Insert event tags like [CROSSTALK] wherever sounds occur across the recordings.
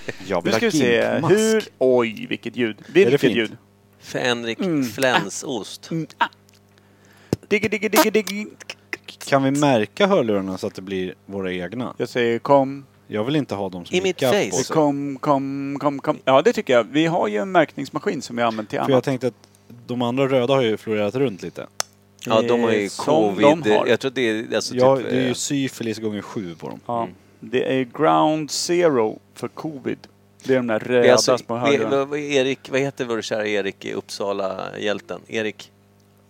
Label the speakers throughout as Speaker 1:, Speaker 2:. Speaker 1: [LAUGHS] Jag
Speaker 2: Nu
Speaker 1: vill ha
Speaker 2: ska vi se.
Speaker 1: gigmask.
Speaker 2: Hur... Oj, vilket ljud. Vilket
Speaker 1: fint?
Speaker 2: ljud. Mm.
Speaker 3: Fänrik flänsost.
Speaker 2: Diggi, diggi, diggi, diggi.
Speaker 1: Kan vi märka hörlurarna så att det blir våra egna?
Speaker 2: Jag säger kom,
Speaker 1: Jag vill inte ha dem som
Speaker 3: I mitt
Speaker 1: gick upp
Speaker 3: face.
Speaker 1: på sig.
Speaker 2: kom, kom, kom, kom. Ja, det tycker jag. Vi har ju en märkningsmaskin som vi har använt till
Speaker 1: För jag
Speaker 2: annat.
Speaker 1: tänkte att de andra röda har ju florerat runt lite.
Speaker 3: Ja, de har ju
Speaker 2: Eh, som
Speaker 3: covid.
Speaker 2: de har.
Speaker 3: Jag tror det är alltså
Speaker 1: Ja,
Speaker 3: typ...
Speaker 1: det är
Speaker 3: eh,
Speaker 1: ju syfilis gånger sju på dem.
Speaker 3: Mm.
Speaker 2: Ja. Det är ground zero för covid. Det är de där
Speaker 3: det är
Speaker 2: röda
Speaker 3: alltså,
Speaker 2: små
Speaker 3: vi-
Speaker 2: hörlurarna.
Speaker 3: vad- vad- Erik, vad heter vår kära Erik i Uppsala hjälten? Erik?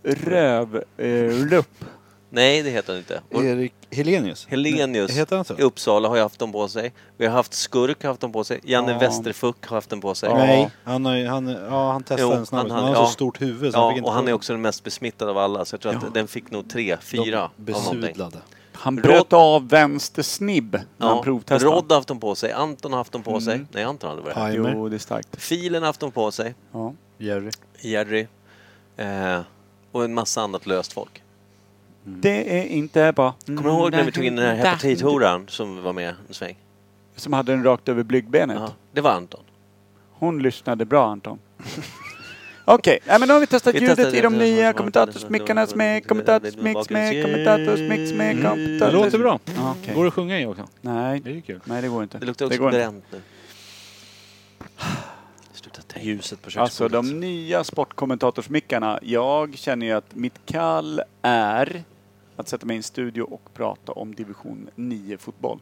Speaker 2: Röv, eh, lupp.
Speaker 3: Nej, det heter han inte. Vår
Speaker 1: Erik Helenius.
Speaker 3: Helenius
Speaker 1: Heter han så?
Speaker 3: i Uppsala har ju haft dem på sig. Vi har haft Skurk har haft dem på sig. Janne
Speaker 2: Ja.
Speaker 3: Westerfuck har haft dem på sig.
Speaker 1: Nej, han, har, ju- han, ja, han testade
Speaker 3: Jo,
Speaker 1: den snabbt.
Speaker 3: han
Speaker 1: Han, han
Speaker 3: hade-
Speaker 1: har
Speaker 3: ja.
Speaker 1: så stort huvud så han
Speaker 3: Ja,
Speaker 1: fick inte
Speaker 3: och han är
Speaker 1: få
Speaker 3: också den mest besmittad av alla, så jag tror att den fick nog tre, fyra
Speaker 1: de
Speaker 3: av någonting.
Speaker 1: besudlade.
Speaker 2: Han bröt av vänster snibb när han provtestade.
Speaker 3: Rodd har haft dem på sig, Anton har haft dem på sig. Nej, Anton har aldrig varit här.
Speaker 1: Timer.
Speaker 2: Jo, det är starkt.
Speaker 3: Filen har haft dem på sig,
Speaker 2: Ja.
Speaker 1: Jerry.
Speaker 3: Jerry. Eh, och en massa annat löst folk.
Speaker 2: Mm. Det är inte bra. Mm,
Speaker 3: Kommer du ihåg när vi tog in den här hepatithoran som var med en sväng?
Speaker 2: Som hade den rakt över blygdbenet.
Speaker 3: Ja, det var Anton.
Speaker 2: Hon lyssnade bra Anton. [LAUGHS] Okej, nej, men nu har vi testat
Speaker 3: Vi
Speaker 2: ljudet
Speaker 3: testar
Speaker 2: i de
Speaker 3: det.
Speaker 2: nya kommentatorsmickarna. Smäck, kommentatorsmick, smäck, kommentatorsmick,
Speaker 3: Mm.
Speaker 2: smäck,
Speaker 1: Det
Speaker 2: kommentatorsmick.
Speaker 1: låter bra.
Speaker 2: Ja, okej.
Speaker 1: Går att sjunga i också. Det är
Speaker 2: Nej,
Speaker 1: ju kul.
Speaker 2: nej det går inte.
Speaker 3: Det luktar
Speaker 2: Det
Speaker 3: också
Speaker 2: går inte.
Speaker 3: bränt nu. Sluta tänka. Ljuset på
Speaker 2: Alltså de nya sportkommentatorsmickarna. Jag känner ju att mitt kall är att sätta mig i en studio och prata om division 9 fotboll.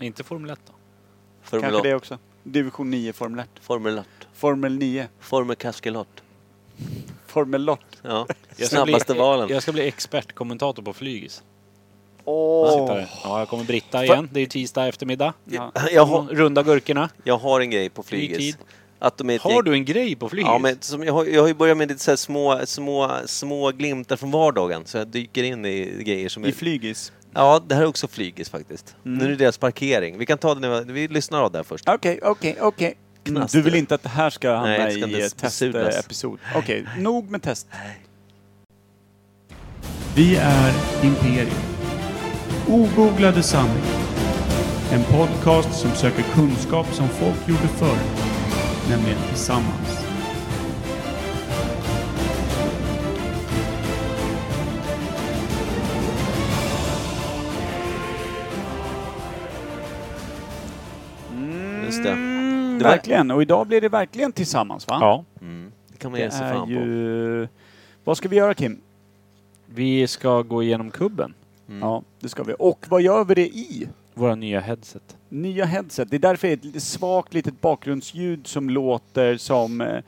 Speaker 1: Inte Formel 1 då?
Speaker 3: Formel
Speaker 2: Kanske det
Speaker 3: 1.
Speaker 2: också. Division 9 Formel 1.
Speaker 3: Formel 1.
Speaker 2: Formel 9.
Speaker 3: Formel Kaskelot.
Speaker 2: Formel Lott.
Speaker 3: Ja.
Speaker 1: Jag ska
Speaker 3: Snabbaste
Speaker 1: bli,
Speaker 3: valen.
Speaker 1: Jag ska bli expertkommentator på flygis.
Speaker 2: Åh!
Speaker 1: Sitter här. Ja, jag kommer britta igen. Det är ju tisdag eftermiddag.
Speaker 2: Ja.
Speaker 3: Jag har,
Speaker 1: Runda gurkorna.
Speaker 3: jag har en grej på
Speaker 1: Ny
Speaker 3: flygis.
Speaker 1: tid.
Speaker 3: Att de är ett
Speaker 1: Har
Speaker 3: gäng-
Speaker 1: du en grej på flygis?
Speaker 3: Ja, men som jag, har, jag har ju börjat med lite så här små, små, små glimtar från vardagen. Så jag dyker in i grejer som
Speaker 2: I
Speaker 3: är...
Speaker 2: flygis.
Speaker 3: Ja, det här är också flygis faktiskt.
Speaker 1: Mm.
Speaker 3: Nu är det deras parkering. Vi kan ta det när vi, vi lyssnar av det här först.
Speaker 2: Okej, okej, okej.
Speaker 3: Knaster.
Speaker 2: Mm, Du vill inte att det här ska hamna
Speaker 3: Nej, det ska inte
Speaker 2: i eh,
Speaker 3: ens besudlas.
Speaker 2: testepisod? Okej, nog med test.
Speaker 4: Vi är Imperium. Ogooglade sanningar. En podcast som söker kunskap som folk gjorde förr. Nämligen tillsammans.
Speaker 3: Just det. det var,
Speaker 2: Mm, Verkligen. Och idag blir det verkligen tillsammans, va?
Speaker 5: Ja,
Speaker 3: mm, det kan man
Speaker 2: Det
Speaker 3: ge sig
Speaker 2: är
Speaker 3: fan på.
Speaker 2: ju... Vad ska vi göra, Kim?
Speaker 5: vi ska gå igenom kubben.
Speaker 2: Ja, det ska vi. Och vad gör vi det i?
Speaker 5: Våra nya headset.
Speaker 2: Nya headset. Det är därför det är ett lite svagt litet bakgrundsljud som låter som eh,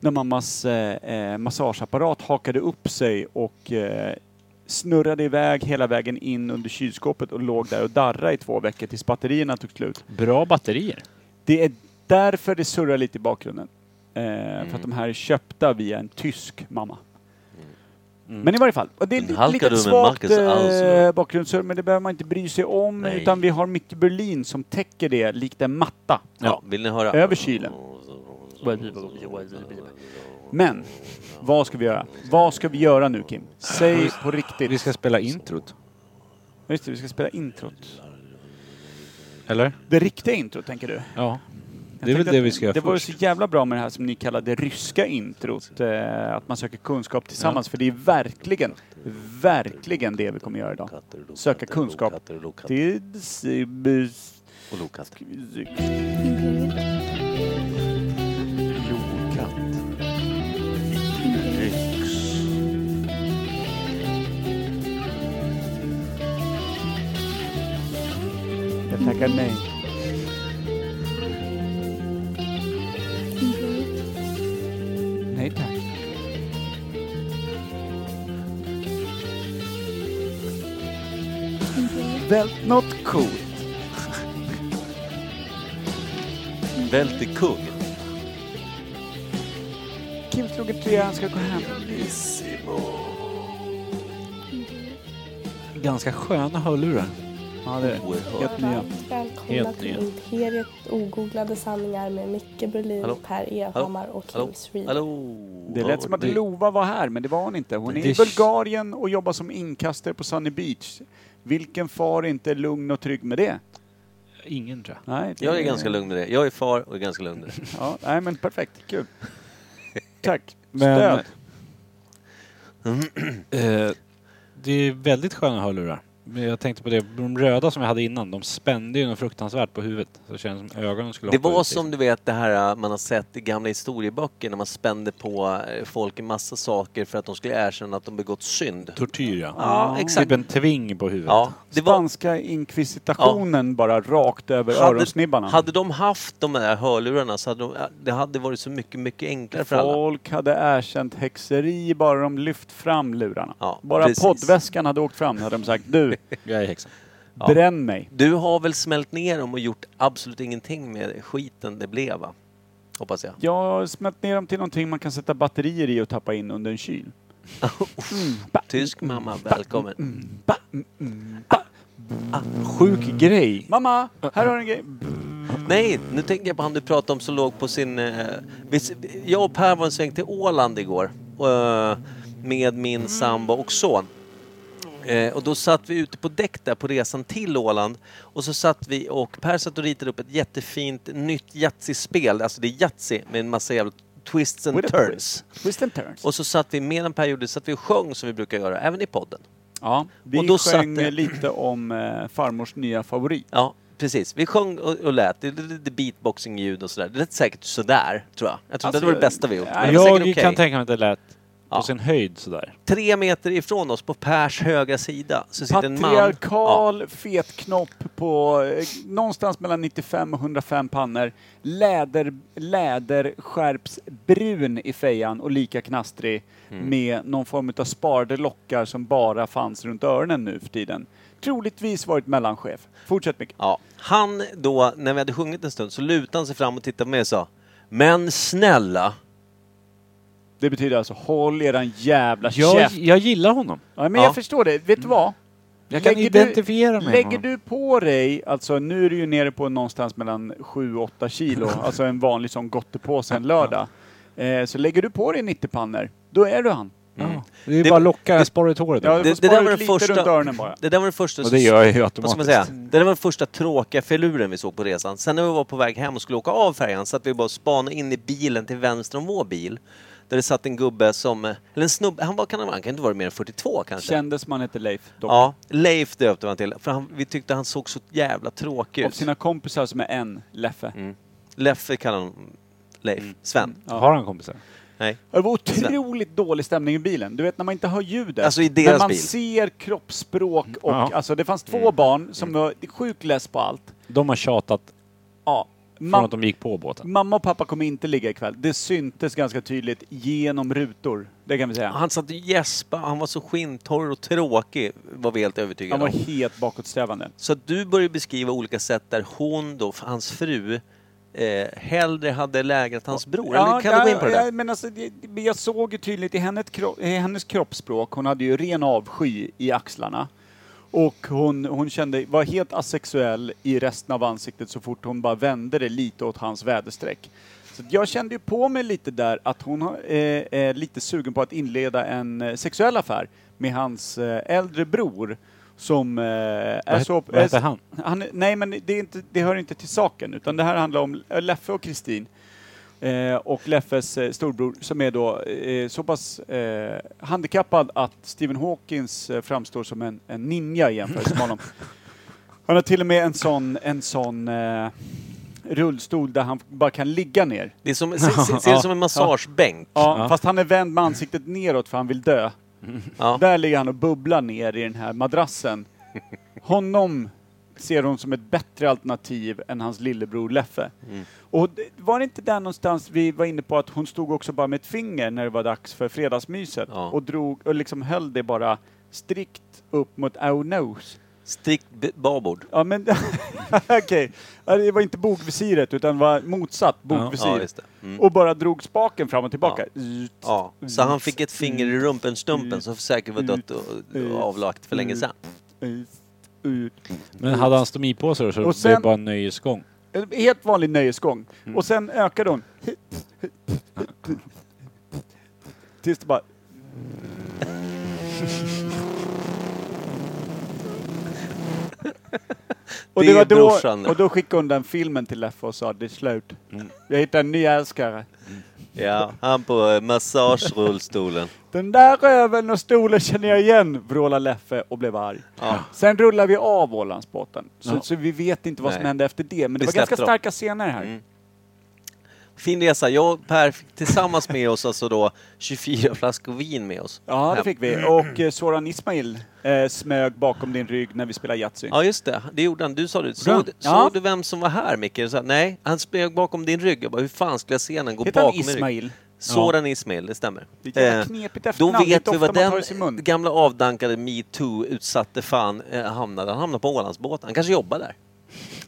Speaker 2: när mammas eh, eh, massageapparat hakade upp sig och eh, snurrade iväg hela vägen in under kylskåpet och låg där och darrade i två veckor tills batterierna tog slut.
Speaker 5: Bra batterier.
Speaker 2: Det är därför det surrar lite i bakgrunden. Eh,
Speaker 3: Mm.
Speaker 2: För att de här är köpta via en tysk mamma. Men i varje fall, och det är
Speaker 3: Mm. Den
Speaker 2: lite,
Speaker 3: halkar du
Speaker 2: lite
Speaker 3: med
Speaker 2: svagt
Speaker 3: Marcus Alsner.
Speaker 2: eh, bakgrundssurr, men det behöver man inte bry sig om.
Speaker 3: Nej.
Speaker 2: Utan vi har Micke Berlin som täcker det likt en matta.
Speaker 3: Ja, vill ni höra?
Speaker 2: Över kylen. Men, vad ska vi göra? Vad ska vi göra nu Kim? Säg på riktigt.
Speaker 1: Vi ska spela introt.
Speaker 2: Just det, vi ska spela introt.
Speaker 1: Eller?
Speaker 2: Det riktiga introt tänker du?
Speaker 1: Ja.
Speaker 2: Jag
Speaker 1: Det är väl
Speaker 2: tänkte
Speaker 1: det
Speaker 2: att
Speaker 1: vi ska göra
Speaker 2: Det var ju
Speaker 1: först.
Speaker 2: så jävla bra med det här som ni kallar det ryska introt. Eh, att man söker kunskap tillsammans. För det är verkligen, verkligen det vi kommer göra idag. Söka kunskap. Tids... bus-
Speaker 3: Och lokatt.
Speaker 6: Imperium. Imperium.
Speaker 2: Jag tackar nej.
Speaker 6: Imperium.
Speaker 2: Nej tack.
Speaker 6: Imperium.
Speaker 2: Väl, något coolt.
Speaker 3: Väldig kung.
Speaker 2: Kim slog en trea, han ska gå hem.
Speaker 1: Ganska sköna hörlurar.
Speaker 2: Ja, det är det.
Speaker 3: Oerhört.
Speaker 2: Helt nya.
Speaker 7: Varmt välkomna
Speaker 1: Helt
Speaker 7: till
Speaker 1: nya.
Speaker 7: Imperiet Ogooglade sanningar med Micke Berlin,
Speaker 3: Hallå?
Speaker 7: Per Evhammar och
Speaker 3: Hallå?
Speaker 7: Kim Sweden.
Speaker 3: Hallå!
Speaker 2: Det lät som att Lova var här, men det var hon inte. Hon är i
Speaker 1: Det-
Speaker 2: Bulgarien och jobbar som inkastare på Sunny Beach. Vilken far är inte lugn och trygg med det?
Speaker 8: Ingen tror jag.
Speaker 2: Nej, det-
Speaker 3: Jag är ganska lugn med det. Jag är far och är ganska lugn med det.
Speaker 2: [LAUGHS] Ja, nej men perfekt, kul. Tack.
Speaker 9: Men-
Speaker 2: Stöd. Mm.
Speaker 8: Eh, det är väldigt sköna hörlurar. Men jag tänkte på det, de röda som jag hade innan, de spände ju något fruktansvärt på huvudet. Så det kändes som ögonen skulle
Speaker 3: Det
Speaker 8: hoppa
Speaker 3: var
Speaker 8: ut, liksom.
Speaker 3: som du vet det här äh, man har sett i gamla historieböcker när man spände på äh, folk en massa saker för att de skulle erkänna att de begått synd.
Speaker 8: Tortyr ja.
Speaker 3: Ja, exakt.
Speaker 8: Typ en tving på huvudet.
Speaker 3: Ja, det var,
Speaker 2: Spanska inkvisitationen bara rakt över öronsnibbarna.
Speaker 3: hade, hade de haft de där hörlurarna så hade de, äh, det hade varit så mycket, mycket enklare för alla.
Speaker 2: Folk hade erkänt häxeri bara de lyft fram lurarna.
Speaker 3: Ja,
Speaker 2: bara
Speaker 3: precis.
Speaker 2: poddväskan hade åkt fram hade de sagt du,
Speaker 8: [LAUGHS] Jag är häxan.
Speaker 2: bränn mig.
Speaker 3: Du har väl smält ner dem och gjort absolut ingenting med skiten det blev va? Hoppas jag.
Speaker 2: Jag har smält ner dem till någonting man kan sätta batterier i och tappa in under
Speaker 3: [LAUGHS]
Speaker 2: en kyl.
Speaker 3: Tysk mamma, välkommen.
Speaker 2: Ba, mm, mm, ba. Sjuk grej. Mamma, här har du en grej.
Speaker 3: Nej, nu tänker jag på han du pratade om som låg på sin... Eh, vis- jag och Per var en sväng till Åland igår. Eh, med
Speaker 2: Mm.
Speaker 3: min sambo och son. Eh, och då satt vi ute på däck där på resan till Åland. Och så satt vi och Per satt och ritade upp ett jättefint nytt Yatzy-spel. Alltså det är Yatzy med en massa jävla twists and
Speaker 2: With a
Speaker 3: turns.
Speaker 2: Twist and turns.
Speaker 3: Och så satt vi, medan Per gjorde det, satt vi och sjöng som vi brukar göra, även i podden.
Speaker 2: Ja, vi
Speaker 3: och då satt
Speaker 2: sjöng
Speaker 3: det-
Speaker 2: lite om eh, farmors nya favorit.
Speaker 3: Ja, precis. Vi sjöng och, och lät. Det är lite beatboxing-ljud och sådär. Det lät säkert sådär, tror jag. Jag tror
Speaker 2: Alltså,
Speaker 3: det var det bästa vi gjort.
Speaker 2: nej,
Speaker 3: Men det var
Speaker 8: Jag
Speaker 3: säkert okej.
Speaker 8: kan tänka mig att det lät
Speaker 3: Ja.
Speaker 8: på sin höjd sådär.
Speaker 3: Tre meter ifrån oss, på Pers högra sida, så sitter en man.
Speaker 2: Patriarkal fetknopp på eh, någonstans mellan 95 och 105 pannor. Läder, läderskärpsbrun i fejan och lika knastrig
Speaker 3: Mm.
Speaker 2: med någon form av sparade lockar som bara fanns runt öronen nu för tiden. Troligtvis varit mellanchef. Fortsätt Micke.
Speaker 3: Ja. Han då, när vi hade sjungit en stund, så lutade han sig fram och tittade på mig och sa Men snälla!
Speaker 2: Det betyder alltså håll eran jävla
Speaker 8: Jag,
Speaker 2: käft.
Speaker 8: jag gillar honom.
Speaker 2: Ja, men
Speaker 3: Ja.
Speaker 2: jag förstår det. Vet du vad?
Speaker 8: Jag kan
Speaker 2: Lägger du-
Speaker 8: identifiera mig med
Speaker 2: Lägger
Speaker 8: honom.
Speaker 2: du på dig, alltså nu är du ju nere på någonstans mellan 7-8 kilo, alltså en vanlig sån gottepåse en lördag. Eh, så lägger du på dig 90 pannor, då är du han.
Speaker 8: Ja. Det är
Speaker 3: Det-
Speaker 8: bara lockar, sporrar ut håret.
Speaker 2: Ja,
Speaker 8: då.
Speaker 2: du får
Speaker 3: Det- det där
Speaker 2: spara
Speaker 3: var
Speaker 2: ut
Speaker 3: det
Speaker 2: lite
Speaker 3: första-
Speaker 2: runt öronen bara.
Speaker 3: Det där var den första...
Speaker 8: Och det gör jag ju
Speaker 3: Vad ska man
Speaker 8: automatiskt.
Speaker 3: säga? Det där var den första tråkiga filuren vi såg på resan. Sen när vi var på väg hem och skulle åka av färjan satt vi bara och spanade in i bilen till vänster om vår bil. Där det satt en gubbe som, eller en snubbe, han, var, kan han, vara? han kan inte vara mer än 42 kanske.
Speaker 2: Kändes man heter Leif dock.
Speaker 3: ja, Leif döpte man till. För han, vi tyckte han såg så jävla tråkig
Speaker 2: Och
Speaker 3: ut. Mm.
Speaker 2: sina kompisar som är en, Leffe. Mm.
Speaker 3: Leffe kallar han Leif. Sven.
Speaker 8: Har han kompisar?
Speaker 3: Nej.
Speaker 2: Det var otroligt dålig stämning i bilen. Du vet när man inte hör ljudet.
Speaker 3: Alltså, i
Speaker 2: men
Speaker 3: deras
Speaker 2: man
Speaker 3: bil.
Speaker 2: ser kroppsspråk och
Speaker 8: Ja.
Speaker 2: alltså det fanns två barn som var sjukt less på allt.
Speaker 8: De har tjatat
Speaker 2: Ja.
Speaker 8: från
Speaker 2: Man,
Speaker 8: att de gick på båten.
Speaker 2: Mamma och pappa kommer inte ligga ikväll. Det syntes ganska tydligt genom rutor. Det kan vi säga.
Speaker 3: Han satt och gäspade, han var så skinntorr och tråkig var vi helt
Speaker 2: Han
Speaker 3: övertygade
Speaker 2: var
Speaker 3: om.
Speaker 2: helt bakåtsträvande.
Speaker 3: Så att du började beskriva olika sätt där hon då, hans fru, eh, hellre hade lägrat hans bror. Eller kan du gå in på det
Speaker 2: ja,
Speaker 3: där?
Speaker 2: men alltså, det- det- jag såg ju tydligt i hennes, kro- i hennes kroppsspråk, hon hade ju ren avsky i axlarna. Och hon, hon kände, var helt asexuell i resten av ansiktet så fort hon bara vände det lite åt hans väderstreck. Så att jag kände ju på mig lite där att hon har- eh, är lite sugen på att inleda en eh, sexuell affär med hans eh, äldre bror som eh, är
Speaker 8: het-
Speaker 2: så...
Speaker 8: vad heter han?
Speaker 2: han? Nej men det, är inte, det hör inte till saken utan det här handlar om Leffe och Kristin. Eh, och Leffes eh, storbror som är då eh, så pass eh, handikappad att Stephen Hawkins eh, framstår som en, en ninja i jämförelse med honom. Han har till och med en sån, en sån eh, rullstol där han bara kan ligga ner.
Speaker 3: Det är som, se, se, ser det
Speaker 2: [LAUGHS]
Speaker 3: som en massagebänk.
Speaker 2: Ja,
Speaker 8: Ja.
Speaker 2: Fast han är vänd med ansiktet neråt för han vill dö.
Speaker 3: Ja.
Speaker 2: Där ligger han och bubblar ner i den här madrassen. Honom ser hon som ett bättre alternativ än hans lillebror Leffe. Och det- var det inte där någonstans vi var inne på att hon stod också bara med ett finger när det var dags för fredagsmyset
Speaker 3: Ja.
Speaker 2: och drog och liksom höll det bara strikt upp mot our nose.
Speaker 3: Strikt b- babord.
Speaker 2: Ja men [LAUGHS] okej, Ja, det var inte bogvisiret utan var motsatt
Speaker 3: Ja,
Speaker 2: bogvisir.
Speaker 3: just det. Mm.
Speaker 2: och bara drog spaken fram och tillbaka.
Speaker 3: Ja. Så han fick ett finger i rumpen-stumpen som säkert var dött och, och avlagt för länge sedan.
Speaker 2: Ut, ut.
Speaker 8: Men hade han stomipåsar så
Speaker 2: Mm. Och
Speaker 8: blev det
Speaker 2: sen-
Speaker 8: bara en nöjesgång.
Speaker 2: En helt vanlig nöjesgång.
Speaker 3: Mm.
Speaker 2: Och sen ökade hon.
Speaker 3: [LAUGHS]
Speaker 2: Tills det bara... Och
Speaker 3: Det
Speaker 2: det, var
Speaker 3: är
Speaker 2: då,
Speaker 3: brorsan Mm. det.
Speaker 2: och då skickade hon den filmen till Leffe och sa det är slut. Jag hittade en ny älskare.
Speaker 3: Ja, han på eh, massagerullstolen.
Speaker 2: Den där röven och stolen känner jag igen, vrålade Leffe och blev arg.
Speaker 3: Ja.
Speaker 2: Sen rullar vi av Ålandsbåten. Så,
Speaker 1: Ja.
Speaker 2: så vi vet inte vad som
Speaker 3: Nej.
Speaker 2: hände efter det. Men det
Speaker 3: Vi
Speaker 2: var ganska
Speaker 3: släppte dem.
Speaker 2: starka scener här.
Speaker 3: Mm. Fin resa. Jag och Per fick tillsammans med oss alltså då 24 flaskor vin med oss.
Speaker 2: Ja, det
Speaker 3: Hem. Mm.
Speaker 2: fick vi. Och eh, Soran Ismail eh, smög bakom din rygg när vi spelade Yatzy.
Speaker 3: Ja, just det. Det gjorde han. Du sa det. Såg, du-
Speaker 2: Ja.
Speaker 3: såg du vem som var här, Micke? Du sa, nej, han spög bakom din rygg. Jag bara, hur fan skulle jag se när han gå
Speaker 2: Hette
Speaker 3: bakom
Speaker 2: han
Speaker 3: min rygg?
Speaker 2: Ismail?
Speaker 3: Soran Ismail, det stämmer.
Speaker 2: Det är ett jävla
Speaker 3: Eh,
Speaker 2: knepigt
Speaker 3: Då
Speaker 2: efternamn.
Speaker 3: vet
Speaker 2: Inte
Speaker 3: vi
Speaker 2: ofta
Speaker 3: vad
Speaker 2: man tar i sin
Speaker 3: den
Speaker 2: mun.
Speaker 3: gamla avdankade metoo-utsatte fan eh, hamnade. Han hamnade på Ålandsbåten. Han kanske jobbar där.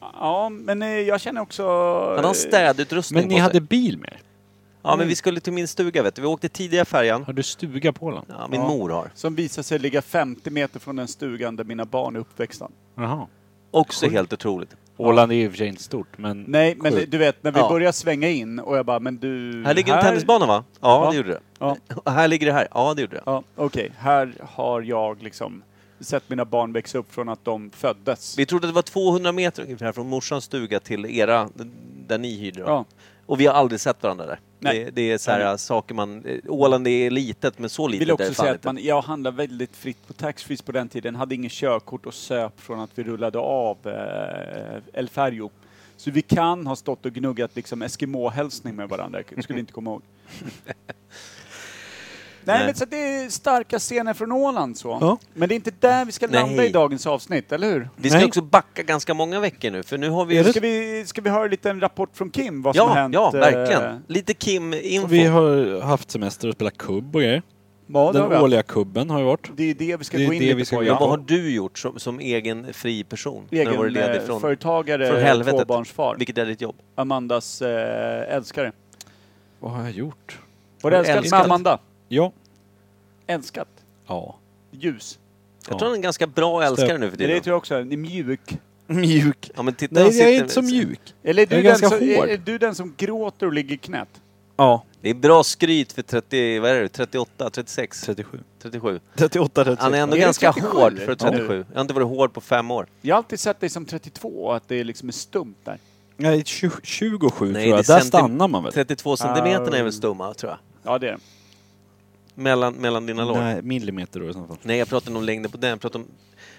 Speaker 2: Ja, men eh, jag känner också... eh,
Speaker 3: Han har en städutrustning
Speaker 1: Men ni
Speaker 3: på
Speaker 1: hade
Speaker 3: sig.
Speaker 1: bil med er?
Speaker 3: Ja, men vi skulle till min stuga, vet du. Vi åkte tidiga färjan.
Speaker 1: Har du stuga på Åland?
Speaker 3: Ja, min
Speaker 2: Ja.
Speaker 3: mor har.
Speaker 2: Som visar sig ligga 50 meter från den stugan där mina barn är uppväxta.
Speaker 1: Jaha.
Speaker 3: Också helt otroligt.
Speaker 1: Åland är ju i och för sig inte stort, men...
Speaker 2: Nej, men
Speaker 1: Sjukt.
Speaker 2: du vet när vi
Speaker 3: Ja.
Speaker 2: börjar svänga in och jag bara, men du...
Speaker 3: Här ligger en tennisbana, va? Ja,
Speaker 2: Ja.
Speaker 3: det gjorde det.
Speaker 2: Ja,
Speaker 3: [LAUGHS] Och här ligger det här. Ja, det gjorde det.
Speaker 2: ja okej. Här har jag liksom sett mina barn växa upp från att de föddes.
Speaker 3: Vi trodde att det var 200 meter ungefär från morsans stuga till era, där ni hyrde. då.
Speaker 2: Ja.
Speaker 3: Och vi har aldrig sett varandra där.
Speaker 2: Nej.
Speaker 3: Det, det är så här saker man... eh, Åland är litet, men så litet
Speaker 2: Vill
Speaker 3: är det
Speaker 2: också
Speaker 3: fan
Speaker 2: säga att
Speaker 3: inte.
Speaker 2: man, jag handlade väldigt fritt på taxfrees på den tiden, hade ingen körkort och söp från att vi rullade av eh, El Ferjo. Så vi kan ha stått och gnuggat liksom Eskimo-hälsning med varandra, jag skulle
Speaker 3: [LAUGHS]
Speaker 2: inte komma ihåg. Nej,
Speaker 3: Nej.
Speaker 2: men så att det är starka scener från Åland så.
Speaker 1: Ja.
Speaker 2: Men det är inte där vi ska landa
Speaker 3: Nej.
Speaker 2: i dagens avsnitt, eller hur?
Speaker 3: Vi ska
Speaker 1: Nej.
Speaker 3: också backa ganska många veckor nu, för nu har vi...
Speaker 2: Ska vi, ska vi höra en liten rapport från Kim, vad som
Speaker 3: ja,
Speaker 2: hänt?
Speaker 3: ja,
Speaker 2: eh,
Speaker 3: verkligen. Lite Kim-info.
Speaker 1: Och Vi har haft semester och spelat kubb och grejer.
Speaker 2: Ja, det, har
Speaker 1: Den
Speaker 2: vi haft.
Speaker 1: årliga kubben har ju varit.
Speaker 2: det är det vi ska
Speaker 1: Det är
Speaker 2: gå in
Speaker 1: det
Speaker 2: lite
Speaker 1: vi ska
Speaker 2: på.
Speaker 1: gå in
Speaker 2: ja.
Speaker 3: Vad har du gjort som, som egen fri person? när du varit ledig från,
Speaker 2: egenföretagare,
Speaker 3: från helvetet.
Speaker 2: eh, tvåbarnsfar.
Speaker 3: Vilket är ditt jobb?
Speaker 2: Amandas eh, älskare.
Speaker 1: Vad har jag gjort?
Speaker 2: Var det älskat
Speaker 3: Älskat.
Speaker 2: med Amanda?
Speaker 1: Ja.
Speaker 2: Älskat.
Speaker 1: Ja.
Speaker 2: Ljus.
Speaker 3: Jag
Speaker 1: Ja.
Speaker 3: tror han är en ganska bra älskare nu för
Speaker 2: Det,
Speaker 3: tiden.
Speaker 2: tror jag också. Den är mjuk.
Speaker 1: Mjuk.
Speaker 3: Ja, men titta, han
Speaker 1: Nej, jag är
Speaker 3: sitter-
Speaker 1: inte så mjuk.
Speaker 2: Eller är du,
Speaker 1: är
Speaker 2: den
Speaker 1: ganska
Speaker 2: som, är,
Speaker 1: hård.
Speaker 2: är du den som gråter och ligger knät?
Speaker 1: Ja.
Speaker 3: Det är bra skryt för 30, vad är det, 38, 36,
Speaker 1: 37.
Speaker 3: 37.
Speaker 1: 38, 37.
Speaker 3: Han är ändå
Speaker 2: Är det
Speaker 3: ganska
Speaker 2: 37?
Speaker 3: hård för
Speaker 2: Ja.
Speaker 3: 37. Jag har inte varit hård på fem år.
Speaker 2: Jag har alltid sett dig som 32 och att det liksom är stumt där.
Speaker 1: Nej, 20, 27
Speaker 3: Nej,
Speaker 1: tror
Speaker 3: det är
Speaker 1: jag. Där
Speaker 3: centi-
Speaker 1: stannar man väl?
Speaker 3: 32 centimeter är
Speaker 2: Ah.
Speaker 3: väl stumma, tror jag.
Speaker 2: Ja, det är det.
Speaker 3: Mellan, mellan dina lår. Nej.
Speaker 1: Nej, millimeter då i så fall.
Speaker 3: jag pratar inte om längden på den. Jag pratar om...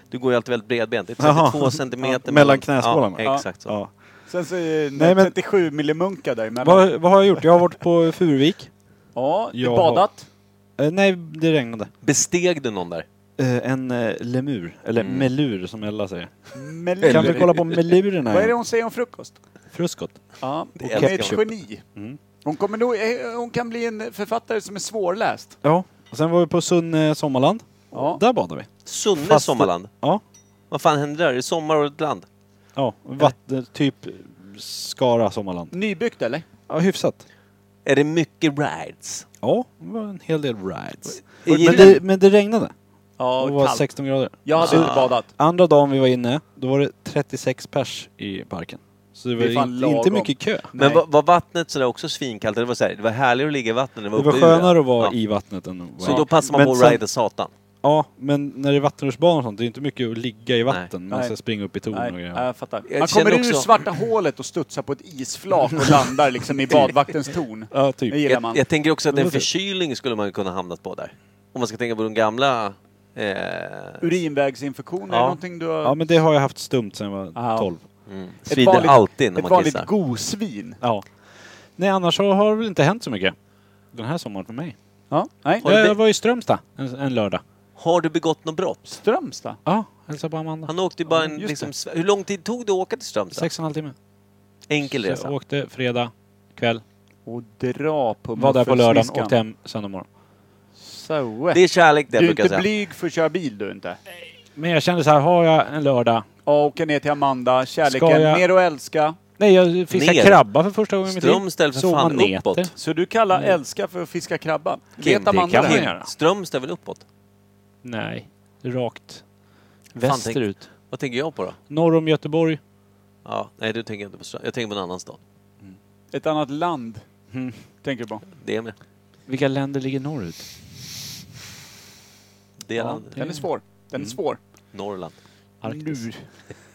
Speaker 3: Du går ju alltid väldigt bredbent. Det är 32
Speaker 1: Jaha.
Speaker 3: centimeter.
Speaker 1: Mellan knäskålarna.
Speaker 3: Ja, exakt så.
Speaker 1: Ja.
Speaker 2: Sen så är
Speaker 1: Nej, men-
Speaker 2: 37 millimunkar däremellan.
Speaker 1: Vad, vad har jag gjort? Jag har varit på Furuvik.
Speaker 2: Ja, du
Speaker 1: Jag
Speaker 2: badat.
Speaker 1: Eh, nej, det regnade.
Speaker 3: Besteg du någon där? Mm.
Speaker 1: Eh, en eh, lemur, eller melur som Ella säger.
Speaker 2: Melur.
Speaker 1: Kan vi kolla på
Speaker 2: [LAUGHS]
Speaker 1: melurerna?
Speaker 2: Vad är det
Speaker 1: igen?
Speaker 2: hon säger om frukost?
Speaker 1: Fruskost.
Speaker 2: Ja, hon
Speaker 3: älskar
Speaker 2: är ett
Speaker 1: jag.
Speaker 2: geni.
Speaker 1: Mm.
Speaker 2: Hon, kommer nog, eh, hon kan bli en författare som är svårläst.
Speaker 1: Ja. Och sen var vi på Sunne sommarland.
Speaker 2: Ja.
Speaker 1: Där badade vi.
Speaker 3: Sunne
Speaker 1: Fast-
Speaker 3: sommarland?
Speaker 1: Ja.
Speaker 3: Vad fan händer där? Är det sommar och ett land?
Speaker 1: Ja, vatten, typ Skara sommarland.
Speaker 2: Nybyggt eller?
Speaker 1: Ja, hyfsat.
Speaker 3: Är det mycket rides?
Speaker 1: Ja, det var en hel del rides.
Speaker 3: Är
Speaker 1: Men
Speaker 3: det-
Speaker 1: det, men det regnade.
Speaker 2: Ja,
Speaker 1: Det var
Speaker 2: kallt.
Speaker 1: 16 grader.
Speaker 2: Jag hade
Speaker 3: Ah.
Speaker 2: inte badat.
Speaker 1: Andra dagen vi var inne, då var det 36 pers i parken. Så det var
Speaker 2: Det är fan
Speaker 1: inte, inte
Speaker 2: lagom.
Speaker 1: mycket kö.
Speaker 3: Men
Speaker 2: Nej.
Speaker 3: var, var vattnet sådär också svinkallt? Eller var det, så här, det var härligt att ligga i vattnet. Det var,
Speaker 1: Det var
Speaker 3: uppe ur
Speaker 1: skönare att vara
Speaker 3: Ja.
Speaker 1: i vattnet än att vara
Speaker 3: Så då passar man
Speaker 1: Men
Speaker 3: på att
Speaker 1: sen-
Speaker 3: rida satan.
Speaker 1: Ja, men när det är vattenrutschbanor och sånt, det är inte mycket att ligga i vatten. Man
Speaker 2: Nej.
Speaker 1: ska springa upp i torn
Speaker 2: Nej,
Speaker 1: och
Speaker 2: nej,
Speaker 1: grejer.
Speaker 2: jag fattar.
Speaker 3: Jag
Speaker 2: Man
Speaker 3: känner
Speaker 2: kommer ur
Speaker 3: också-
Speaker 2: svarta hålet och studsar på ett isflak och
Speaker 3: [LAUGHS]
Speaker 2: landar liksom i badvaktens torn.
Speaker 1: Ja,
Speaker 2: Det
Speaker 1: typ.
Speaker 2: gillar man.
Speaker 3: Typ. Jag, jag tänker också att
Speaker 1: Det
Speaker 3: en
Speaker 1: var typ.
Speaker 3: förkylning skulle man kunna hamnat på där. Om man ska tänka på de gamla... Eh,
Speaker 2: Urinvägsinfektion, är
Speaker 3: Ja.
Speaker 2: det någonting du har...
Speaker 1: Ja, men det har jag haft stumt sedan jag var
Speaker 2: Ja.
Speaker 1: 12.
Speaker 3: mm, svider
Speaker 2: vanligt-
Speaker 3: alltid när
Speaker 2: ett
Speaker 3: man
Speaker 2: vanligt
Speaker 3: kissar.
Speaker 2: gosvin.
Speaker 1: Ja. Nej, annars så har det väl inte hänt så mycket den här sommaren för mig.
Speaker 2: Ja, nej.
Speaker 3: Har du
Speaker 1: Jag
Speaker 3: be-
Speaker 1: var i Strömstad en, en lördag.
Speaker 3: Har du begått något brott?
Speaker 2: Strömstad.
Speaker 1: Ja, hälsade på Amanda.
Speaker 3: Han åkte ju bara en...
Speaker 2: just
Speaker 3: Liksom, sv- hur lång tid tog det att åka till Strömstad?
Speaker 1: Sex och en halv timme.
Speaker 3: Enkel
Speaker 1: Så jag
Speaker 3: resa.
Speaker 1: åkte fredag kväll,
Speaker 2: Och dra på
Speaker 1: var där på lördagen,
Speaker 2: muffelsniskan.
Speaker 1: åkte hem söndag morgon.
Speaker 2: So.
Speaker 3: Det är kärlek det,
Speaker 2: Du är
Speaker 3: brukar jag
Speaker 2: inte
Speaker 3: säga.
Speaker 2: blyg för att köra bil du inte.
Speaker 1: Men jag kände så här, har jag en lördag...
Speaker 2: Ja, åka ner till Amanda, kärleken,
Speaker 1: Ska jag-
Speaker 2: mer att älska.
Speaker 1: Nej, jag fiskade
Speaker 3: Ner.
Speaker 1: krabba för första gången i mitt liv.
Speaker 3: Strömstad för
Speaker 1: Sov
Speaker 3: fan
Speaker 1: maneter. Mm.
Speaker 3: uppåt.
Speaker 2: Så du kallar älska för att fiska krabba?
Speaker 3: Kim,
Speaker 2: Vet
Speaker 3: det
Speaker 2: Amanda
Speaker 1: kan man
Speaker 2: det?
Speaker 1: ju. göra.
Speaker 3: Kim, Strömstad är väl uppåt?
Speaker 1: Nej, rakt
Speaker 3: tänk-
Speaker 1: västerut.
Speaker 3: Vad tänker jag på då?
Speaker 1: Norr om Göteborg.
Speaker 3: Ja, nej, du tänker inte på Strömstad. Jag tänker på en annan stad.
Speaker 2: Ett annat land,
Speaker 1: Mm.
Speaker 2: tänker du på?
Speaker 3: Det är med.
Speaker 1: Vilka länder ligger norrut?
Speaker 3: Det är
Speaker 2: Ja, den är svår. Den är svår.
Speaker 3: Mm. Norrland.
Speaker 1: Arktis.
Speaker 2: Nu.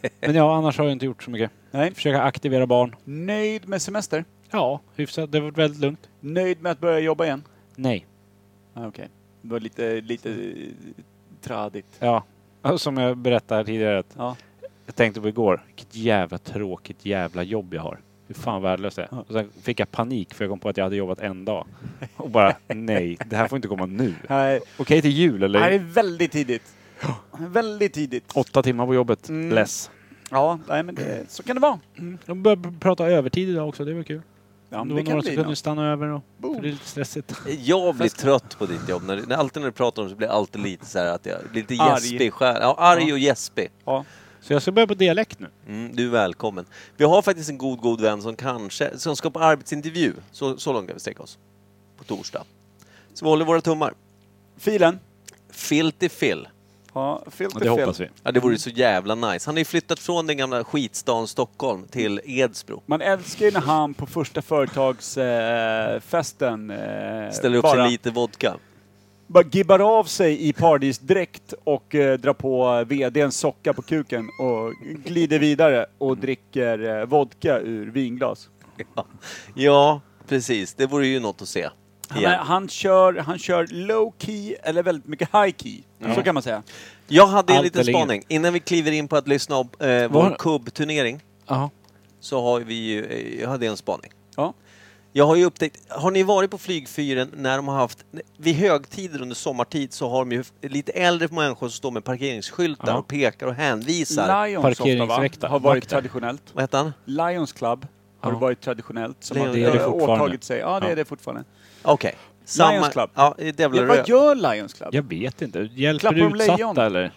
Speaker 1: [LAUGHS] Men ja, annars har jag inte gjort så mycket.
Speaker 2: Nej.
Speaker 1: Försöka aktivera barn.
Speaker 2: Nöjd med semester?
Speaker 1: Ja, hyfsat. Det har varit väldigt lugnt.
Speaker 2: Nöjd med att börja jobba igen?
Speaker 1: Nej.
Speaker 2: Ah, Okej. Det var lite, lite eh, tradigt.
Speaker 1: Ja. [LAUGHS] Som jag berättade tidigare att
Speaker 2: Ja.
Speaker 1: jag tänkte på igår. Vilket jävla tråkigt jävla jobb jag har. Hur fan värdelöst det är.
Speaker 2: Ja.
Speaker 1: Och sen fick jag panik för jag kom på att jag hade jobbat en dag.
Speaker 2: [LAUGHS]
Speaker 1: Och bara nej, det här får inte komma nu. Okej
Speaker 2: Nej,
Speaker 1: till jul
Speaker 2: det här är
Speaker 1: eller?
Speaker 2: väldigt tidigt. Väldigt tidigt.
Speaker 1: Åtta timmar på jobbet.
Speaker 2: Mm.
Speaker 1: Less.
Speaker 2: Ja, nej, men det, så kan det vara.
Speaker 1: De började prata övertid idag också, det var kul.
Speaker 2: Ja,
Speaker 1: Om
Speaker 2: men
Speaker 1: det,
Speaker 2: det
Speaker 1: var
Speaker 2: kan
Speaker 1: några som
Speaker 2: bli
Speaker 1: kunde
Speaker 2: något.
Speaker 1: stanna över och...
Speaker 2: Boom.
Speaker 1: För det är lite stressigt.
Speaker 3: Jag blir trött på ditt jobb. När, när, alltid när du pratar om det så blir jag alltid lite så här att jag blir lite
Speaker 2: Arg.
Speaker 3: gäspig. Skär, ja, arg och gäspig.
Speaker 2: Ja.
Speaker 1: Så jag ska börja på dialekt nu.
Speaker 3: Mm, du är välkommen. Vi har faktiskt en god, god vän som kanske, som ska på arbetsintervju. Så, så långt kan vi sträcka oss. På torsdag. Så vi håller våra tummar.
Speaker 2: Filen.
Speaker 3: Filthy Phil.
Speaker 2: Ja, filter
Speaker 1: Det hoppas vi.
Speaker 3: Ja, det vore så jävla nice. Han har ju flyttat från den gamla skitstaden Stockholm till Edsbro.
Speaker 2: Man älskar ju när han på första företagsfesten eh, festen, eh,
Speaker 3: Ställer upp
Speaker 2: bara,
Speaker 3: sig lite vodka.
Speaker 2: bara gibbar av sig i pardisdräkt och eh, drar på VDns socka på kuken och glider vidare
Speaker 3: Mm.
Speaker 2: och dricker eh, vodka ur vinglas.
Speaker 3: Ja. ja, precis. Det vore ju något att se.
Speaker 2: Han,
Speaker 3: igen.
Speaker 2: är, han, kör, han kör low key eller väldigt mycket high key. Så kan man säga.
Speaker 3: Jag hade en
Speaker 1: Allt
Speaker 3: liten
Speaker 1: eller inget.
Speaker 3: spaning. Innan vi kliver in på att lyssna om eh, vår
Speaker 1: Var-
Speaker 3: kubbturnering
Speaker 1: Ja.
Speaker 3: så har vi ju, eh, jag hade en spaning.
Speaker 2: Ja.
Speaker 3: Jag har ju upptäckt, har ni varit på flygfyren när de har haft, vid högtider under sommartid så har de ju lite äldre människor som står med parkeringsskyltar
Speaker 1: Ja.
Speaker 3: och pekar och hänvisar.
Speaker 2: Lions ofta, va?
Speaker 1: Parkeringsväktar.
Speaker 2: har varit
Speaker 1: Vakter.
Speaker 2: traditionellt.
Speaker 3: Vad heter han?
Speaker 2: Lions Club har
Speaker 1: Ja.
Speaker 2: varit traditionellt. Som
Speaker 3: Det är
Speaker 2: har
Speaker 3: det
Speaker 2: eh,
Speaker 1: fortfarande.
Speaker 2: åtagit sig. Ja, det är
Speaker 1: Ja.
Speaker 2: det fortfarande.
Speaker 3: Okej. Samma-
Speaker 2: Club.
Speaker 3: Ja, det är
Speaker 2: Ja, vad gör Lions Club?
Speaker 1: Jag vet inte. Hjälper
Speaker 2: Klappar de
Speaker 1: utsatta
Speaker 2: lejon?
Speaker 1: eller?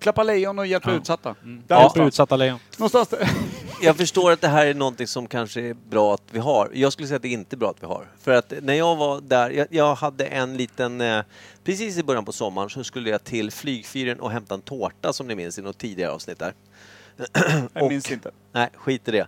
Speaker 2: Klappa lejon och hjälpa
Speaker 1: Ja.
Speaker 2: utsatta. Där
Speaker 1: Ja,
Speaker 2: någonstans.
Speaker 1: Hjälper utsatta lejon.
Speaker 2: någonstans där.
Speaker 3: Mm. [LAUGHS] Jag förstår att det här är någonting som kanske är bra att vi har. Jag skulle säga att det inte är bra att vi har. För att när jag var där, jag, jag hade en liten... Eh, precis i början på sommaren så skulle jag till flygfyren och hämta en tårta som ni minns i något tidigare avsnitt där. [CLEARS THROAT]
Speaker 2: Jag minns inte.
Speaker 3: Nej, skit i det.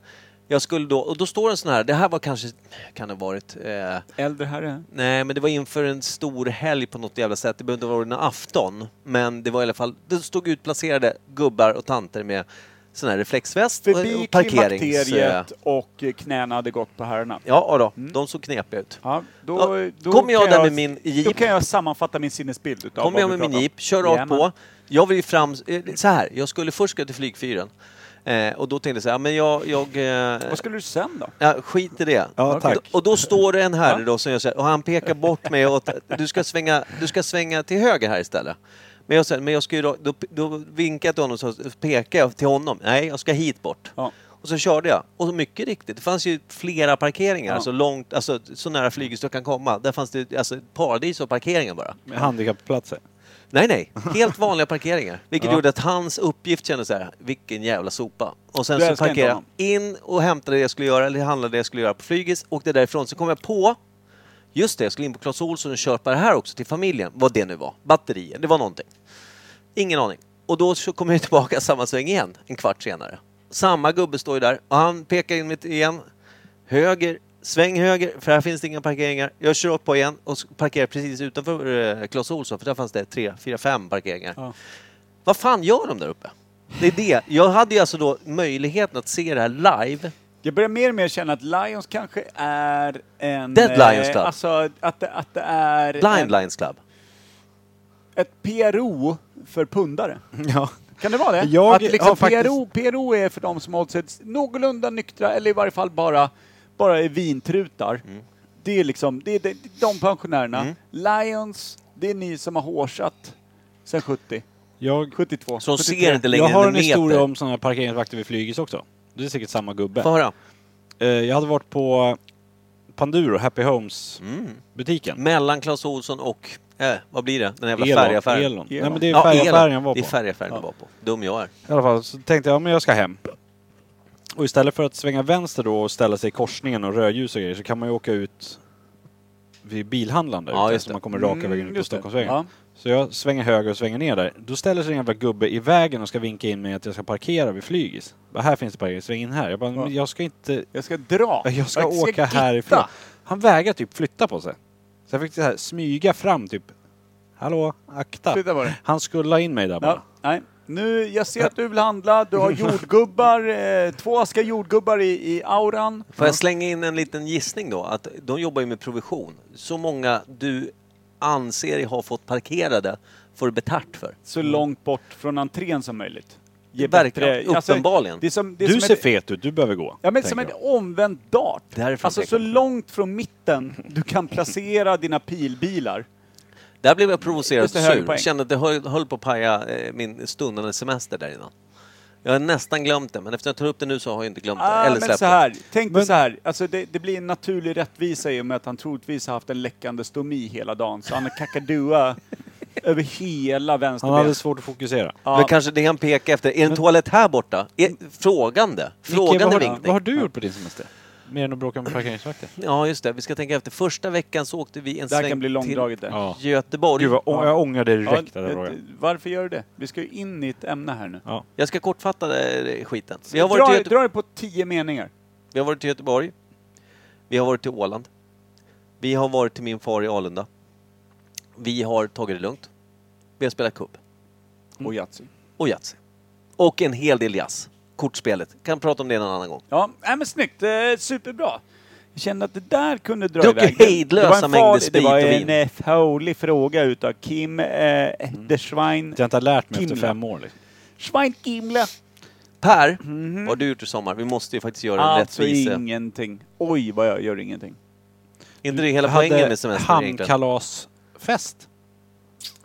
Speaker 3: Jag skulle då, och då står en sån här, det här var kanske, kan det ha varit, eh,
Speaker 2: [LAUGHS] Äldre herre.
Speaker 3: nej men det var inför en stor helg på något jävla sätt, det behövde inte vara en afton, men det var i alla fall, det stod utplacerade gubbar och tanter med sån här reflexväst och,
Speaker 2: Förbi
Speaker 3: och parkerings... eh,
Speaker 2: klimakteriet och eh, knäna hade gått på herrarna. Mm.
Speaker 3: Ja, ja då. de såg knepiga ut.
Speaker 2: Ja, då,
Speaker 3: Ja,
Speaker 2: då
Speaker 3: kommer jag
Speaker 2: kan
Speaker 3: där med min Jeep.
Speaker 2: Då kan jag sammanfatta min sinnesbild utav
Speaker 3: Kommer
Speaker 2: vad
Speaker 3: jag
Speaker 2: vi
Speaker 3: med min
Speaker 2: pratar om.
Speaker 3: jeep, kör rakt
Speaker 2: Jajamän.
Speaker 3: på. Jag vill ju fram... eh, Så här, jag skulle först gå till flygfyren. Eh, och då tänkte jag så här, men jag... jag eh,
Speaker 2: Vad skulle du sen då?
Speaker 3: ja, skit i det.
Speaker 10: Ja, tack.
Speaker 3: Och, då- och då står det en herre då som jag säger, och han pekar bort mig åt, du ska svänga, du ska svänga till höger här istället. Men jag säger, men jag ska ju då, då, då vinkar jag till honom, så pekar jag till honom, nej jag ska hit bort.
Speaker 2: Ja.
Speaker 3: Och så körde jag. Och mycket riktigt, det fanns ju flera parkeringar,
Speaker 2: Ja.
Speaker 3: alltså långt, alltså så nära flyget du kan komma. Där fanns det alltså ett paradis av parkeringar bara.
Speaker 1: Handikappplatser.
Speaker 3: Nej, nej. Helt vanliga parkeringar. Vilket gjorde att hans uppgift kändes så här, vilken jävla sopa. Och sen
Speaker 2: Du
Speaker 3: så
Speaker 2: älskar inte
Speaker 3: parkerade
Speaker 2: honom.
Speaker 3: jag in och hämtade det jag skulle göra, eller handlade det jag skulle göra på flygis, åkte därifrån. Så kom jag på, just det, jag skulle in på Clas Ohlson och köpa det här också till familjen. Vad det nu var. Batterier, det var någonting. Ingen aning. Och då så kommer jag tillbaka samma sväng igen, en kvart senare. Samma gubbe står ju där och han pekar in mitt igen. Höger, sväng höger, för här finns det inga parkeringar. Jag kör upp på igen och s- parkerar precis utanför eh, Clas Ohlson, för där fanns det tre, fyra, fem parkeringar.
Speaker 2: Ja.
Speaker 3: Vad fan gör de där uppe? Det är det. Jag hade ju alltså då möjligheten att se det här live.
Speaker 2: Jag börjar mer och mer känna att Lions kanske är en...
Speaker 3: Dead
Speaker 2: eh,
Speaker 3: Lions Club.
Speaker 2: Alltså att det, att det är...
Speaker 3: Blind
Speaker 2: en,
Speaker 3: Lions Club.
Speaker 2: Ett PRO för pundare.
Speaker 10: Ja.
Speaker 2: Kan det vara det?
Speaker 10: Jag
Speaker 2: att liksom
Speaker 10: har faktiskt-
Speaker 2: PRO, PRO är för de som hållit sig någorlunda nyktra eller i varje fall bara, bara är vintrutar.
Speaker 3: Mm.
Speaker 2: Det är liksom, det är de, de pensionärerna. Lions, det är ni som har hårsat sen 70,
Speaker 1: Jag,
Speaker 2: 72.
Speaker 3: Så de
Speaker 2: 73.
Speaker 3: ser inte längre
Speaker 1: jag
Speaker 3: än
Speaker 1: har en
Speaker 3: en meter.
Speaker 1: historia om sådana här parkeringsvakter vid flygis också. Det är säkert samma gubbe.
Speaker 3: Få höra.
Speaker 1: Eh, Jag hade varit på Panduro, Happy Homes
Speaker 3: Mm.
Speaker 1: butiken.
Speaker 3: Mellan Clas Ohlson och, eh, vad blir det? Den jävla
Speaker 1: Elon.
Speaker 3: färgaffären.
Speaker 1: Elon. Nej
Speaker 2: Elon.
Speaker 1: men det är
Speaker 3: Ja,
Speaker 1: färgaffären
Speaker 3: Elon.
Speaker 1: jag var
Speaker 3: Det är
Speaker 1: på.
Speaker 3: färgaffären jag var på. Dum jag är.
Speaker 1: I alla fall så tänkte jag, ja, men jag ska hem. Och istället för att svänga vänster då och ställa sig i korsningen och rödljus och grejer så kan man ju åka ut vid bilhandlaren där
Speaker 3: Ja,
Speaker 1: ute,
Speaker 3: just
Speaker 1: så
Speaker 3: det.
Speaker 1: man kommer raka vägen ut på
Speaker 2: Mm, just det.
Speaker 1: Stockholmsvägen.
Speaker 2: Ja.
Speaker 1: Så jag svänger höger och svänger ner där. Då ställer sig en jävla gubbe i vägen och ska vinka in mig att jag ska parkera vid flygis. Bara, här finns det parkering, sväng in här. Jag bara, men jag ska inte...
Speaker 2: Jag ska dra.
Speaker 1: Jag ska åka
Speaker 2: gitta.
Speaker 1: härifrån. Han vägrar typ flytta på sig. Så jag fick så här, smyga fram typ. Hallå, akta.
Speaker 2: Flytta på dig.
Speaker 1: Han skulle in mig där bara.
Speaker 2: Ja, nej. Nu, jag ser att du vill handla. Du har jordgubbar, eh, två askar jordgubbar i, i auran.
Speaker 3: Får jag slänga in en liten gissning då? Att de jobbar ju med provision. Så många du anser dig ha fått parkerade får du betalt för.
Speaker 2: Så långt bort från entrén som möjligt. Ge alltså,
Speaker 3: Verkligen, uppenbarligen.
Speaker 2: det är som, det är
Speaker 9: Du
Speaker 2: som
Speaker 9: ser
Speaker 2: ett,
Speaker 9: fet ut, du behöver gå.
Speaker 2: Ja men
Speaker 9: tänker
Speaker 2: som en
Speaker 9: jag.
Speaker 2: omvänd dart.
Speaker 3: Därifrån
Speaker 2: Alltså
Speaker 3: tänker
Speaker 2: så
Speaker 3: jag.
Speaker 2: långt från mitten du kan placera dina pilbilar.
Speaker 3: Där blev jag provocerad
Speaker 2: Just det,
Speaker 3: och
Speaker 2: hög
Speaker 3: sur.
Speaker 2: poäng.
Speaker 3: Kände att det höll, höll på att paja eh, min stundande semester där innan. Jag har nästan glömt det, men efter att jag tar upp det nu så har jag inte glömt det.
Speaker 2: Ah,
Speaker 3: Eller
Speaker 2: men
Speaker 3: släppt
Speaker 2: så
Speaker 3: det.
Speaker 2: här, tänk dig så här, alltså det, det blir en naturlig rättvisa i och med att han troligtvis har haft en läckande stomi hela dagen. Så han har kakadua över hela
Speaker 8: Han
Speaker 2: vänsterbenet.
Speaker 8: hade svårt att fokusera.
Speaker 3: Men kanske det han pekar efter. Är en toalett här borta? Är, frågande.
Speaker 8: Micke, vad,
Speaker 3: Frågande
Speaker 8: har, vad
Speaker 3: vinkning.
Speaker 8: har du gjort på din semester? Mer än att
Speaker 2: [CLEARS THROAT]
Speaker 8: bråka med parkeringsvakter?
Speaker 3: Ja, just det. Vi ska tänka efter. Första veckan så åkte vi en
Speaker 2: Det här
Speaker 3: sväng
Speaker 2: kan bli långdraget det.
Speaker 8: Ja.
Speaker 3: till Göteborg.
Speaker 8: Gud, vad å- jag ångrar dig
Speaker 2: Ja, eh,
Speaker 8: direkt. den här frågan.
Speaker 2: varför gör du det? Vi ska ju in i ett ämne här nu.
Speaker 3: Jag ska kortfatta eh, skiten. Vi har, varit till
Speaker 2: Dra,
Speaker 3: Göte-
Speaker 2: dra det på tio meningar.
Speaker 3: vi har varit till Göteborg. Vi har varit till Åland. Vi har varit till min far i Alunda. Vi har tagit det lugnt. Vi har spelat kubb.
Speaker 2: Mm. Och Yatzy.
Speaker 3: och Yatzy. Och en hel del jazz. Kortspelet. Kan prata om det en annan gång.
Speaker 2: Ja, nej, men snyggt. Eh, superbra. Jag kände att det där kunde dra
Speaker 3: Druck
Speaker 2: iväg.
Speaker 3: hejdlösa
Speaker 2: Det var en
Speaker 3: mängder
Speaker 2: farlig-
Speaker 3: sprit
Speaker 2: Det var
Speaker 3: och
Speaker 2: en
Speaker 3: vin.
Speaker 2: eh, farlig fråga utav Kim eh, Ederswein.
Speaker 8: Jag har inte lärt mig efter
Speaker 2: Himla.
Speaker 8: fem år. Liksom.
Speaker 2: Schwein Kimle.
Speaker 3: Per, vad har du gjort i sommar? Vi måste ju faktiskt göra en
Speaker 2: Mhm.
Speaker 3: eh,
Speaker 2: Alltså
Speaker 3: rättvisa. Är
Speaker 2: ingenting. Oj, vad jag gör ingenting.
Speaker 3: inte det hela
Speaker 8: Jag hade
Speaker 3: poängen med semestern egentligen?
Speaker 8: Hamnkalasfest.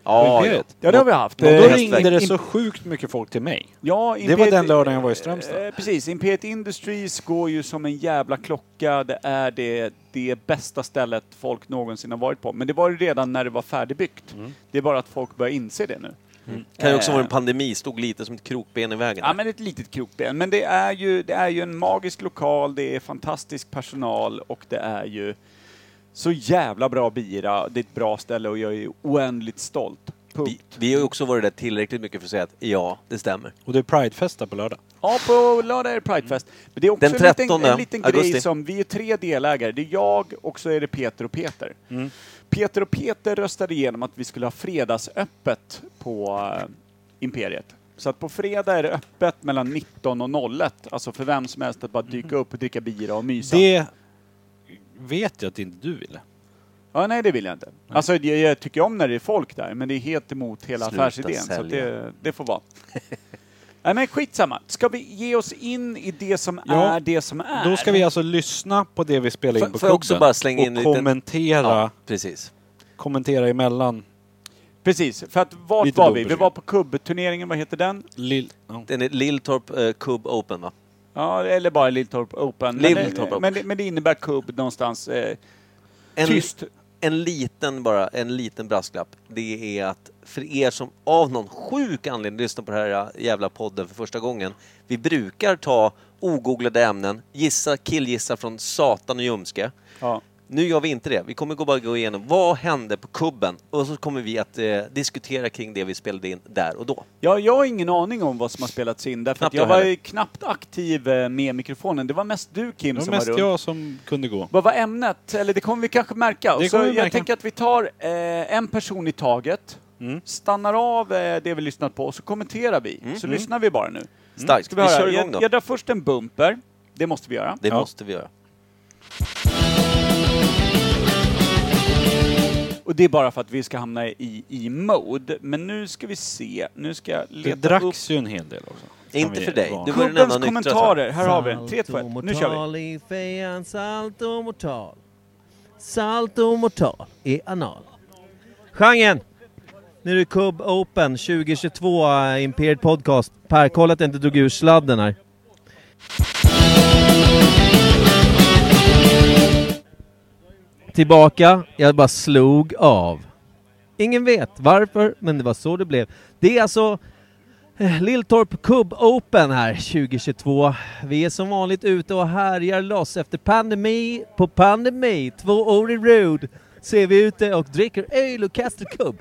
Speaker 3: Ja, ja.
Speaker 8: Imperiet.
Speaker 2: Ja, det har vi haft.
Speaker 8: Och då
Speaker 2: Eh,
Speaker 8: ringde det
Speaker 2: Hästväg.
Speaker 8: så sjukt mycket folk till mig.
Speaker 2: Ja,
Speaker 8: Det var den lördagen jag var i Strömstad.
Speaker 2: Eh, precis. Imperiet Industries går ju som en jävla klocka. Det är det, det bästa stället folk någonsin har varit på. Men det var ju redan när det var färdigbyggt. Det är bara att folk börjar inse det nu.
Speaker 3: Mm. Kan ju också
Speaker 2: Mm.
Speaker 3: vara
Speaker 2: Eh.
Speaker 3: en pandemi. Stod lite som ett krokben i vägen.
Speaker 2: Ja, men ett litet krokben. Men det är, ju, det är ju en magisk lokal, det är fantastisk personal och det är ju så jävla bra bira. Det är ett bra ställe och jag är oändligt stolt.
Speaker 3: vi,
Speaker 2: Punkt.
Speaker 3: vi har ju också varit där tillräckligt mycket för att säga att ja, det stämmer.
Speaker 8: Och det är Pridefest där på lördag.
Speaker 2: Ja, på lördag är det Pridefest.
Speaker 8: Mm.
Speaker 2: Men det är också
Speaker 3: Den
Speaker 2: en liten,
Speaker 3: 13
Speaker 2: en liten grej
Speaker 3: augusti.
Speaker 2: som, vi är tre delägare. Det är jag och så är det Peter och Peter.
Speaker 8: Mm.
Speaker 2: Peter och Peter röstade igenom att vi skulle ha fredagsöppet på eh, Imperiet. Så att på fredag är det öppet mellan 19 och 01. Alltså för vem som helst att bara dyka upp och dricka bira och mysa.
Speaker 8: Mm. Det vet jag att inte du ville.
Speaker 2: Ja, nej, det vill jag inte. Alltså, jag, jag tycker om när det är folk där, men det är helt emot hela
Speaker 3: Sluta
Speaker 2: affärsidén. Så att
Speaker 3: sälja.
Speaker 2: det,
Speaker 8: [LAUGHS]
Speaker 2: det får vara. nej, men skitsamma. Ska vi ge oss in i det som
Speaker 8: Ja,
Speaker 2: är det som är?
Speaker 8: Då ska vi alltså lyssna på det vi spelar in
Speaker 3: Får-
Speaker 8: på
Speaker 3: får jag också
Speaker 8: klubben
Speaker 3: bara slänga
Speaker 8: och
Speaker 3: in en liten-
Speaker 8: kommentera,
Speaker 3: Ja, precis.
Speaker 8: kommentera emellan.
Speaker 2: Precis, för att vart
Speaker 8: Lite
Speaker 2: var vi? Vi
Speaker 8: dubbelspel.
Speaker 2: var på kubbturneringen, vad heter den?
Speaker 8: Lill... Ja.
Speaker 3: Den är Lilltorp eh, Cub Open va?
Speaker 2: Ja, eller bara Lilltorp Open.
Speaker 3: Lilltorp
Speaker 2: men, det,
Speaker 3: Open.
Speaker 2: men, det, men det innebär kubb någonstans. Eh,
Speaker 3: En,
Speaker 2: tyst.
Speaker 3: en liten bara, en liten brasklapp. Det är att för er som av någon sjuk anledning lyssnar på den här eh, jävla podden för första gången. Vi brukar ta ogooglade ämnen, gissa, killgissa från satan och ljumske.
Speaker 2: Ja.
Speaker 3: Nu gör vi inte det. Vi kommer gå bara gå igenom vad hände på kubben och så kommer vi att eh, diskutera kring det vi spelade in där och då.
Speaker 2: Ja, jag har ingen aning om vad som har spelats in därför att
Speaker 3: Knappt
Speaker 2: jag
Speaker 3: jag
Speaker 2: var
Speaker 3: heller.
Speaker 2: ju knappt aktiv eh, med mikrofonen. Det var mest du Kim
Speaker 8: Det var
Speaker 2: som var
Speaker 8: mest
Speaker 2: runt.
Speaker 8: jag som kunde gå.
Speaker 2: Vad var ämnet? Eller det kommer vi kanske märka. Och
Speaker 8: Det
Speaker 2: så
Speaker 8: kommer vi
Speaker 2: jag
Speaker 8: märka.
Speaker 2: tänker att vi tar eh, en person i taget,
Speaker 8: Mm.
Speaker 2: stannar av eh, det vi lyssnat på och så kommenterar vi. Så lyssnar vi bara nu.
Speaker 3: Mm.
Speaker 2: Mm.
Speaker 3: Starkt.
Speaker 2: Ska
Speaker 3: vi,
Speaker 2: vi höra?
Speaker 3: kör igång
Speaker 2: Jag,
Speaker 3: då.
Speaker 2: jag drar först en bumper. Det måste vi göra.
Speaker 3: Det
Speaker 8: Ja.
Speaker 3: måste vi göra.
Speaker 2: Och det är bara för att vi ska hamna i, i mode. Men nu ska vi se. Nu ska jag
Speaker 8: Det
Speaker 2: leta upp
Speaker 8: dracks ju en hel del också. Kan
Speaker 3: Inte
Speaker 8: vi
Speaker 3: för dig.
Speaker 8: vara-
Speaker 3: Du- var den
Speaker 2: Kubbens
Speaker 3: enda nyktra,
Speaker 2: kommentarer. Här har vi den. 3, 2, 1.
Speaker 11: Saltomortal
Speaker 2: Nu kör vi.
Speaker 11: i fejan, saltomortal. Saltomortal i anal. Genren! Nu är det Cub Open 2022, eh, Imperiet Podcast. Per, kolla att jag inte drog ur sladden här. Tillbaka, jag bara slog av. Ingen vet varför, men det var så det blev. Det är alltså eh, Lilltorp Cub Open här 2022. Vi är som vanligt ute och härjar loss efter pandemi på pandemi. Två år i rad ser vi ute och dricker öl och kastar kubb.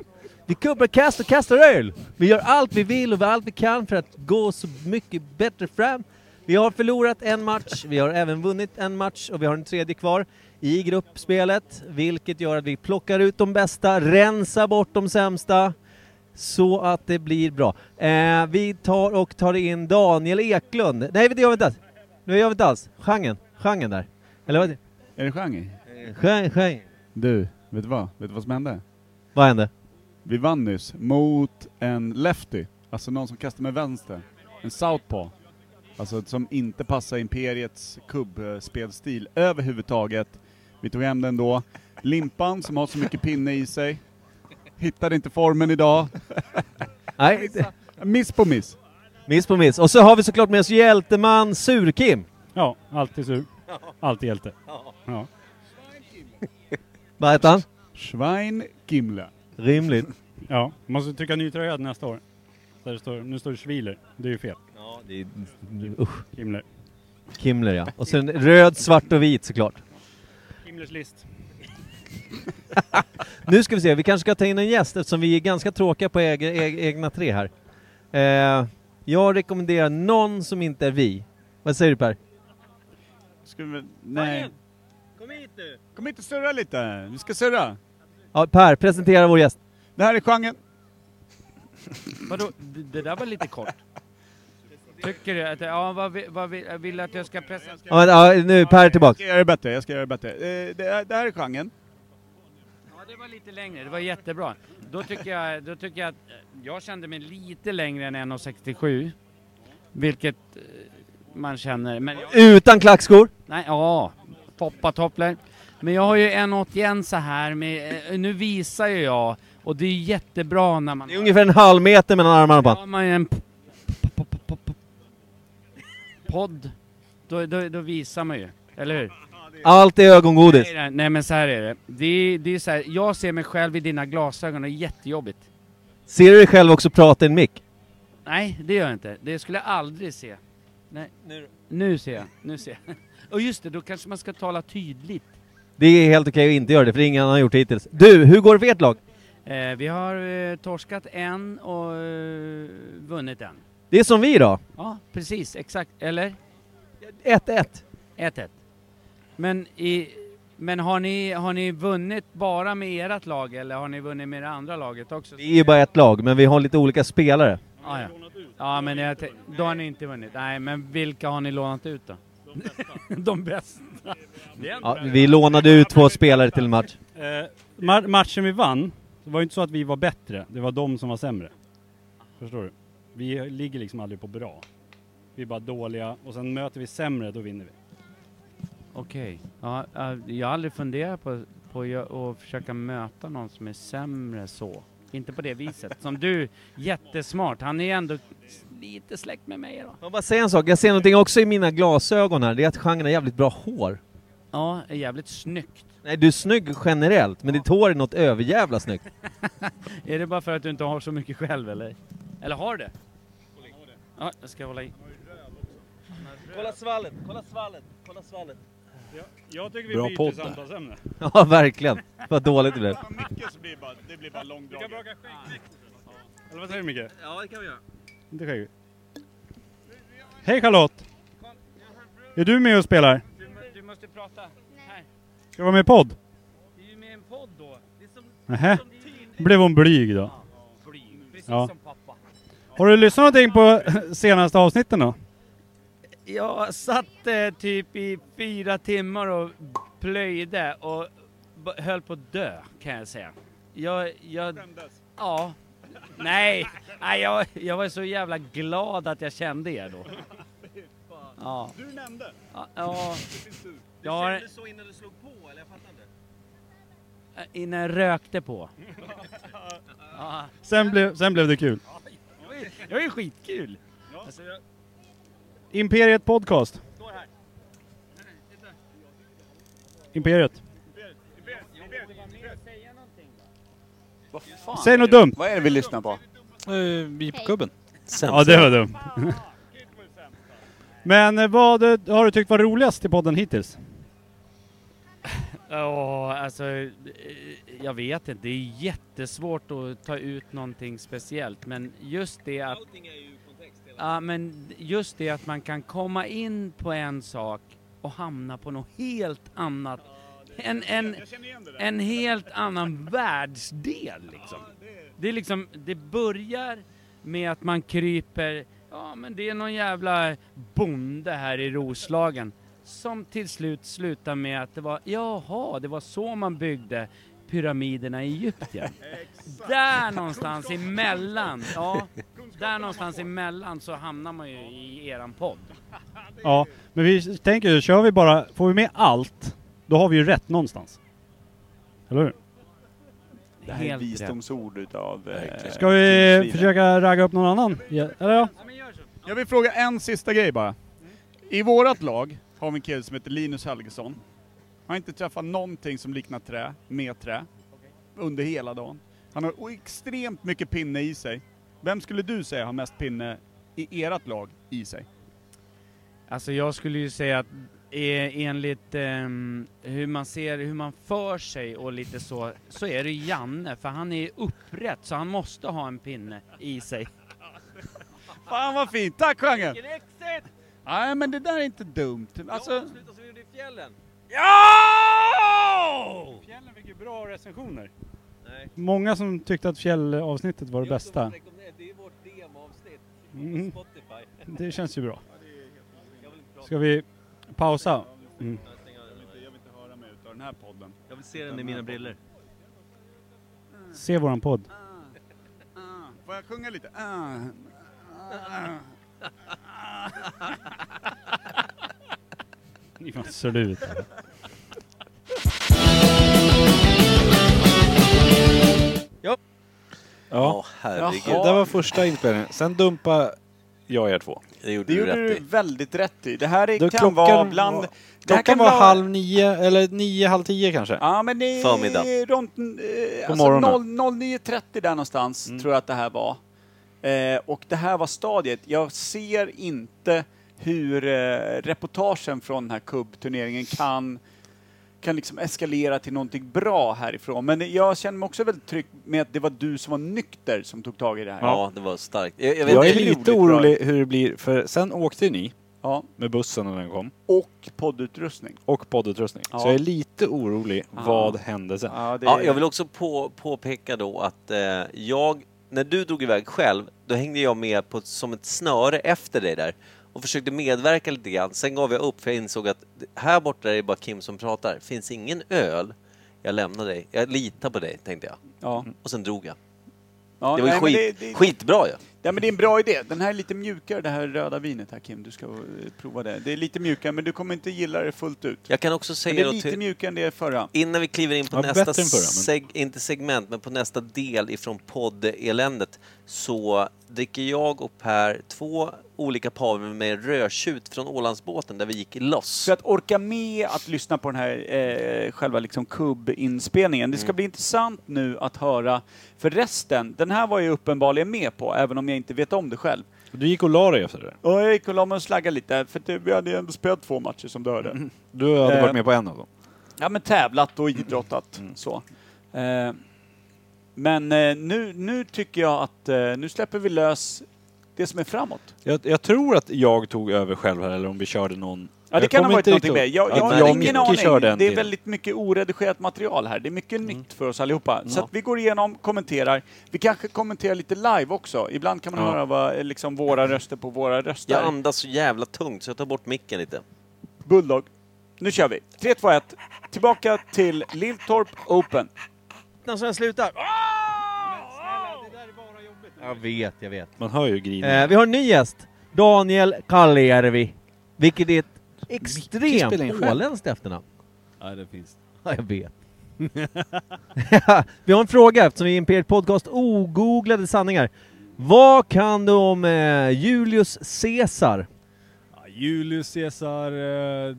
Speaker 11: Vi kubbar, kastar, kastar öl. Vi gör allt vi vill och allt vi kan för att gå så mycket bättre fram. Vi har förlorat en match, vi har även vunnit en match och vi har en tredje kvar i gruppspelet, vilket gör att vi plockar ut de bästa, rensar bort de sämsta
Speaker 3: Så att det blir bra. Eh, vi tar och tar in Daniel Eklund. Nej, det gör vi inte alls. Nu gör vi inte alls. Genren. Genren där. Eller vad?
Speaker 2: Är det genre?
Speaker 3: Gen, gen.
Speaker 2: Du, vet du vad? Vet du vad som hände?
Speaker 3: Vad hände?
Speaker 2: Vi vann nyss mot en lefty, alltså någon som kastar med vänster. En southpaw. Alltså som inte passar Imperiets kubbspelstil överhuvudtaget. Vi tog hem den då. Limpan som har så mycket pinne i sig. Hittade inte formen idag.
Speaker 3: [LAUGHS] Nej,
Speaker 2: Miss på miss.
Speaker 3: miss på miss. Och så har vi såklart med oss hjälteman Sur-Kim.
Speaker 1: Ja, alltid sur. Alltid hjälte.
Speaker 3: Vad heter han?
Speaker 2: Schwein Gimle.
Speaker 3: Rimligt.
Speaker 1: Ja, måste trycka ny tröja nästa år. Där det står, nu står det Schwiler. Det är ju fel.
Speaker 3: Usch,
Speaker 1: Himmler.
Speaker 3: Kimler ja. Och sen röd, svart och vit såklart.
Speaker 1: Himmlers list.
Speaker 3: Nu ska vi se, vi kanske ska ta in en gäst eftersom vi är ganska tråkiga på eg- eg- egna tre här. Eh, jag rekommenderar någon som inte är vi. Vad säger du Per?
Speaker 2: Ska vi... Nej. Kom hit nu! Kom hit och surra lite. Vi ska surra.
Speaker 3: Ja, per, presentera vår gäst.
Speaker 2: Det här är genren.
Speaker 5: Vadå, D- det där var lite kort. Tycker du? Att, ja, vad, vi- vad vi- jag vill att jag ska pressa?
Speaker 3: Ja, men, ja, nu är Per
Speaker 2: Jag
Speaker 3: tillbaka.
Speaker 2: ska göra det bättre, jag ska göra det bättre. Eh, Det här- det här är genren.
Speaker 5: Ja, det var lite längre. Det var jättebra. Då tycker jag, då tycker jag att eh, jag kände mig lite längre än 1,67. Vilket eh, man känner. Men jag,
Speaker 3: Utan klackskor.
Speaker 5: nej, ja. Poppa topplar. Men jag har ju 1,81 så här. Med, eh, nu visar ju jag. Och det är jättebra när man...
Speaker 3: Det är ungefär en halv meter mellan armarna på
Speaker 5: Ja,
Speaker 3: honom.
Speaker 5: har man ju en p- p- p- p- p- p- podd, då, då, då visar man ju. Eller hur?
Speaker 3: Allt är ögongodis.
Speaker 5: Nej, nej, nej men så här är det. Det är, det är så här, jag ser mig själv i dina glasögon och det är jättejobbigt.
Speaker 3: Ser du dig själv också prata i en mick?
Speaker 5: Nej, det gör jag inte. Det skulle jag aldrig se. Nej. Nu. ser jag. Nu ser jag. [LAUGHS] Och just det, då kanske man ska tala tydligt.
Speaker 3: Det är helt okej att inte göra det, för det är ingen annan har gjort det hittills. Du, hur går det för ert lag?
Speaker 5: Eh, vi har eh, torskat en och eh, vunnit en.
Speaker 3: Det är som vi då.
Speaker 5: Ja, precis. Exakt. Eller?
Speaker 3: 1-1.
Speaker 5: 1-1. Men, i, men har, ni, har ni vunnit bara med ert lag eller har ni vunnit med det andra laget också?
Speaker 3: Vi är ju bara ett lag, men vi har lite olika spelare.
Speaker 5: Ah, ja. ja, men jag, tän- då har ni inte vunnit. Nej, men vilka har ni lånat ut då? [LAUGHS] De bästa.
Speaker 3: Ja, vi lånade ut två spelare till en match.
Speaker 1: Eh, ma- matchen vi vann, det var ju inte så att vi var bättre. Det var de som var sämre. Förstår du? Vi ligger liksom aldrig på bra. Vi är bara dåliga och sen möter vi sämre, då vinner vi.
Speaker 5: Okej. Ja, ja, jag har aldrig funderat på, på att gö- att försöka möta någon som är sämre så. Inte på det viset. Som du, jättesmart. Han är ju ändå lite släkt med mig då.
Speaker 3: Jag bara säga en sak, jag ser någonting också i mina glasögon här, det är att genren har jävligt bra hår.
Speaker 5: Ja, är jävligt snyggt.
Speaker 3: Nej, du är snygg generellt, men ditt hår är något överjävla snyggt.
Speaker 5: Är det bara för att du inte har så mycket själv eller? Eller har du det? Ja, jag ska hålla i.
Speaker 3: Kolla svallet, kolla svallet, kolla svallet.
Speaker 1: Jag tycker vi
Speaker 12: Bra byter podd där.
Speaker 1: samtalsämne.
Speaker 3: [LAUGHS] Ja, verkligen. Vad dåligt det blev.
Speaker 2: Mycket så blir bara, det blir bara långdraget.
Speaker 1: Eller vad säger du Micke?
Speaker 3: Ja, det kan vi göra.
Speaker 1: Inte skägg. Hej Charlotte! Är du med och spelar?
Speaker 5: Du, måste prata. Här.
Speaker 1: Ska du vara med i podd?
Speaker 5: Det är ju med en podd då. Det är som
Speaker 1: Nähä, blev hon blyg då.
Speaker 5: flyg. Precis
Speaker 1: Ja.
Speaker 5: som pappa.
Speaker 1: Har du lyssnat någonting på [LAUGHS] senaste avsnitten då?
Speaker 5: Jag satt eh, typ i fyra timmar och plöjde och b- höll på att dö kan jag säga. Jag... jag ja. Nej, Nej jag, jag var så jävla glad att jag kände er då. Ja.
Speaker 2: Du nämnde.
Speaker 5: Ja, ja. Jag har... Du så Eh, innan du slog på, eller jag fattar inte? Innan jag rökte på.
Speaker 3: [LAUGHS]
Speaker 5: ja,
Speaker 1: Sen, blev- sen blev det kul.
Speaker 5: det var ju skitkul! Alltså,
Speaker 1: Imperiet Podcast. Imperiet. Säg något dumt.
Speaker 2: Vad är det vi lyssnar på?
Speaker 12: Eh, Jeepgubben.
Speaker 1: Ja, det
Speaker 12: [LAUGHS]
Speaker 1: var dumt. Men eh, vad eh, har du tyckt var roligast i podden hittills?
Speaker 5: Ja, alltså, eh, jag vet inte. Det är jättesvårt att ta ut någonting speciellt, men just det att... Allting är ju kontext. Ja, men just det att man kan komma in på en sak och hamna på något helt annat en, en, en helt annan världsdel liksom. Det är liksom, det börjar med att man kryper, ja men det är någon jävla bonde här i Roslagen. Som till slut slutar med att det var, jaha, det var så man byggde pyramiderna i Egypten. där någonstans emellan, ja, där någonstans emellan så hamnar man ju i eran podd.
Speaker 12: Ja, men vi tänker ju, kör vi bara, får vi med allt, då har vi ju rätt någonstans. Eller hur?
Speaker 2: Det här är
Speaker 5: Helt
Speaker 2: visdomsord utav... eh,
Speaker 12: Ska vi
Speaker 2: Frida.
Speaker 12: försöka ragga upp någon annan? Ja, eller ja?
Speaker 13: Jag vill fråga en sista grej bara. I vårat lag har vi en kille som heter Linus Helgesson. Han har inte träffat någonting som liknar trä, med trä, under hela dagen. Han har extremt mycket pinne i sig. Vem skulle du säga har mest pinne i ert lag i sig?
Speaker 5: Alltså jag skulle ju säga att eh, enligt ehm, hur man ser, hur man för sig och lite så, så är det Janne för han är upprätt så han måste ha en pinne i sig.
Speaker 13: Fan vad fint, tack Jeanette! Nej men det där är inte dumt. Alltså,
Speaker 3: som vi gjorde i fjällen.
Speaker 5: Ja!
Speaker 12: Fjällen fick ju bra recensioner.
Speaker 3: Nej.
Speaker 12: Många som tyckte att fjällavsnittet var det bästa.
Speaker 3: Det är vårt demoavsnitt
Speaker 12: Mm.
Speaker 3: Spotify.
Speaker 12: Det känns ju bra. Ska vi pausa? Mm.
Speaker 13: jag vill inte höra mer utav den här podden.
Speaker 3: Jag vill se den i mina briller.
Speaker 12: Se våran podd.
Speaker 13: Får jag sjunga lite? Ah, ah.
Speaker 12: Absolut.
Speaker 3: Ja,
Speaker 9: Ja.
Speaker 3: herregud.
Speaker 9: Det där var första inspelningen. Sen dumpa jag er två.
Speaker 3: Det gjorde
Speaker 2: Det
Speaker 3: du
Speaker 2: gjorde du
Speaker 3: rätt i.
Speaker 2: väldigt rätt i. Det här är,
Speaker 9: Då
Speaker 2: kan vara bland...
Speaker 9: var-
Speaker 2: det
Speaker 9: Klockan
Speaker 2: här kan
Speaker 9: var
Speaker 2: vara-
Speaker 9: halv nio, eller nio, halv tio kanske.
Speaker 2: Ja, men det är
Speaker 3: Förmiddag.
Speaker 2: runt eh, alltså
Speaker 9: morgonen.
Speaker 2: 0- 09.30 där någonstans
Speaker 3: Mm.
Speaker 2: tror jag att det här var. Eh, och det här var stadiet. Jag ser inte hur eh, reportagen från den här kubbturneringen kan kan liksom eskalera till någonting bra härifrån. Men jag känner mig också väldigt trygg med att det var du som var nykter som tog tag i det här.
Speaker 3: Ja, det var starkt. Jag, jag vet
Speaker 9: Jag är
Speaker 3: inte-
Speaker 2: otroligt
Speaker 9: lite
Speaker 2: bra.
Speaker 9: orolig hur det blir, för sen åkte ju ni
Speaker 2: Ja.
Speaker 9: med bussen när den kom.
Speaker 2: Och poddutrustning.
Speaker 9: Och poddutrustning.
Speaker 2: Ja.
Speaker 9: Så jag är lite orolig. Vad hände sen?
Speaker 2: Ja, det
Speaker 3: Ja, jag vill också på, påpeka då att eh, jag, när du drog iväg själv, då hängde jag med på, som ett snöre efter dig där och försökte medverka lite grann. Sen gav jag upp för jag insåg att d- här borta är det bara Kim som pratar. Finns ingen öl, jag lämnar dig. Jag litar på dig, tänkte jag.
Speaker 2: ja.
Speaker 3: Och sen drog jag.
Speaker 2: Ja,
Speaker 3: Det var ju
Speaker 2: nej, men
Speaker 3: skit,
Speaker 2: det- det-
Speaker 3: skitbra ju.
Speaker 2: Ja men det är en bra idé. Den här är lite mjukare, det här röda vinet här Kim. Du ska eh, prova det. Det är lite mjukare men du kommer inte gilla det fullt ut.
Speaker 3: Jag kan också
Speaker 2: Men det
Speaker 3: säga
Speaker 2: är
Speaker 3: då
Speaker 2: lite
Speaker 3: till,
Speaker 2: mjukare än det förra.
Speaker 3: innan vi kliver in på
Speaker 9: Ja,
Speaker 3: nästa,
Speaker 9: bättre än förra, men-
Speaker 3: seg, inte segment, men på nästa del ifrån poddeländet så dricker jag och Per två olika paver med rödtjut från Ålandsbåten där vi gick loss.
Speaker 2: För att orka med att lyssna på den här eh, själva liksom kubbinspelningen. Det ska
Speaker 3: Mm.
Speaker 2: bli intressant nu att höra för resten. Den här var jag uppenbarligen med på, även om jag inte vet om det själv.
Speaker 9: Du gick och la dig efter det där.
Speaker 2: Och jag gick och la mig och slaggade lite, för det, vi hade ju ändå spelat två matcher som du hörde.
Speaker 9: Mm. Du hade
Speaker 2: Eh.
Speaker 9: varit med på en av dem.
Speaker 2: Ja men tävlat och idrottat så. Eh, men eh, nu, nu tycker jag att eh, nu släpper vi lös det som är framåt.
Speaker 9: Jag, jag tror att jag tog över själv här, eller om vi körde någon...
Speaker 2: Ja, det
Speaker 9: Jag
Speaker 2: kan ha
Speaker 9: kommer
Speaker 2: varit
Speaker 9: inte
Speaker 2: någonting
Speaker 9: riktigt
Speaker 2: med. Jag,
Speaker 9: ihåg.
Speaker 2: jag
Speaker 9: Att
Speaker 2: har
Speaker 9: jag och
Speaker 2: ingen
Speaker 9: Micke
Speaker 2: aning.
Speaker 9: körde en
Speaker 2: det är
Speaker 9: till.
Speaker 2: väldigt mycket oredigerat material här. Det är mycket
Speaker 3: Mm.
Speaker 2: nytt för oss allihopa. Så att vi går igenom, kommenterar. Vi kanske kommenterar lite live också. Ibland kan man
Speaker 9: Ja.
Speaker 2: höra vad, eh, liksom våra röster på våra röster.
Speaker 3: Jag andas så jävla tungt så jag tar bort micken lite.
Speaker 2: Bulldog. Nu kör vi. 3, 2, 1. Tillbaka till Lilltorp Open. Ah!
Speaker 11: När så jag slutar. Jag vet, jag vet.
Speaker 9: Man hör ju grinet.
Speaker 11: Eh, vi har en ny gäst. [LAUGHS] Daniel Kallijärvi. Vilket är ett
Speaker 9: Micke spelar in
Speaker 11: extremt
Speaker 9: själv.
Speaker 11: åländskt efternamn.
Speaker 5: Ja, det finns.
Speaker 11: Ja, jag vet. [LAUGHS] vi har en fråga eftersom vi är Imperiet Podcast ogooglade sanningar. Vad kan du om eh, Julius Caesar?
Speaker 12: Ja, Julius Caesar eh,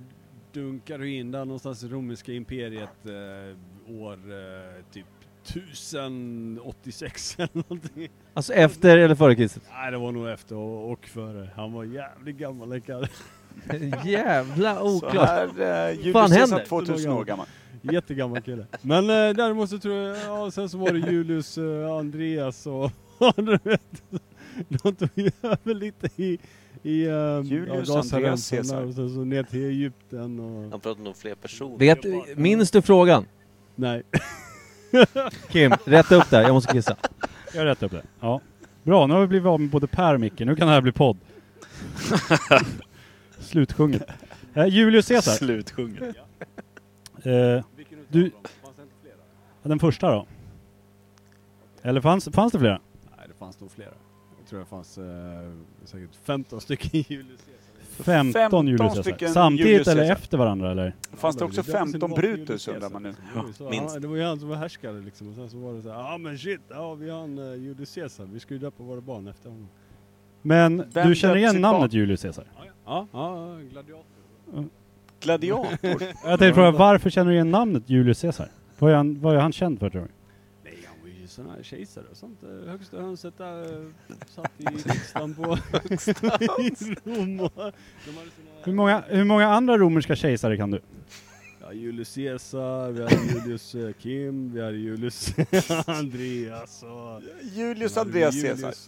Speaker 12: dunkar ju in där någonstans i romerska imperiet eh, år eh, typ 1086 eller någonting.
Speaker 11: Alltså efter eller före Kristus?
Speaker 12: Nej, det var nog efter och, och före. Han var jävligt gammal den karln.
Speaker 11: [LAUGHS] Jävla
Speaker 2: Så
Speaker 11: oklart.
Speaker 2: här, eh,
Speaker 11: Fan
Speaker 2: Julius
Speaker 11: händer?
Speaker 2: Caesar 2000 år gammal.
Speaker 12: Jättegammal kille. Men eh, däremot så tror jag, ja, sen så var det Julius [LAUGHS] eh, Andreas och du vet, de tog ju över lite i, i eh, ja,
Speaker 2: Julius
Speaker 12: Gazaremsan
Speaker 2: Andreas Caesar.
Speaker 12: där och sen så ner till Egypten och...
Speaker 3: Han pratar nog om fler personer.
Speaker 11: Vet, minns du frågan?
Speaker 12: Nej.
Speaker 11: Kim, rätta upp det här. Jag måste kissa.
Speaker 1: Jag rättar upp det. Ja. Bra, nu har vi blivit av med både Per och Micke. Nu kan det här
Speaker 9: [LAUGHS]
Speaker 1: bli podd. Slutsjunget. Eh, Julius
Speaker 12: [LAUGHS]
Speaker 1: Caesar.
Speaker 9: Slutsjunget.
Speaker 1: Eh, du... Ja, Den första då? Eller fanns, fanns det flera?
Speaker 12: Nej, det fanns nog flera. Jag tror det fanns eh, säkert 15 stycken i Julius Caesar.
Speaker 1: 15, Julius Caesar.
Speaker 12: stycken
Speaker 1: Samtidigt
Speaker 12: Julius
Speaker 1: eller
Speaker 12: Caesar.
Speaker 1: efter varandra eller?
Speaker 2: Fanns det också
Speaker 12: Det var sin
Speaker 2: 15
Speaker 12: bakgrund,
Speaker 2: Brutus
Speaker 12: Caesar.
Speaker 2: undrar man nu?
Speaker 12: Det var ju så,
Speaker 2: Minst.
Speaker 12: ja, Det var ju han som var härskare liksom. Och sen så var det så här, ja ah, men shit, ja vi har en uh, Julius Caesar. Vi ska ju döpa våra barn efter honom.
Speaker 1: Men
Speaker 12: Vem
Speaker 1: du känner
Speaker 12: döpte
Speaker 1: igen
Speaker 12: sitt
Speaker 1: namnet
Speaker 12: barn?
Speaker 1: Julius Caesar?
Speaker 12: Ja, ja, gladiator. [LAUGHS]
Speaker 2: Gladiator?
Speaker 1: Jag tänkte fråga, varför känner du igen namnet Julius Caesar? Vad är han, vad är han känd för tror du?
Speaker 12: Nej, han var ju sån här kejsare och sånt. eh, Högsta hönset där eh, satt i riksdagen [LAUGHS] på i Rom. och De hade sina,
Speaker 1: Hur många, hur många andra romerska kejsare kan du? [LAUGHS]
Speaker 12: ja, Julius Caesar, vi hade Julius eh, Kim, vi hade Julius [LAUGHS] Andreas och...
Speaker 2: Julius
Speaker 12: Sen hade vi
Speaker 2: Andreas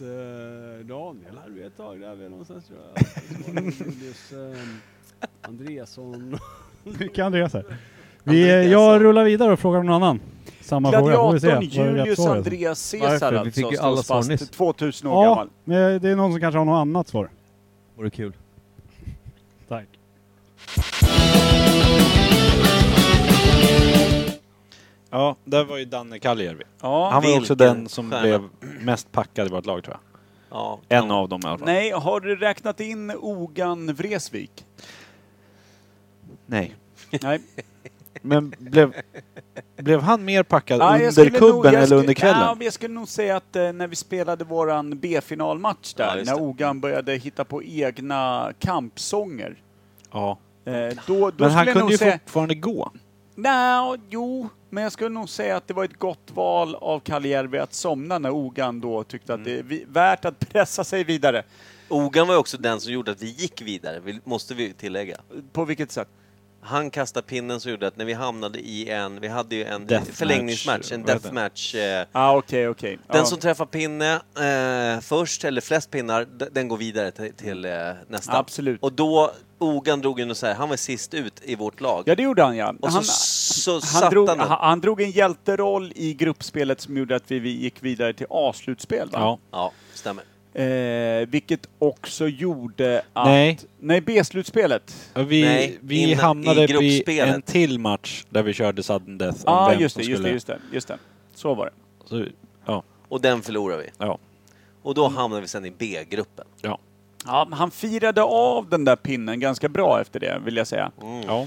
Speaker 12: Julius eh, Daniel hade vi ett tag där vi någonstans tror
Speaker 2: [LAUGHS]
Speaker 12: jag. Så var det Julius eh, Andreasson.
Speaker 1: Vilka Andreas här? Vi, eh, jag rullar vidare och frågar någon annan. Samma fråga.
Speaker 2: Gladiatorn
Speaker 1: Får vi se vad det rätt
Speaker 2: Julius
Speaker 1: svar är.
Speaker 2: Andreas Caesar
Speaker 1: Varför? Vi
Speaker 2: alltså,
Speaker 1: fick ju
Speaker 2: slås
Speaker 1: alla svar
Speaker 2: fast
Speaker 1: nyss.
Speaker 2: 2000 år
Speaker 1: Ja,
Speaker 2: gammal.
Speaker 1: men det är någon som kanske har något annat svar.
Speaker 11: [LAUGHS] Vore kul.
Speaker 1: Tack.
Speaker 8: Ja, där var ju Danne Kaljärvi.
Speaker 2: Ja,
Speaker 8: han var ju också
Speaker 2: vilken
Speaker 8: den som
Speaker 2: stjärna.
Speaker 8: blev mest packad i vårt lag tror jag.
Speaker 3: Ja,
Speaker 8: en av dem i alla fall.
Speaker 2: Nej, har du räknat in Ogan Vresvik?
Speaker 8: Nej.
Speaker 2: Nej.
Speaker 8: [LAUGHS] Men blev, blev han mer packad
Speaker 2: Ja, jag
Speaker 8: under
Speaker 2: skulle nog-
Speaker 8: kubben
Speaker 2: jag
Speaker 8: eller
Speaker 2: skulle-
Speaker 8: under
Speaker 2: Ja,
Speaker 8: kvällen?
Speaker 2: men jag skulle nog säga att eh, när vi spelade våran B-finalmatch där, när Ogan började hitta på egna kampsånger.
Speaker 8: Ja.
Speaker 2: Eh, då, då
Speaker 8: Men han
Speaker 2: skulle jag
Speaker 8: kunde
Speaker 2: nog
Speaker 8: ju
Speaker 2: säga...
Speaker 8: fortfarande gå.
Speaker 2: Nej, jo, men jag skulle nog säga att det var ett gott val av Kaljärvi att somna när Ogan då tyckte att det är vi- värt att pressa sig vidare.
Speaker 3: Mm. Ogan var ju också den som gjorde att vi gick vidare, vill- måste vi ju tillägga.
Speaker 2: På vilket sätt?
Speaker 3: Han kastade pinnen som gjorde att när vi hamnade i en, vi hade ju en
Speaker 2: Deathmatch,
Speaker 3: förlängningsmatch, en
Speaker 2: vad heter det?
Speaker 3: deathmatch. eh,
Speaker 2: Ah, okej, okej.
Speaker 3: Den
Speaker 2: Ja.
Speaker 3: som träffar pinne eh, först, eller flest pinnar, d- den går vidare till, till eh, nästa.
Speaker 2: Absolut.
Speaker 3: Och då, Ogan drog ju något så här, han var sist ut i vårt lag.
Speaker 2: Ja, det gjorde han ja.
Speaker 3: Och så,
Speaker 2: han,
Speaker 3: så
Speaker 2: han,
Speaker 3: satt
Speaker 2: drog,
Speaker 3: han den.
Speaker 2: han, han drog en hjälteroll i gruppspelet som gjorde att vi, vi gick vidare till A-slutspel va?
Speaker 3: Ja. ja, stämmer.
Speaker 2: Eh, vilket också gjorde att...
Speaker 8: Nej.
Speaker 2: Nej, B-slutspelet.
Speaker 8: Ja, Vi, vi hamnade i en till match där vi körde sudden death om
Speaker 2: Ja, ah,
Speaker 8: vem
Speaker 2: just
Speaker 8: som
Speaker 2: det, just
Speaker 8: skulle...
Speaker 2: det, just det, just det. Så var det.
Speaker 8: Så, ja.
Speaker 3: Och den förlorade vi.
Speaker 8: Ja.
Speaker 3: Och då hamnade vi sen i B-gruppen.
Speaker 8: Ja.
Speaker 2: Ja, men han firade av den [LAUGHS] där pinnen ganska bra efter det, vill jag säga.
Speaker 8: Ja.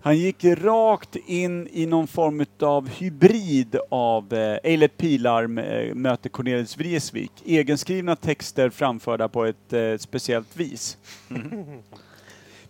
Speaker 2: Han gick rakt in i någon form av hybrid av eh, Eilert Pilarm eh, möter Cornelis Vreeswijk. Egenskrivna texter framförda på ett eh, speciellt vis.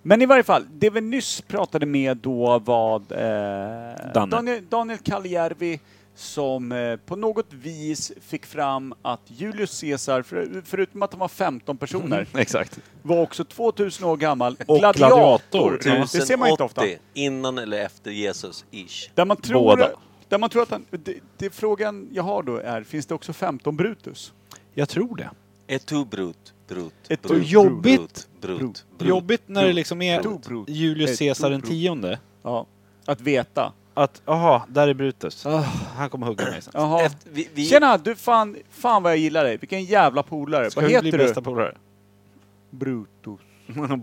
Speaker 2: Men i varje fall, det vi nyss pratade med då var eh,
Speaker 8: Danne.
Speaker 2: Daniel, Daniel Kaljärvi som eh, på något vis fick fram att Julius Caesar, för, förutom att han var 15
Speaker 8: Mm.
Speaker 2: personer,
Speaker 8: Exakt.
Speaker 2: var också 2000 år gammal
Speaker 3: Och
Speaker 2: gladiator. Det ser man inte ofta.
Speaker 3: 1080, Innan eller efter Jesus-ish.
Speaker 2: Där man tror,
Speaker 3: Båda.
Speaker 2: Där man tror att han... Det, det frågan jag har då är, finns det också 15 Brutus?
Speaker 8: Jag tror det.
Speaker 3: Ett tu brut, brut,
Speaker 2: Ett
Speaker 3: brut,
Speaker 2: tu jobbigt.
Speaker 3: brut, brut, brut,
Speaker 8: Jobbigt när det liksom är
Speaker 3: brut, brut.
Speaker 8: Julius Caesar den tionde.
Speaker 2: Ja. Att veta.
Speaker 8: Att, aha, där är Brutus. Ah, han kommer hugga mig sen.
Speaker 2: [CLEARS THROAT] Jaha. Tjena, du fan, fan vad jag gillar dig. Vilken jävla polare.
Speaker 8: Ska
Speaker 2: vad
Speaker 8: vi
Speaker 2: heter
Speaker 8: bli
Speaker 2: du?
Speaker 8: bästa polare?
Speaker 2: [LAUGHS] Brutus.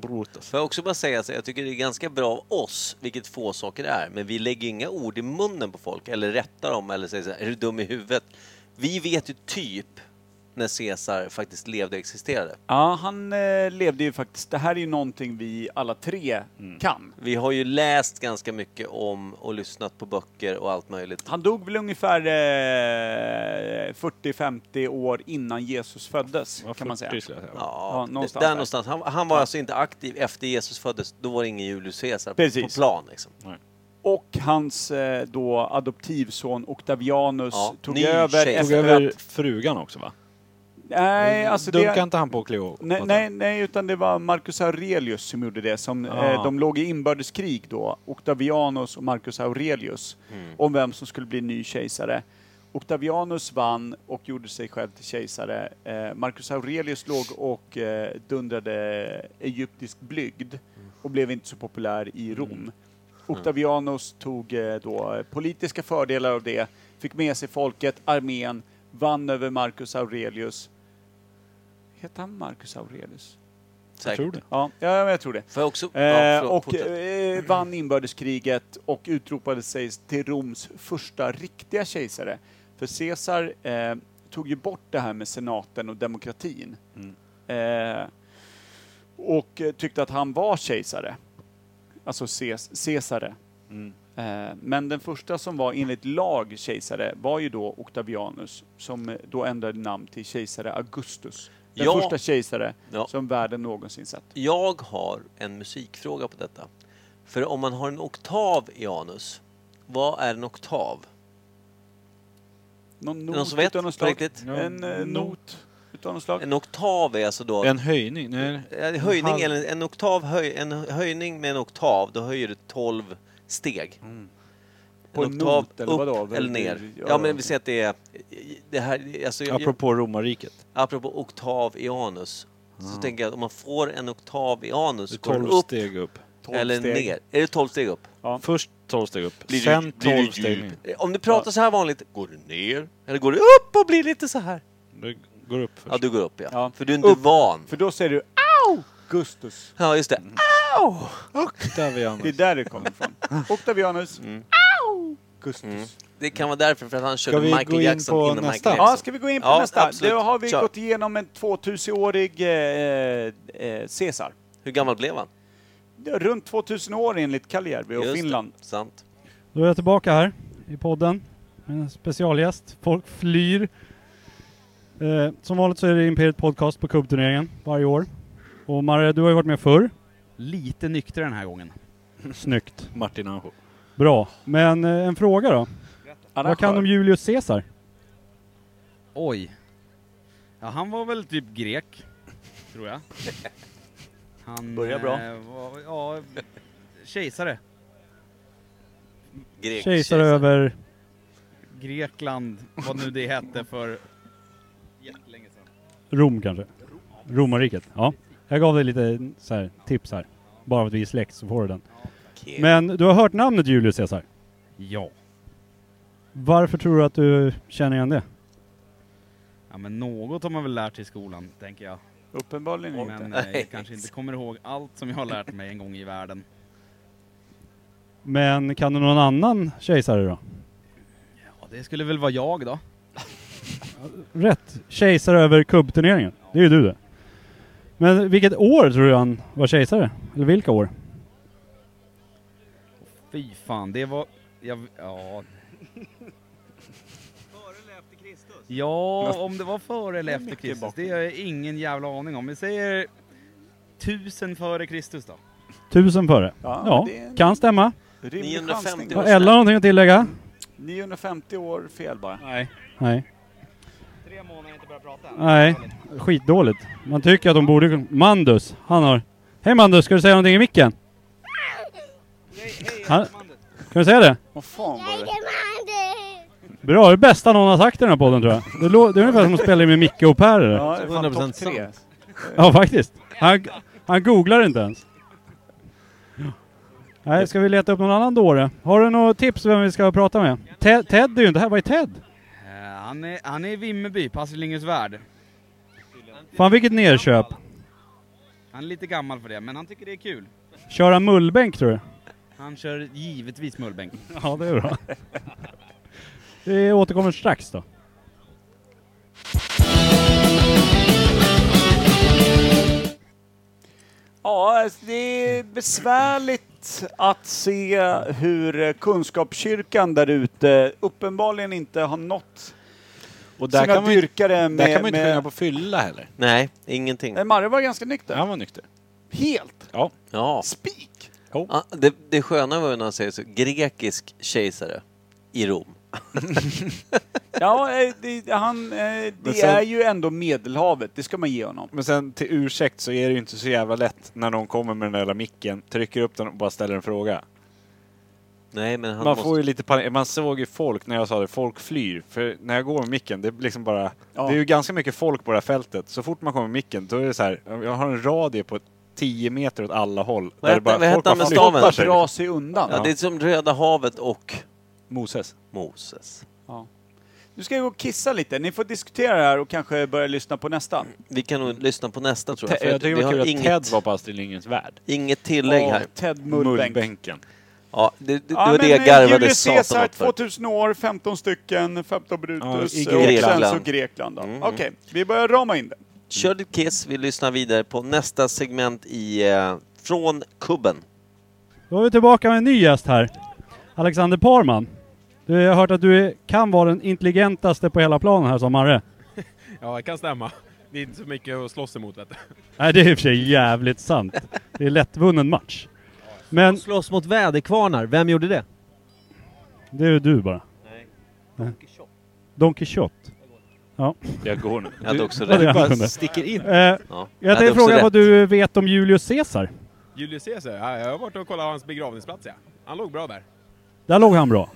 Speaker 8: Brutus.
Speaker 3: Får jag också bara säga så jag tycker det är ganska bra av oss, vilket få saker är, men vi lägger inga ord i munnen på folk eller rättar dem eller säger så här, är du dum i huvudet? Vi vet ju typ när Caesar faktiskt levde och existerade.
Speaker 2: Ja, han eh, levde ju faktiskt... Det här är ju någonting vi alla tre kan.
Speaker 3: Vi har ju läst ganska mycket om och lyssnat på böcker och allt möjligt.
Speaker 2: Han dog väl ungefär eh, 40-50 år innan Jesus föddes, kan man säga.
Speaker 3: Ja,
Speaker 2: någonstans
Speaker 3: där
Speaker 2: där.
Speaker 3: någonstans. Han, han var alltså inte aktiv efter Jesus föddes, då var det ingen Julius Caesar på
Speaker 2: Precis.
Speaker 3: plan. Liksom.
Speaker 2: Och hans eh, då adoptivson Octavianus
Speaker 8: Ja,
Speaker 2: tog
Speaker 8: ny
Speaker 2: över
Speaker 8: tjej. Tog
Speaker 2: efter
Speaker 8: över
Speaker 2: att...
Speaker 8: frugan också va?
Speaker 2: Nej, alltså
Speaker 8: Dunkade
Speaker 2: det...
Speaker 8: inte han på Cleo?
Speaker 2: Nej, nej, nej, utan det var Marcus Aurelius som gjorde det. Som,
Speaker 8: Ah.
Speaker 2: eh, de låg i inbördeskrig då, Octavianus och Marcus Aurelius, om vem som skulle bli ny kejsare. Octavianus vann och gjorde sig själv till kejsare. Eh, Marcus Aurelius låg och eh, dundrade egyptisk blygd och blev inte så populär i Rom. Octavianus tog eh, då eh, politiska fördelar av det, fick med sig folket, armén, vann över Marcus Aurelius. Hette han Marcus Aurelius?
Speaker 3: Säkert. tror det.
Speaker 2: Ja, ja, men jag tror det.
Speaker 3: Får jag också-
Speaker 2: eh,
Speaker 3: ja, förlåt,
Speaker 2: och
Speaker 3: fortsätt.
Speaker 2: eh, vann inbördeskriget och utropade sig till Roms första riktiga kejsare. För Caesar eh, tog ju bort det här med senaten och demokratin.
Speaker 8: Mm,
Speaker 2: Eh, och eh, tyckte att han var kejsare. Alltså Ces- Caesare.
Speaker 8: mm.
Speaker 2: Eh, Men den första som var enligt lag kejsare var ju då Octavianus som eh, då ändrade namn till kejsare Augustus. Den
Speaker 3: Ja.
Speaker 2: första kejsare
Speaker 3: Ja.
Speaker 2: som världen någonsin sett.
Speaker 3: Jag har en musikfråga på detta. För om man har en oktav i anus, vad är en oktav?
Speaker 2: Någon
Speaker 3: Någon
Speaker 2: not
Speaker 3: som vet
Speaker 2: utav något
Speaker 3: på
Speaker 2: slag?
Speaker 3: riktigt?
Speaker 2: En eh, not utav något slag?
Speaker 3: En oktav är alltså då...
Speaker 8: En höjning? Nej.
Speaker 3: Eh, En höjning,
Speaker 8: halv-
Speaker 3: eller en, oktav höj, en höjning med en oktav, då höjer du 12 steg.
Speaker 2: På en
Speaker 3: oktav
Speaker 2: not, eller vadå?
Speaker 3: upp eller ner.
Speaker 2: Ja,
Speaker 3: Ja, men vi säger att det är... Det här, alltså, jag-
Speaker 8: Apropå romarriket.
Speaker 3: apropå oktav i anus. Så
Speaker 8: Ja.
Speaker 3: tänker jag att om man får en oktav i anus,
Speaker 8: Det
Speaker 3: går
Speaker 8: är
Speaker 3: den
Speaker 8: 12
Speaker 3: upp
Speaker 8: steg upp. 12
Speaker 3: eller
Speaker 8: steg.
Speaker 3: ner. Är det 12 steg upp?
Speaker 8: Först 12 steg upp,
Speaker 3: Blir det-
Speaker 8: sen
Speaker 3: blir det
Speaker 8: 12 steg
Speaker 3: djup?
Speaker 8: ner.
Speaker 3: Om du pratar så här vanligt, går du ner? Eller går du upp och blir lite så här?
Speaker 8: Du går upp först.
Speaker 3: Ja, du går upp ja.
Speaker 2: Ja.
Speaker 3: För du är inte
Speaker 2: Upp.
Speaker 3: van.
Speaker 2: För då säger du Au! Gustus.
Speaker 3: Ja, just det. Au!
Speaker 8: Octavianus.
Speaker 2: Det är där det kommer ifrån. Octavianus. Au! Gustus.
Speaker 3: Mm. Det kan vara därför, för att han körde
Speaker 2: vi
Speaker 3: Michael
Speaker 2: gå in
Speaker 3: Jackson
Speaker 2: på
Speaker 3: innan
Speaker 2: nästa?
Speaker 3: Michael Jackson.
Speaker 2: Ja, ska vi gå in på
Speaker 3: Ja,
Speaker 2: nästa?
Speaker 3: absolut.
Speaker 2: Då har vi
Speaker 3: Kör.
Speaker 2: gått igenom en 2000-årig eh, eh, Caesar.
Speaker 3: Hur gammal blev han?
Speaker 2: Runt 2000 år enligt Kaljärvi och
Speaker 3: Just det,
Speaker 2: Finland.
Speaker 3: Sant.
Speaker 1: Då är jag tillbaka här i podden med en specialgäst. Folk flyr. Eh, som vanligt så är det Imperiet Podcast på Cupturneringen varje år. Och Marre, du har ju varit med förr.
Speaker 14: Lite nykter den här gången.
Speaker 1: [LAUGHS] Snyggt.
Speaker 8: Martin Anjo.
Speaker 1: Bra. Men eh, en fråga då. Vad kan om Julius Caesar?
Speaker 14: Oj. Ja, han var väl typ grek, tror jag. Han
Speaker 2: Börjar bra.
Speaker 14: eh, Var, ja, kejsare.
Speaker 3: Grek.
Speaker 1: Kejsare över...
Speaker 14: Grekland, vad nu det hette för jättelänge sedan.
Speaker 1: Rom kanske? Romarriket? Ja. Jag gav dig lite eh, så här, tips här. Bara för att vi är släkt så får du den. Men du har hört namnet Julius Caesar?
Speaker 14: Ja.
Speaker 1: Varför tror du att du känner igen det?
Speaker 14: Ja men något har man väl lärt i skolan, tänker jag.
Speaker 2: Uppenbarligen
Speaker 14: men,
Speaker 2: inte.
Speaker 14: Men eh, jag kanske inte kommer ihåg allt som jag har lärt mig en gång i världen.
Speaker 1: Men kan du någon annan kejsare då?
Speaker 14: Ja, det skulle väl vara jag då.
Speaker 1: Rätt! Kejsare över kubbturneringen. Det är ju du det. Men vilket år tror du han var kejsare? Eller vilka år?
Speaker 14: Fy fan, det var... Jag, ja. Ja, om det var före eller efter Kristus, det har jag ingen jävla aning om. Vi säger tusen före Kristus då.
Speaker 1: Tusen före?
Speaker 14: Ja,
Speaker 1: Ja,
Speaker 14: men det är en
Speaker 1: kan stämma.
Speaker 2: rimlig
Speaker 14: 950
Speaker 2: chansning.
Speaker 1: Har Ella någonting att tillägga?
Speaker 2: 950 år fel bara.
Speaker 14: Nej.
Speaker 1: Nej. Nej, skitdåligt. Man tycker att de borde... Mandus, han har... Hej Mandus, ska du säga någonting i micken? Han... Kan du säga det?
Speaker 2: Vad fan var det?
Speaker 1: Bra, det är det bästa någon har sagt i den här podden tror jag. Det, lå- det är ungefär som att spela in med Micke och Per. eller?
Speaker 2: Ja, det är fan 100% topp tre. sant.
Speaker 1: Ja, faktiskt. Han, han googlar inte ens. Nej, ska vi leta upp någon annan dåre? Har du något tips vem vi ska prata med? Ted, Ted är ju inte här. Vad är Ted?
Speaker 14: Eh, han, är, han är i Vimmerby, Passelinges värld.
Speaker 1: Fan vilket nerköp.
Speaker 14: Han är lite gammal för det, men han tycker det är kul.
Speaker 1: Köra mullbänk tror du?
Speaker 14: Han kör givetvis mullbänk.
Speaker 1: Ja, det är bra. Vi återkommer strax då.
Speaker 2: Ja, alltså, det är besvärligt att se hur eh, kunskapskyrkan där ute uppenbarligen inte har nått
Speaker 8: Och där
Speaker 2: sina
Speaker 8: kan man ju-
Speaker 2: dyrkare med...
Speaker 8: Där kan man ju inte skilja
Speaker 2: med...
Speaker 8: på fylla heller.
Speaker 3: Nej, ingenting.
Speaker 2: Nej, Marre var ganska nykter.
Speaker 8: Han var nykter.
Speaker 2: Helt!
Speaker 8: Ja.
Speaker 3: ja.
Speaker 2: Spik!
Speaker 3: Ja, det, det sköna var ju när han säger så, grekisk kejsare i Rom.
Speaker 2: Ja, eh, det, han, eh, det
Speaker 8: sen-
Speaker 2: är ju ändå Medelhavet, det ska man ge honom.
Speaker 8: Men sen till ursäkt så är det ju inte så jävla lätt när någon kommer med den där jävla micken, trycker upp den och bara ställer en fråga.
Speaker 3: Nej, men han
Speaker 8: man
Speaker 3: måste...
Speaker 8: får ju lite panik. Man såg ju folk när jag sa det, folk flyr. För när jag går med micken, det är liksom bara... Det är ju ganska mycket folk på det här fältet. Så fort man kommer med micken, då är det så här, jag har en radie på 10 meter åt alla håll.
Speaker 3: Vad
Speaker 8: det
Speaker 3: hette- vad hette
Speaker 8: bara
Speaker 3: han med
Speaker 8: flyttar
Speaker 3: staven?
Speaker 8: sig.
Speaker 2: Dra sig undan.
Speaker 3: Ja, det är som Röda havet och...
Speaker 8: Moses.
Speaker 3: Moses.
Speaker 2: Ja. Nu ska jag gå och kissa lite. Ni får diskutera det här och kanske börja lyssna på nästa.
Speaker 3: Vi kan nog lyssna på nästa tror jag.
Speaker 2: Te- jag tycker det var
Speaker 3: vi har
Speaker 2: kul att Ted
Speaker 8: var på Astrid Lindgrens Värld.
Speaker 3: Inget tillägg
Speaker 2: Ja,
Speaker 3: här.
Speaker 2: Ted Mullbänk.
Speaker 3: Ja, det, det, det
Speaker 2: Ja,
Speaker 3: var det
Speaker 2: men,
Speaker 3: jag
Speaker 2: eh,
Speaker 3: garvade
Speaker 2: Julius
Speaker 3: satan
Speaker 2: Caesar,
Speaker 3: åt för.
Speaker 2: 2000 år, 15 stycken, 15 Brutus
Speaker 3: i
Speaker 2: och sen
Speaker 3: Grekland.
Speaker 2: så Grekland. då.
Speaker 3: Mm.
Speaker 2: Okej, vi börjar rama in det.
Speaker 3: Kör ditt kiss, vi lyssnar vidare på nästa segment i eh, Från kubben.
Speaker 1: Då är vi tillbaka med en ny gäst här. Alexander Parman. Du, jag har hört att du är, kan vara den intelligentaste på hela planen här som Marre.
Speaker 15: Ja, det kan stämma. Det är inte så mycket att slåss emot vet du.
Speaker 1: Nej, det är i och för sig jävligt sant. Det är lättvunnen match. Men...
Speaker 11: Slåss mot väderkvarnar, vem gjorde det?
Speaker 1: Det är du bara.
Speaker 3: Nej.
Speaker 1: Don Quixote. Don Quixote. Ja.
Speaker 8: Jag går nu.
Speaker 3: Jag hade också
Speaker 1: Ja, det
Speaker 3: rätt.
Speaker 1: kan du. Eh, Jag
Speaker 15: hade
Speaker 1: tänkte
Speaker 15: också
Speaker 1: fråga
Speaker 15: rätt.
Speaker 1: vad du vet om Julius Caesar.
Speaker 15: Julius Caesar, ja, jag har varit och kollat hans begravningsplats ja. Han låg bra där.
Speaker 1: Där låg han bra.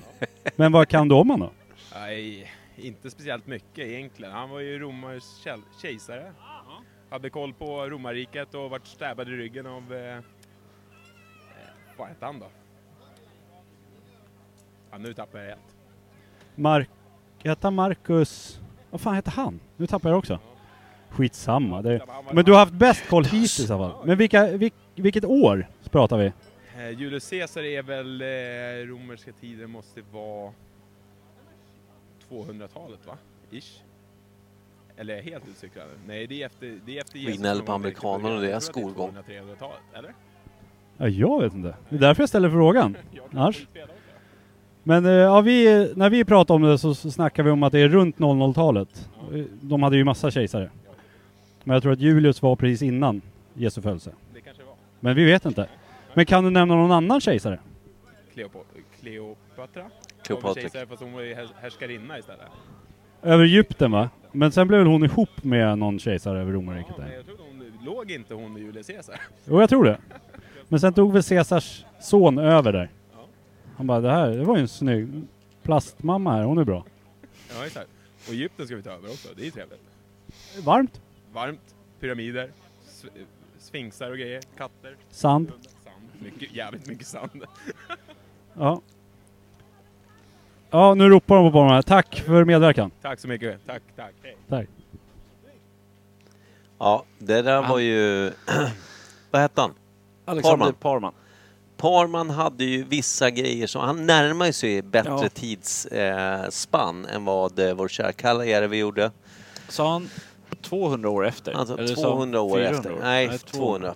Speaker 1: Men vad kan du om honom?
Speaker 15: Nej, inte speciellt mycket egentligen. Han var ju romars käl- kejsare. Hade koll på romarriket och vart stabbad i ryggen av... Eh, eh, vad hette han då? Ja, nu tappar jag helt.
Speaker 1: Mark... Hette han Marcus... Vad fan hette han? Nu tappar jag det också. Skitsamma. Det... Men du har haft bäst koll hittills i alla fall. Men vilka, vil, vilket år pratar vi?
Speaker 15: Eh, Julius Caesar är väl... Eh, romerska tiden måste vara 200-talet va? Ish. Eller är jag helt ute och cyklar nu? Nej, det är efter, det är efter
Speaker 3: Vi gnäller på
Speaker 15: som var riktigt
Speaker 3: amerikanerna och
Speaker 15: början.
Speaker 3: deras
Speaker 15: Jag tror att det är
Speaker 3: skolgång.
Speaker 15: 200-300-talet, eller?
Speaker 1: Ja, jag vet inte. Det är därför jag ställer frågan. Annars. Men eh, ja, vi, när vi pratade om det så, så snackade vi om att det är runt 00-talet. Eh, De hade ju massa kejsare. Men jag tror att Julius var precis innan Jesu födelse. Men vi vet inte. Men kan du nämna någon annan kejsare?
Speaker 15: Kleopo- Kleopatra?
Speaker 3: Kleopatra.
Speaker 15: Hon var kejsare, fast hon var ju härs- härskarinna istället.
Speaker 1: Över Egypten va? Men sen blev väl hon ihop med någon kejsare över romarriket där.
Speaker 15: Men jag trodde hon, låg inte hon med Julius Caesar?
Speaker 1: Jo, jag tror det. Men sen tog väl Caesars son över där. Han bara, det här det var ju en snygg plastmamma här, hon är bra.
Speaker 15: Ja, exakt. Och Egypten ska vi ta över också, det är ju trevligt.
Speaker 1: Varmt.
Speaker 15: Varmt, pyramider, s- sfinxar och grejer, katter.
Speaker 1: Sand.
Speaker 15: sand. Mycket, jävligt mycket sand. [LAUGHS]
Speaker 1: Ja. Ja, nu ropar de på honom här. Tack för medverkan.
Speaker 15: tack så mycket. Tack, tack. Hej.
Speaker 1: Tack.
Speaker 3: Ja, det där var ju... [CLEARS THROAT] Vad hette han?
Speaker 8: Alexander
Speaker 3: Parman. Parman hade ju vissa grejer som... Han närmar sig bättre
Speaker 8: Ja.
Speaker 3: tidsspann eh, spann än vad eh, vår kära Kalajärvi gjorde.
Speaker 8: Sa han 200 år efter?
Speaker 3: Alltså
Speaker 8: Eller sa han
Speaker 3: 200 år
Speaker 8: 400
Speaker 3: efter. Nej, 200.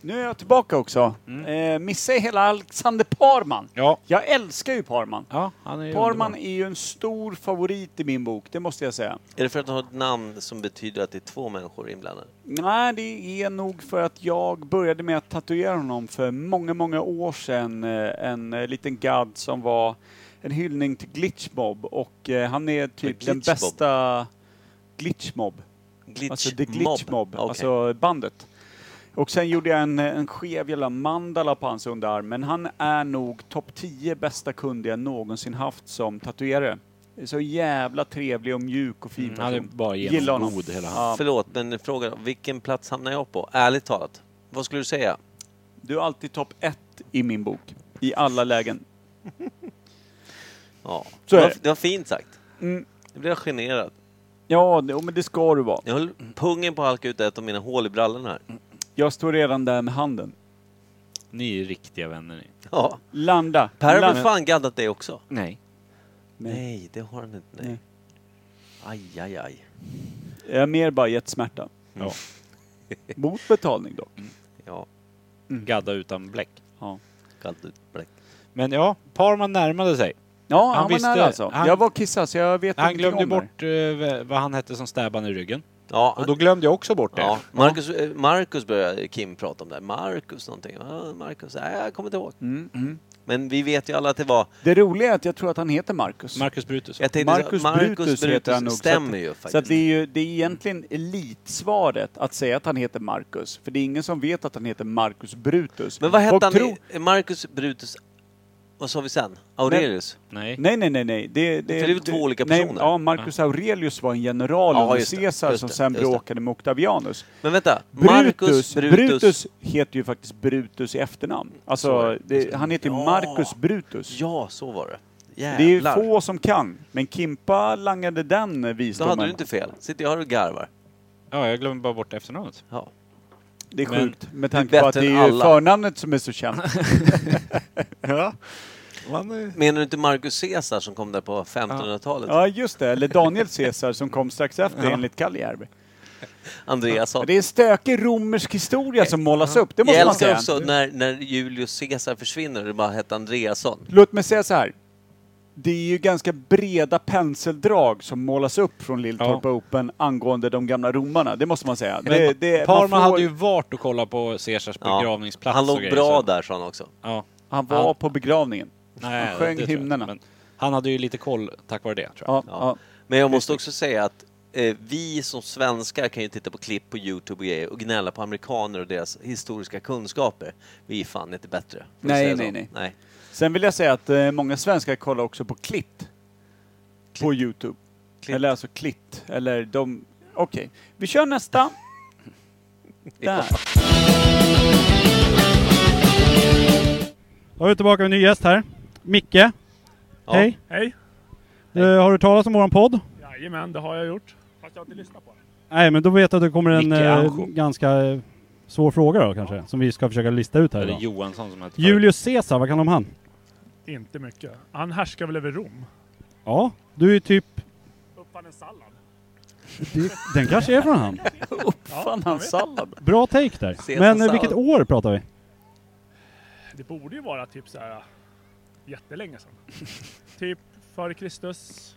Speaker 2: Nu är jag tillbaka också. Eh, missa hela Alexander Parman.
Speaker 8: Mm. Ja.
Speaker 2: Jag älskar ju Parman.
Speaker 8: Ja, han är ju
Speaker 2: Parman
Speaker 8: underbar.
Speaker 2: är ju en stor favorit i min bok, det måste jag säga.
Speaker 3: Är det för att han har ett namn som betyder att det är två människor inblandade?
Speaker 2: Nej, det är nog för att jag började med att tatuera honom för många, många år sedan. eh, En eh, liten gadd som var en hyllning till Glitchmob och eh, han är typ den
Speaker 3: Glitchmob?
Speaker 2: bästa Glitchmob. Alltså The Glitchmob,
Speaker 3: Okej.
Speaker 2: alltså bandet. Och sen gjorde jag en, eh, en skev jävla mandala på hans underarm, men han är nog topp 10 bästa kund jag någonsin haft som tatuerare. Så jävla trevlig och mjuk och fin
Speaker 3: Mm, han är
Speaker 2: person.
Speaker 3: bara
Speaker 2: Gillar honom.
Speaker 3: genomgod hela
Speaker 2: Ja.
Speaker 3: Förlåt, men fråga vilken plats hamnar jag på? Ärligt talat. Vad skulle du säga?
Speaker 2: Du är alltid topp ett i min bok. I alla lägen.
Speaker 3: Ja.
Speaker 2: Så
Speaker 3: det,
Speaker 2: är
Speaker 3: var,
Speaker 2: det.
Speaker 3: det var fint sagt.
Speaker 2: Mm.
Speaker 3: Nu blev jag generad.
Speaker 2: Ja, det, men det ska du vara.
Speaker 3: Jag höll pungen på att halka ut ett av mina hål i brallorna här.
Speaker 2: Jag står redan där med handen.
Speaker 8: Ni är riktiga vänner ni.
Speaker 3: Ja.
Speaker 2: Landa.
Speaker 3: Per har väl
Speaker 2: Landa.
Speaker 3: fan gaddat dig också?
Speaker 8: Nej.
Speaker 2: Nej.
Speaker 3: Nej, det har han inte. Nej. Aj, aj, aj.
Speaker 2: Jag har mer bara gett smärta.
Speaker 3: [LAUGHS] Ja.
Speaker 2: Mot betalning dock.
Speaker 3: Mm.
Speaker 2: Mm.
Speaker 3: Ja.
Speaker 8: Gadda utan bläck.
Speaker 2: Ja.
Speaker 3: Gadda utan bläck.
Speaker 8: Men ja, Parman närmade sig.
Speaker 2: Ja, han, var nära alltså.
Speaker 8: han-
Speaker 2: jag var kissad så jag vet
Speaker 8: Han
Speaker 2: ingenting
Speaker 8: glömde
Speaker 2: om det här.
Speaker 8: bort eh, vad han hette som stäbbade han i ryggen.
Speaker 3: Ja,
Speaker 8: och då glömde jag också bort det.
Speaker 3: Ja. Marcus, eh, Marcus började Kim prata om det. här. Marcus någonting. Ja, Marcus, nej, jag kommer inte ihåg.
Speaker 2: Mm, mm.
Speaker 3: Men vi vet ju alla att det var...
Speaker 2: Det roliga är att jag tror att han heter Marcus.
Speaker 8: Marcus Brutus.
Speaker 3: Jag tänkte så-
Speaker 2: Marcus,
Speaker 3: Marcus
Speaker 2: Brutus,
Speaker 3: Brutus
Speaker 2: heter han nog.
Speaker 3: stämmer
Speaker 2: så att,
Speaker 3: ju
Speaker 2: Så
Speaker 3: faktiskt.
Speaker 2: att det, är ju, det är egentligen elitsvaret att säga att han heter Marcus. För det är ingen som vet att han heter Marcus Brutus.
Speaker 3: Men vad hette
Speaker 2: Folk
Speaker 3: han?
Speaker 2: tror-
Speaker 3: i- Marcus Brutus Vad sa vi sen? Aurelius?
Speaker 2: Nej. Nej, nej, nej. nej. Det, det,
Speaker 3: För det är väl två olika
Speaker 2: Nej,
Speaker 3: personer?
Speaker 2: ja, Marcus Aurelius var en general
Speaker 3: Ja,
Speaker 2: under
Speaker 3: just det,
Speaker 2: Caesar
Speaker 3: just
Speaker 2: som
Speaker 3: det,
Speaker 2: sen
Speaker 3: just det.
Speaker 2: bråkade med Octavianus.
Speaker 3: Men vänta,
Speaker 2: Brutus,
Speaker 3: Marcus,
Speaker 2: Brutus.
Speaker 3: Brutus.
Speaker 2: heter ju faktiskt Brutus i efternamn.
Speaker 3: Så
Speaker 2: Alltså,
Speaker 3: är
Speaker 2: det, han heter ju Marcus Brutus.
Speaker 3: Ja, så var det.
Speaker 2: Det är ju
Speaker 3: Jävlar.
Speaker 2: få som kan, men Kimpa langade den
Speaker 3: Då
Speaker 2: visdomen.
Speaker 3: hade du inte fel. Sitter jag här och garvar.
Speaker 8: Ja, jag glömde bara bort efternamnet.
Speaker 3: Ja.
Speaker 2: Det är
Speaker 8: Men-
Speaker 2: sjukt, med
Speaker 8: Det är
Speaker 2: tanke på att
Speaker 8: bättre
Speaker 2: det är
Speaker 8: än
Speaker 2: ju
Speaker 8: alla.
Speaker 2: förnamnet som är så känt. [LAUGHS] ja.
Speaker 3: Menar du inte Marcus Caesar som kom där på 1500-talet?
Speaker 2: ja, just det. Eller Daniel Caesar som kom strax efter
Speaker 3: Ja.
Speaker 2: enligt Kaljärvi.
Speaker 3: Andreas
Speaker 2: Det är stökig romersk historia som målas upp, det måste
Speaker 3: jag
Speaker 2: man
Speaker 3: älskar
Speaker 2: säga.
Speaker 3: också när, när Julius Caesar försvinner och det bara hette Andreasson.
Speaker 2: Låt mig säga så här. Det är ju ganska breda penseldrag som målas upp från Lilltorp Open angående de gamla romarna, det måste man säga. Det, det,
Speaker 8: Parma
Speaker 2: man får-
Speaker 8: hade ju varit och kollat på Caesars
Speaker 3: Ja.
Speaker 8: begravningsplats
Speaker 3: Han
Speaker 8: och
Speaker 3: låg
Speaker 8: grejer,
Speaker 3: bra
Speaker 8: så-
Speaker 3: där sa han också.
Speaker 8: Ja.
Speaker 2: Han var på begravningen.
Speaker 8: Nej,
Speaker 2: han sjöng
Speaker 8: det tror jag
Speaker 2: hymnerna.
Speaker 8: inte, men Han hade ju lite koll tack vare det, tror jag.
Speaker 2: Ja, ja.
Speaker 3: Men jag måste också säga att eh, vi som svenskar kan ju titta på klipp på Youtube och grejer och gnälla på amerikaner och deras historiska kunskaper. Vi är fan inte bättre. Får vi
Speaker 2: Nej,
Speaker 3: säga så?
Speaker 2: nej, nej.
Speaker 3: nej.
Speaker 2: Sen vill jag säga att eh, många svenskar kollar också på klitt. På Youtube. Eller alltså klitt. Eller de... Okej. Vi kör nästa. Där.
Speaker 1: Då är vi tillbaka med en ny gäst här. Micke. Hej.
Speaker 16: Hej.
Speaker 1: Eh, har du talat om våran podd?
Speaker 16: Jajamän, det har jag gjort. Fast jag har inte lyssnat på det.
Speaker 1: Nej, men då vet jag att det kommer en
Speaker 16: Micke
Speaker 1: eh,
Speaker 16: Anjo.
Speaker 1: ganska eh, svår fråga då kanske, som vi ska försöka lista ut här
Speaker 8: Eller
Speaker 1: idag.
Speaker 8: Johansson som hette
Speaker 1: Julius Caesar, vad kan du om han?
Speaker 16: Inte mycket. Han härskar väl över Rom?
Speaker 1: Ja, du är ju typ...
Speaker 16: Uppfann en sallad.
Speaker 1: det- Den kanske är från han.
Speaker 2: Uppfann han sallad?
Speaker 1: Bra take där.
Speaker 16: Caesar
Speaker 1: Men eh,
Speaker 16: sallad.
Speaker 1: vilket år pratar vi?
Speaker 16: Det borde ju vara typ så här
Speaker 1: [LAUGHS]
Speaker 16: jättelänge sedan. typ före Kristus,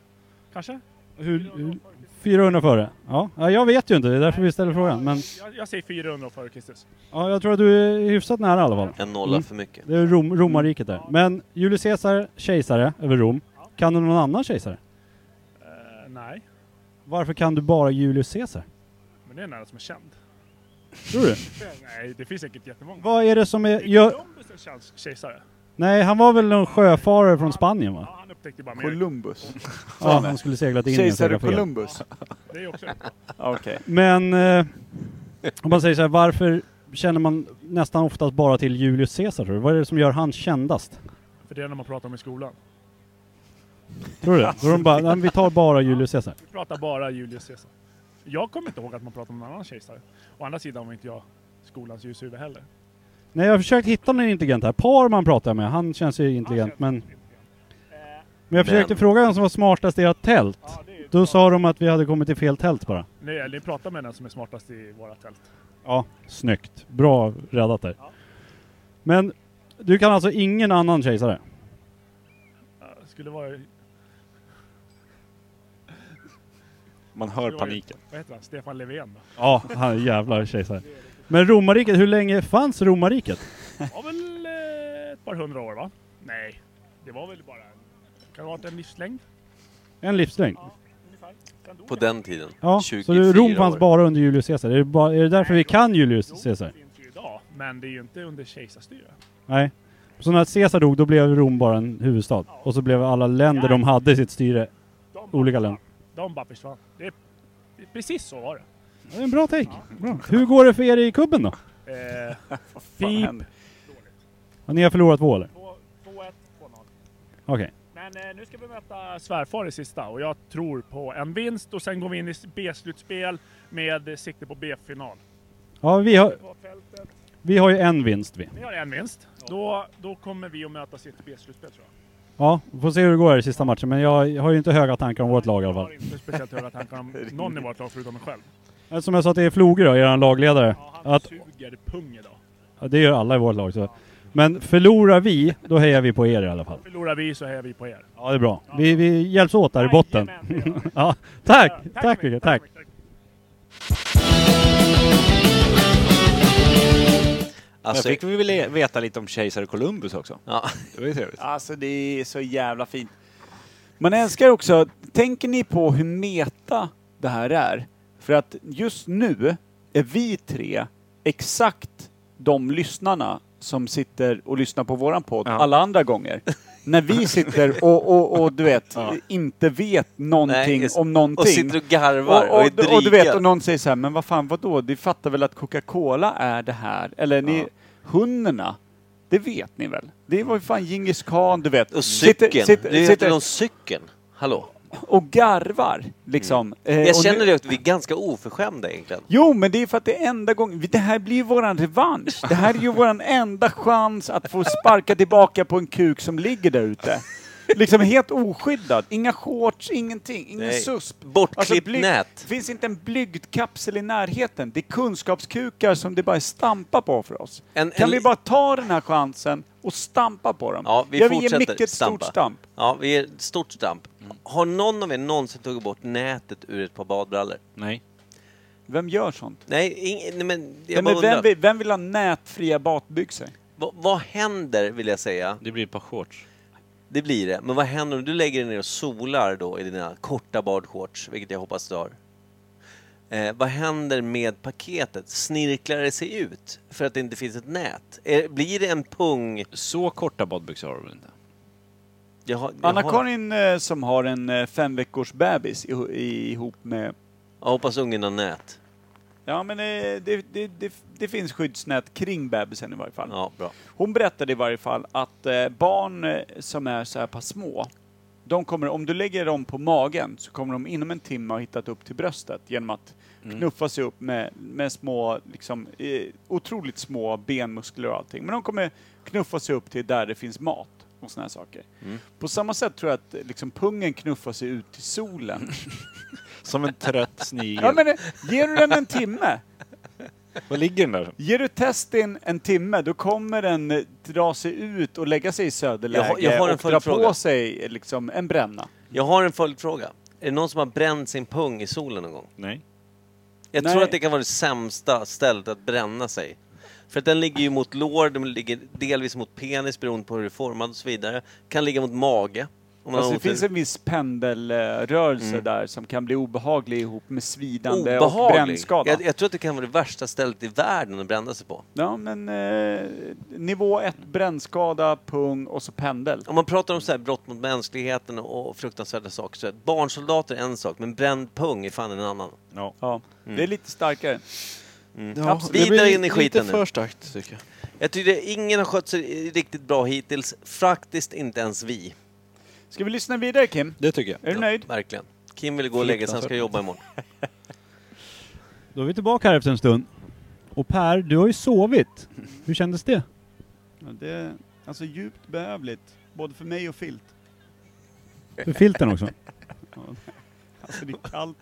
Speaker 16: kanske?
Speaker 1: Hur, hur, 400 före? Ja. ja, jag vet ju inte, det är därför vi ställer frågan. Men
Speaker 16: Jag, jag säger 400 före Kristus.
Speaker 1: ja, jag tror att du är hyfsat nära i alla fall. Mm.
Speaker 3: En nolla för mycket.
Speaker 1: Det är Rom, romarriket där. Men Julius Caesar, kejsare över Rom. Kan du någon annan kejsare?
Speaker 16: Eh, nej,
Speaker 1: Varför kan du bara Julius Caesar?
Speaker 16: men det är den enda som är känd.
Speaker 1: Tror du?
Speaker 16: [LAUGHS] nej, det finns säkert jättemånga.
Speaker 1: Vad är det som är- gör-
Speaker 16: Columbus är en känd kejsare.
Speaker 1: Nej, han var väl någon sjöfarare från Spanien va?
Speaker 16: Han upptäckte bara Amerika.
Speaker 2: Columbus.
Speaker 1: Ja, han skulle segla till Indien.
Speaker 2: Kejsare
Speaker 1: segla fel.
Speaker 2: Columbus.
Speaker 16: [LAUGHS] Det är också
Speaker 2: Okej.
Speaker 1: Men eh, om man säger så här, varför känner man nästan oftast bara till Julius Caesar tror du? Vad är det som gör han kändast?
Speaker 16: För det är när man pratar om i skolan.
Speaker 1: Tror du det? Då är de bara, nej, men vi tar bara Julius Caesar.
Speaker 16: Vi pratar bara Julius Caesar. Jag kommer inte ihåg att man pratar om någon annan kejsare. Å andra sidan var inte jag skolans ljushuvud heller.
Speaker 1: Nej, jag har försökt hitta någon intelligent här. Parman pratar jag med, han känns ju intelligent men... Men jag försökte
Speaker 16: Men-
Speaker 1: fråga vem som var smartast i ert tält. Då sa de att vi hade kommit till fel tält bara.
Speaker 16: Nej, ni pratar med den som är smartast i våra tält.
Speaker 1: Ja, snyggt. Bra räddat där. Men du kan alltså ingen annan kejsare?
Speaker 16: Eh, Skulle vara...
Speaker 8: Man hör
Speaker 16: paniken. Vad heter han? Stefan Löfven då?
Speaker 1: Ja, han är jävla kejsare. Men romarriket, hur länge fanns romarriket?
Speaker 16: Det var väl eh, ett par hundra år va? Nej, det var väl bara... Kan det ha varit en livslängd?
Speaker 1: En livslängd?
Speaker 3: På den tiden.
Speaker 1: Ja, så
Speaker 3: 24
Speaker 1: du- Rom fanns
Speaker 3: år.
Speaker 1: bara under Julius Caesar. Är det, bara, är det därför vi kan Julius Caesar?
Speaker 16: Idag. Men det är ju inte under kejsarstyre.
Speaker 1: Nej. Så när Caesar dog, då blev Rom bara en huvudstad. Och så blev alla länder de hade i sitt styre olika länder.
Speaker 16: De bara försvann. Det är, det är precis så var det.
Speaker 1: Det är en bra take. Bra. Hur går det för er i kubben då?
Speaker 8: [LAUGHS]
Speaker 16: Eh,
Speaker 1: Pip. Ja, ni har förlorat två eller?
Speaker 16: 2-1.
Speaker 1: Okej.
Speaker 16: Men eh, nu ska vi möta svärfar i sista och jag tror på en vinst och sen går vi in i B-slutspel med sikte på B-final.
Speaker 1: Ja, vi har, vi har ju en vinst vi.
Speaker 16: Ni har en vinst. Då, då kommer vi att mötas i ett B-slutspel tror jag.
Speaker 1: Ja, vi får se hur det går här i sista matchen. Men jag har ju inte höga tankar om vårt lag i alla fall.
Speaker 16: Inte speciellt höga
Speaker 2: [LAUGHS]
Speaker 16: tankar om någon i vårt lag förutom mig själv.
Speaker 1: Men Som jag sa till Floge då, er lagledare.
Speaker 16: Han
Speaker 1: Att
Speaker 16: suger pung idag.
Speaker 1: Ja, det gör alla i vårt lag. Så. Men förlorar vi, då hejar vi på er i alla fall.
Speaker 16: Förlorar vi så hejar vi på er.
Speaker 1: Ja, det är bra. Vi, vi hjälps åt där i botten. [LAUGHS] ja, tack! Tack mycket, tack!
Speaker 3: Alltså-
Speaker 8: Där fick vi väl e- veta lite om kejsare Columbus också.
Speaker 3: Ja.
Speaker 8: Det var ju trevligt.
Speaker 2: Alltså det är så jävla fint. Man älskar också, tänker ni på hur meta det här är? För att just nu är vi tre exakt de lyssnarna som sitter och lyssnar på våran podd alla andra gånger. När vi sitter och, och, och du vet, inte vet någonting
Speaker 3: Nej, just-
Speaker 2: om någonting.
Speaker 3: och sitter och garvar och är
Speaker 2: du- och du vet,
Speaker 3: drikad.
Speaker 2: och någon säger så här, men vad fan vadå, ni fattar väl att Coca-Cola är det här? Eller ni, hundarna, det vet ni väl? Det var ju fan Djingis khan, du vet.
Speaker 3: Och cykeln. det är ju inte om cykeln. Hallå? Mm.
Speaker 2: och garvar liksom. Eh,
Speaker 3: jag
Speaker 2: och
Speaker 3: känner
Speaker 2: nu-
Speaker 3: ju att vi är ganska oförskämda egentligen.
Speaker 2: Jo, men det är för att det är enda gången, det här blir ju våran revansch. Det här är ju våran enda chans att få sparka tillbaka på en kuk som ligger där ute. Liksom helt oskyddad. Inga shorts, ingenting, ingen
Speaker 3: Nej.
Speaker 2: susp. Alltså,
Speaker 3: Bortklippt
Speaker 2: blyg-
Speaker 3: nät.
Speaker 2: Det finns inte en blygdkapsel i närheten. Det är kunskapskukar som det bara är stampa på för oss.
Speaker 3: En-
Speaker 2: kan
Speaker 3: en-
Speaker 2: vi bara ta den här chansen och stampa på dem?
Speaker 3: Ja, vi
Speaker 2: Jag vill ge
Speaker 3: fortsätter
Speaker 2: Micke ett stort
Speaker 3: stampa.
Speaker 2: stamp.
Speaker 3: Ja, vi ger ett stort stamp. Har någon av er någonsin tagit bort nätet ur ett par badbrallor?
Speaker 8: Nej.
Speaker 2: Vem gör sånt?
Speaker 3: Nej, ing, nej men jag bara
Speaker 2: Nej, men vem,
Speaker 3: undrar.
Speaker 2: vill, vem vill ha nätfria badbyxor?
Speaker 3: Vad- vad händer, vill jag säga?
Speaker 8: Det blir ett par shorts.
Speaker 3: Det blir det. Men vad händer om du lägger dig ner och solar då i dina korta badshorts, vilket jag hoppas du har? Eh, vad händer med paketet? Snirklar det sig ut för att det inte finns ett nät? Eh, blir det en pung...
Speaker 8: Så korta badbyxor har du väl inte?
Speaker 3: Jaha,
Speaker 2: Anna-Karin eh, som har en eh, fem veckors bebis iho- i- ihop med...
Speaker 3: Jag hoppas ungen har nät.
Speaker 2: Ja men eh, det, det, det, det finns skyddsnät kring bebisen i varje fall.
Speaker 3: Ja, bra.
Speaker 2: Hon berättade i varje fall att eh, barn eh, som är så här pass små, de kommer, om du lägger dem på magen så kommer de inom en timme ha hittat upp till bröstet genom att
Speaker 8: Mm.
Speaker 2: knuffa sig upp med, med små, liksom, eh, otroligt små benmuskler och allting. Men de kommer knuffa sig upp till där det finns mat och såna här saker.
Speaker 8: Mm.
Speaker 2: På samma sätt tror jag att eh, liksom, pungen knuffar sig ut till solen.
Speaker 8: [LAUGHS] Som en trött snigel.
Speaker 2: ja, men, eh, ger du den en timme
Speaker 8: Vad ligger den där?
Speaker 2: Ger du testin en timme, då kommer den eh, dra sig ut och lägga sig i söderläge
Speaker 3: Jag har- jag har en
Speaker 2: och dra på
Speaker 3: följdfråga.
Speaker 2: sig eh, liksom en bränna.
Speaker 3: Jag har en följdfråga. Är det någon som har bränt sin pung i solen någon gång?
Speaker 8: Nej.
Speaker 3: Jag
Speaker 2: Nej.
Speaker 3: tror att det kan vara det sämsta stället att bränna sig. För att den ligger ju mot lår, den ligger delvis mot penis beroende på hur det är formad och så vidare. Kan ligga mot mage. Om man
Speaker 2: Alltså,
Speaker 3: har
Speaker 2: det
Speaker 3: otur.
Speaker 2: finns en viss pendelrörelse
Speaker 3: Mm.
Speaker 2: där som kan bli obehaglig ihop med svidande och
Speaker 3: Obehaglig.
Speaker 2: brännskada.
Speaker 3: Jag, jag tror att det kan vara det värsta stället i världen att bränna sig på.
Speaker 2: Ja, men eh, nivå 1 brännskada, pung och så pendel.
Speaker 3: Om man pratar om så här brott mot mänskligheten och fruktansvärda saker så är barnsoldater är en sak, men bränd pung är fan en annan.
Speaker 8: Ja,
Speaker 3: Mm.
Speaker 2: det är lite starkare.
Speaker 3: Mm.
Speaker 2: Ja,
Speaker 3: Absolut. Vidare in i skiten nu.
Speaker 9: starkt tycker jag.
Speaker 3: Jag tycker ingen har skött sig riktigt bra hittills. Faktiskt inte ens vi.
Speaker 2: Ska vi lyssna vidare Kim?
Speaker 8: Det tycker jag.
Speaker 2: Är du nöjd?
Speaker 3: Verkligen. Kim vill gå och lägga sig, han ska jobba imorgon.
Speaker 1: Då är vi tillbaka här efter en stund. Och Per, du har ju sovit. Hur kändes det?
Speaker 13: Ja, det är alltså djupt behövligt, både för mig och Filt.
Speaker 1: För filten också.
Speaker 13: Alltså det är kallt,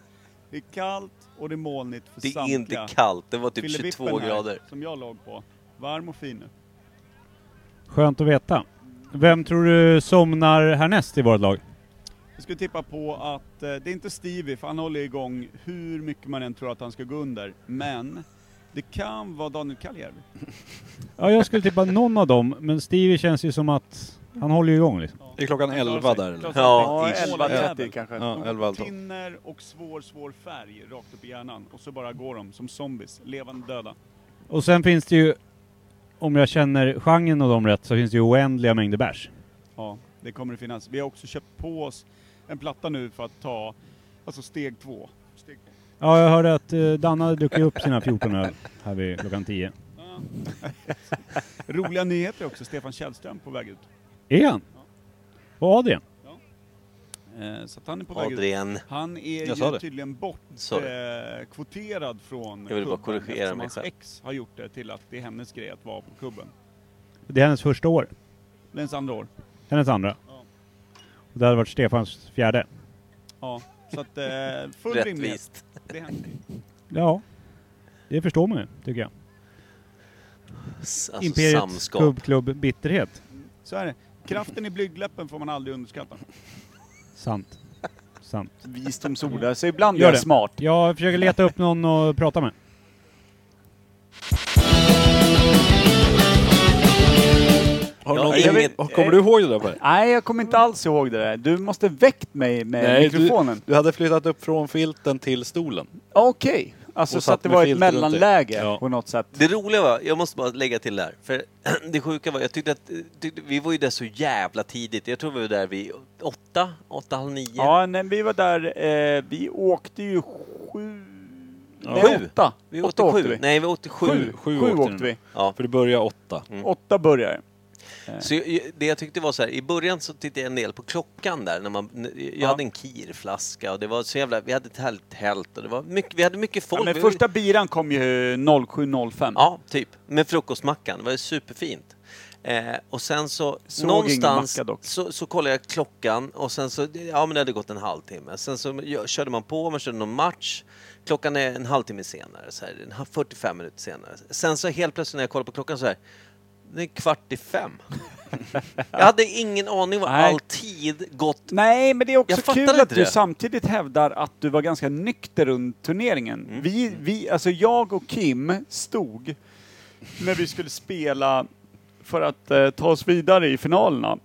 Speaker 13: det är kallt och det är molnigt för
Speaker 3: Det är
Speaker 13: samtliga.
Speaker 3: inte kallt, det var typ
Speaker 13: Fillevippen
Speaker 3: 22
Speaker 13: här,
Speaker 3: grader.
Speaker 13: som jag låg på. Varm och fin nu.
Speaker 1: Skönt att veta. Vem tror du somnar härnäst i vårt lag?
Speaker 13: Jag skulle tippa på att, eh, det är inte Stevie, för han håller igång hur mycket man än tror att han ska gå under, men det kan vara Daniel Kaljärvi.
Speaker 1: Ja, jag skulle tippa någon av dem, men Stevie känns ju som att han håller ju igång liksom.
Speaker 8: Är klockan 11 där eller?
Speaker 2: Ja, 11.30 kanske.
Speaker 8: Ja, 11 12.
Speaker 13: Tinner och svår, svår färg rakt upp i hjärnan och så bara går de som zombies, levande döda.
Speaker 1: Och sen finns det ju, om jag känner genren och dem rätt, så finns det ju oändliga mängder bärs.
Speaker 13: Ja, det kommer det finnas. Vi har också köpt på oss en platta nu för att ta, alltså steg två. Steg två.
Speaker 1: Ja, jag hörde att eh, Danne hade druckit upp sina 14 öl här vid klockan 10.
Speaker 13: [LAUGHS] Roliga nyheter också, Stefan Källström på väg ut.
Speaker 1: Är han? Och Adrian?
Speaker 13: Eh, Så att han är på väg
Speaker 3: Adrian.
Speaker 13: ut. Han är
Speaker 3: Jag sa
Speaker 13: ju
Speaker 3: det.
Speaker 13: tydligen
Speaker 3: Sorry.
Speaker 13: bortkvoterad från
Speaker 3: Jag ville bara
Speaker 13: klubben
Speaker 3: korrigera
Speaker 13: eftersom
Speaker 3: mig
Speaker 13: hans
Speaker 3: själv.
Speaker 13: ex har gjort det till att det är hennes grej att vara på klubben.
Speaker 1: Det är hennes första år.
Speaker 13: Det är ens andra år.
Speaker 1: Hennes andra. Och det hade varit Stefans fjärde.
Speaker 13: Ja, så att eh, full
Speaker 3: Rättvist.
Speaker 13: rimlighet. Det händer.
Speaker 1: Ja. Det förstår man ju, tycker jag.
Speaker 3: S- alltså
Speaker 1: Imperiet
Speaker 3: samskap.
Speaker 1: Pub Club Bitterhet.
Speaker 13: Så är det. Kraften i blygdläppen får man aldrig underskatta.
Speaker 1: Sant. Sant.
Speaker 2: Visdomsord. Alltså ibland är
Speaker 1: Gör
Speaker 2: jag
Speaker 1: det.
Speaker 2: smart.
Speaker 1: Jag försöker leta upp någon att prata med.
Speaker 9: Eh,
Speaker 8: Har
Speaker 2: Ja,
Speaker 8: någon,
Speaker 2: jag vet-
Speaker 8: Har- kommer du ihåg det där Per?
Speaker 2: Nej, jag kommer inte alls ihåg det där. Du måste väckt mig med
Speaker 8: Nej, du,
Speaker 2: mikrofonen.
Speaker 8: du hade flyttat upp från filten till stolen.
Speaker 2: Okej. Alltså
Speaker 3: Och
Speaker 2: så att
Speaker 3: satt
Speaker 2: det
Speaker 3: med
Speaker 2: var ett
Speaker 3: filt runt det.
Speaker 2: mellanläge
Speaker 3: Ja.
Speaker 2: på något sätt.
Speaker 3: Det roliga var, jag måste bara lägga till där, för [CLEARS THROAT] det sjuka var, jag tyckte att, tyckte, vi var ju där så jävla tidigt, jag tror vi var där vid åtta, åtta, halv nio.
Speaker 2: Ja, när vi var där, eh, vi åkte ju sju... Nej,
Speaker 3: Sju.
Speaker 2: åtta.
Speaker 3: Vi
Speaker 2: åtta
Speaker 3: åkte
Speaker 2: vi.
Speaker 3: sju. Nej, vi åkte sju.
Speaker 2: Sju, sju, åkte, vi.
Speaker 3: Ja.
Speaker 9: För det börjar åtta.
Speaker 2: Åtta eh. börjar
Speaker 3: Mm. Så jag- det jag tyckte var så här, i början så tittade jag en del på klockan där. När man, jag hade en kirflaska och det var så jävla, vi hade ett helt tält och det var mycket, vi hade mycket folk.
Speaker 2: Ja, men
Speaker 3: Vi var-
Speaker 2: första biran kom ju 07.05.
Speaker 3: Ja, typ. Med frukostmackan. Det var ju superfint. Eh, och sen så
Speaker 2: Såg
Speaker 3: någonstans
Speaker 2: ingen macka dock.
Speaker 3: så, så kollade jag klockan och sen så, ja men det hade gått en halvtimme. Sen så gö- körde man på, man körde någon match. Klockan är en halvtimme senare, så här, en halv- 45 minuter senare. Sen så helt plötsligt när jag kollade på klockan så här, det är kvart i
Speaker 2: [LAUGHS]
Speaker 3: fem. jag hade ingen aning vad
Speaker 2: Nej.
Speaker 3: all tid gått.
Speaker 2: Nej, men det är
Speaker 3: Jag
Speaker 2: också
Speaker 3: fattar
Speaker 2: kul att
Speaker 3: inte
Speaker 2: du
Speaker 3: det.
Speaker 2: samtidigt hävdar att du var ganska nykter under turneringen.
Speaker 3: Mm.
Speaker 2: Vi, vi, alltså jag och Kim stod när vi skulle spela för att eh, ta oss vidare i finalerna.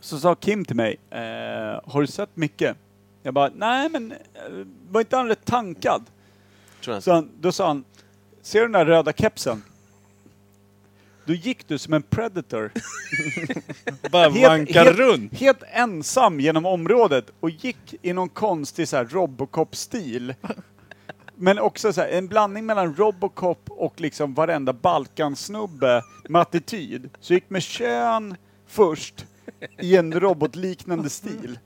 Speaker 2: Så sa Kim till mig, eh, har du sett Micke? Jag bara, nej men eh, var inte han rätt tankad? Så han, då sa han, ser du den där röda kepsen? Då gick du som en predator.
Speaker 9: Bara vankar
Speaker 2: helt,
Speaker 9: runt.
Speaker 2: Helt ensam genom området och gick i någon konstig så här Robocop-stil. Men också så här, en blandning mellan Robocop och liksom varenda Balkansnubbe med attityd. Så gick med kön först i en robotliknande stil.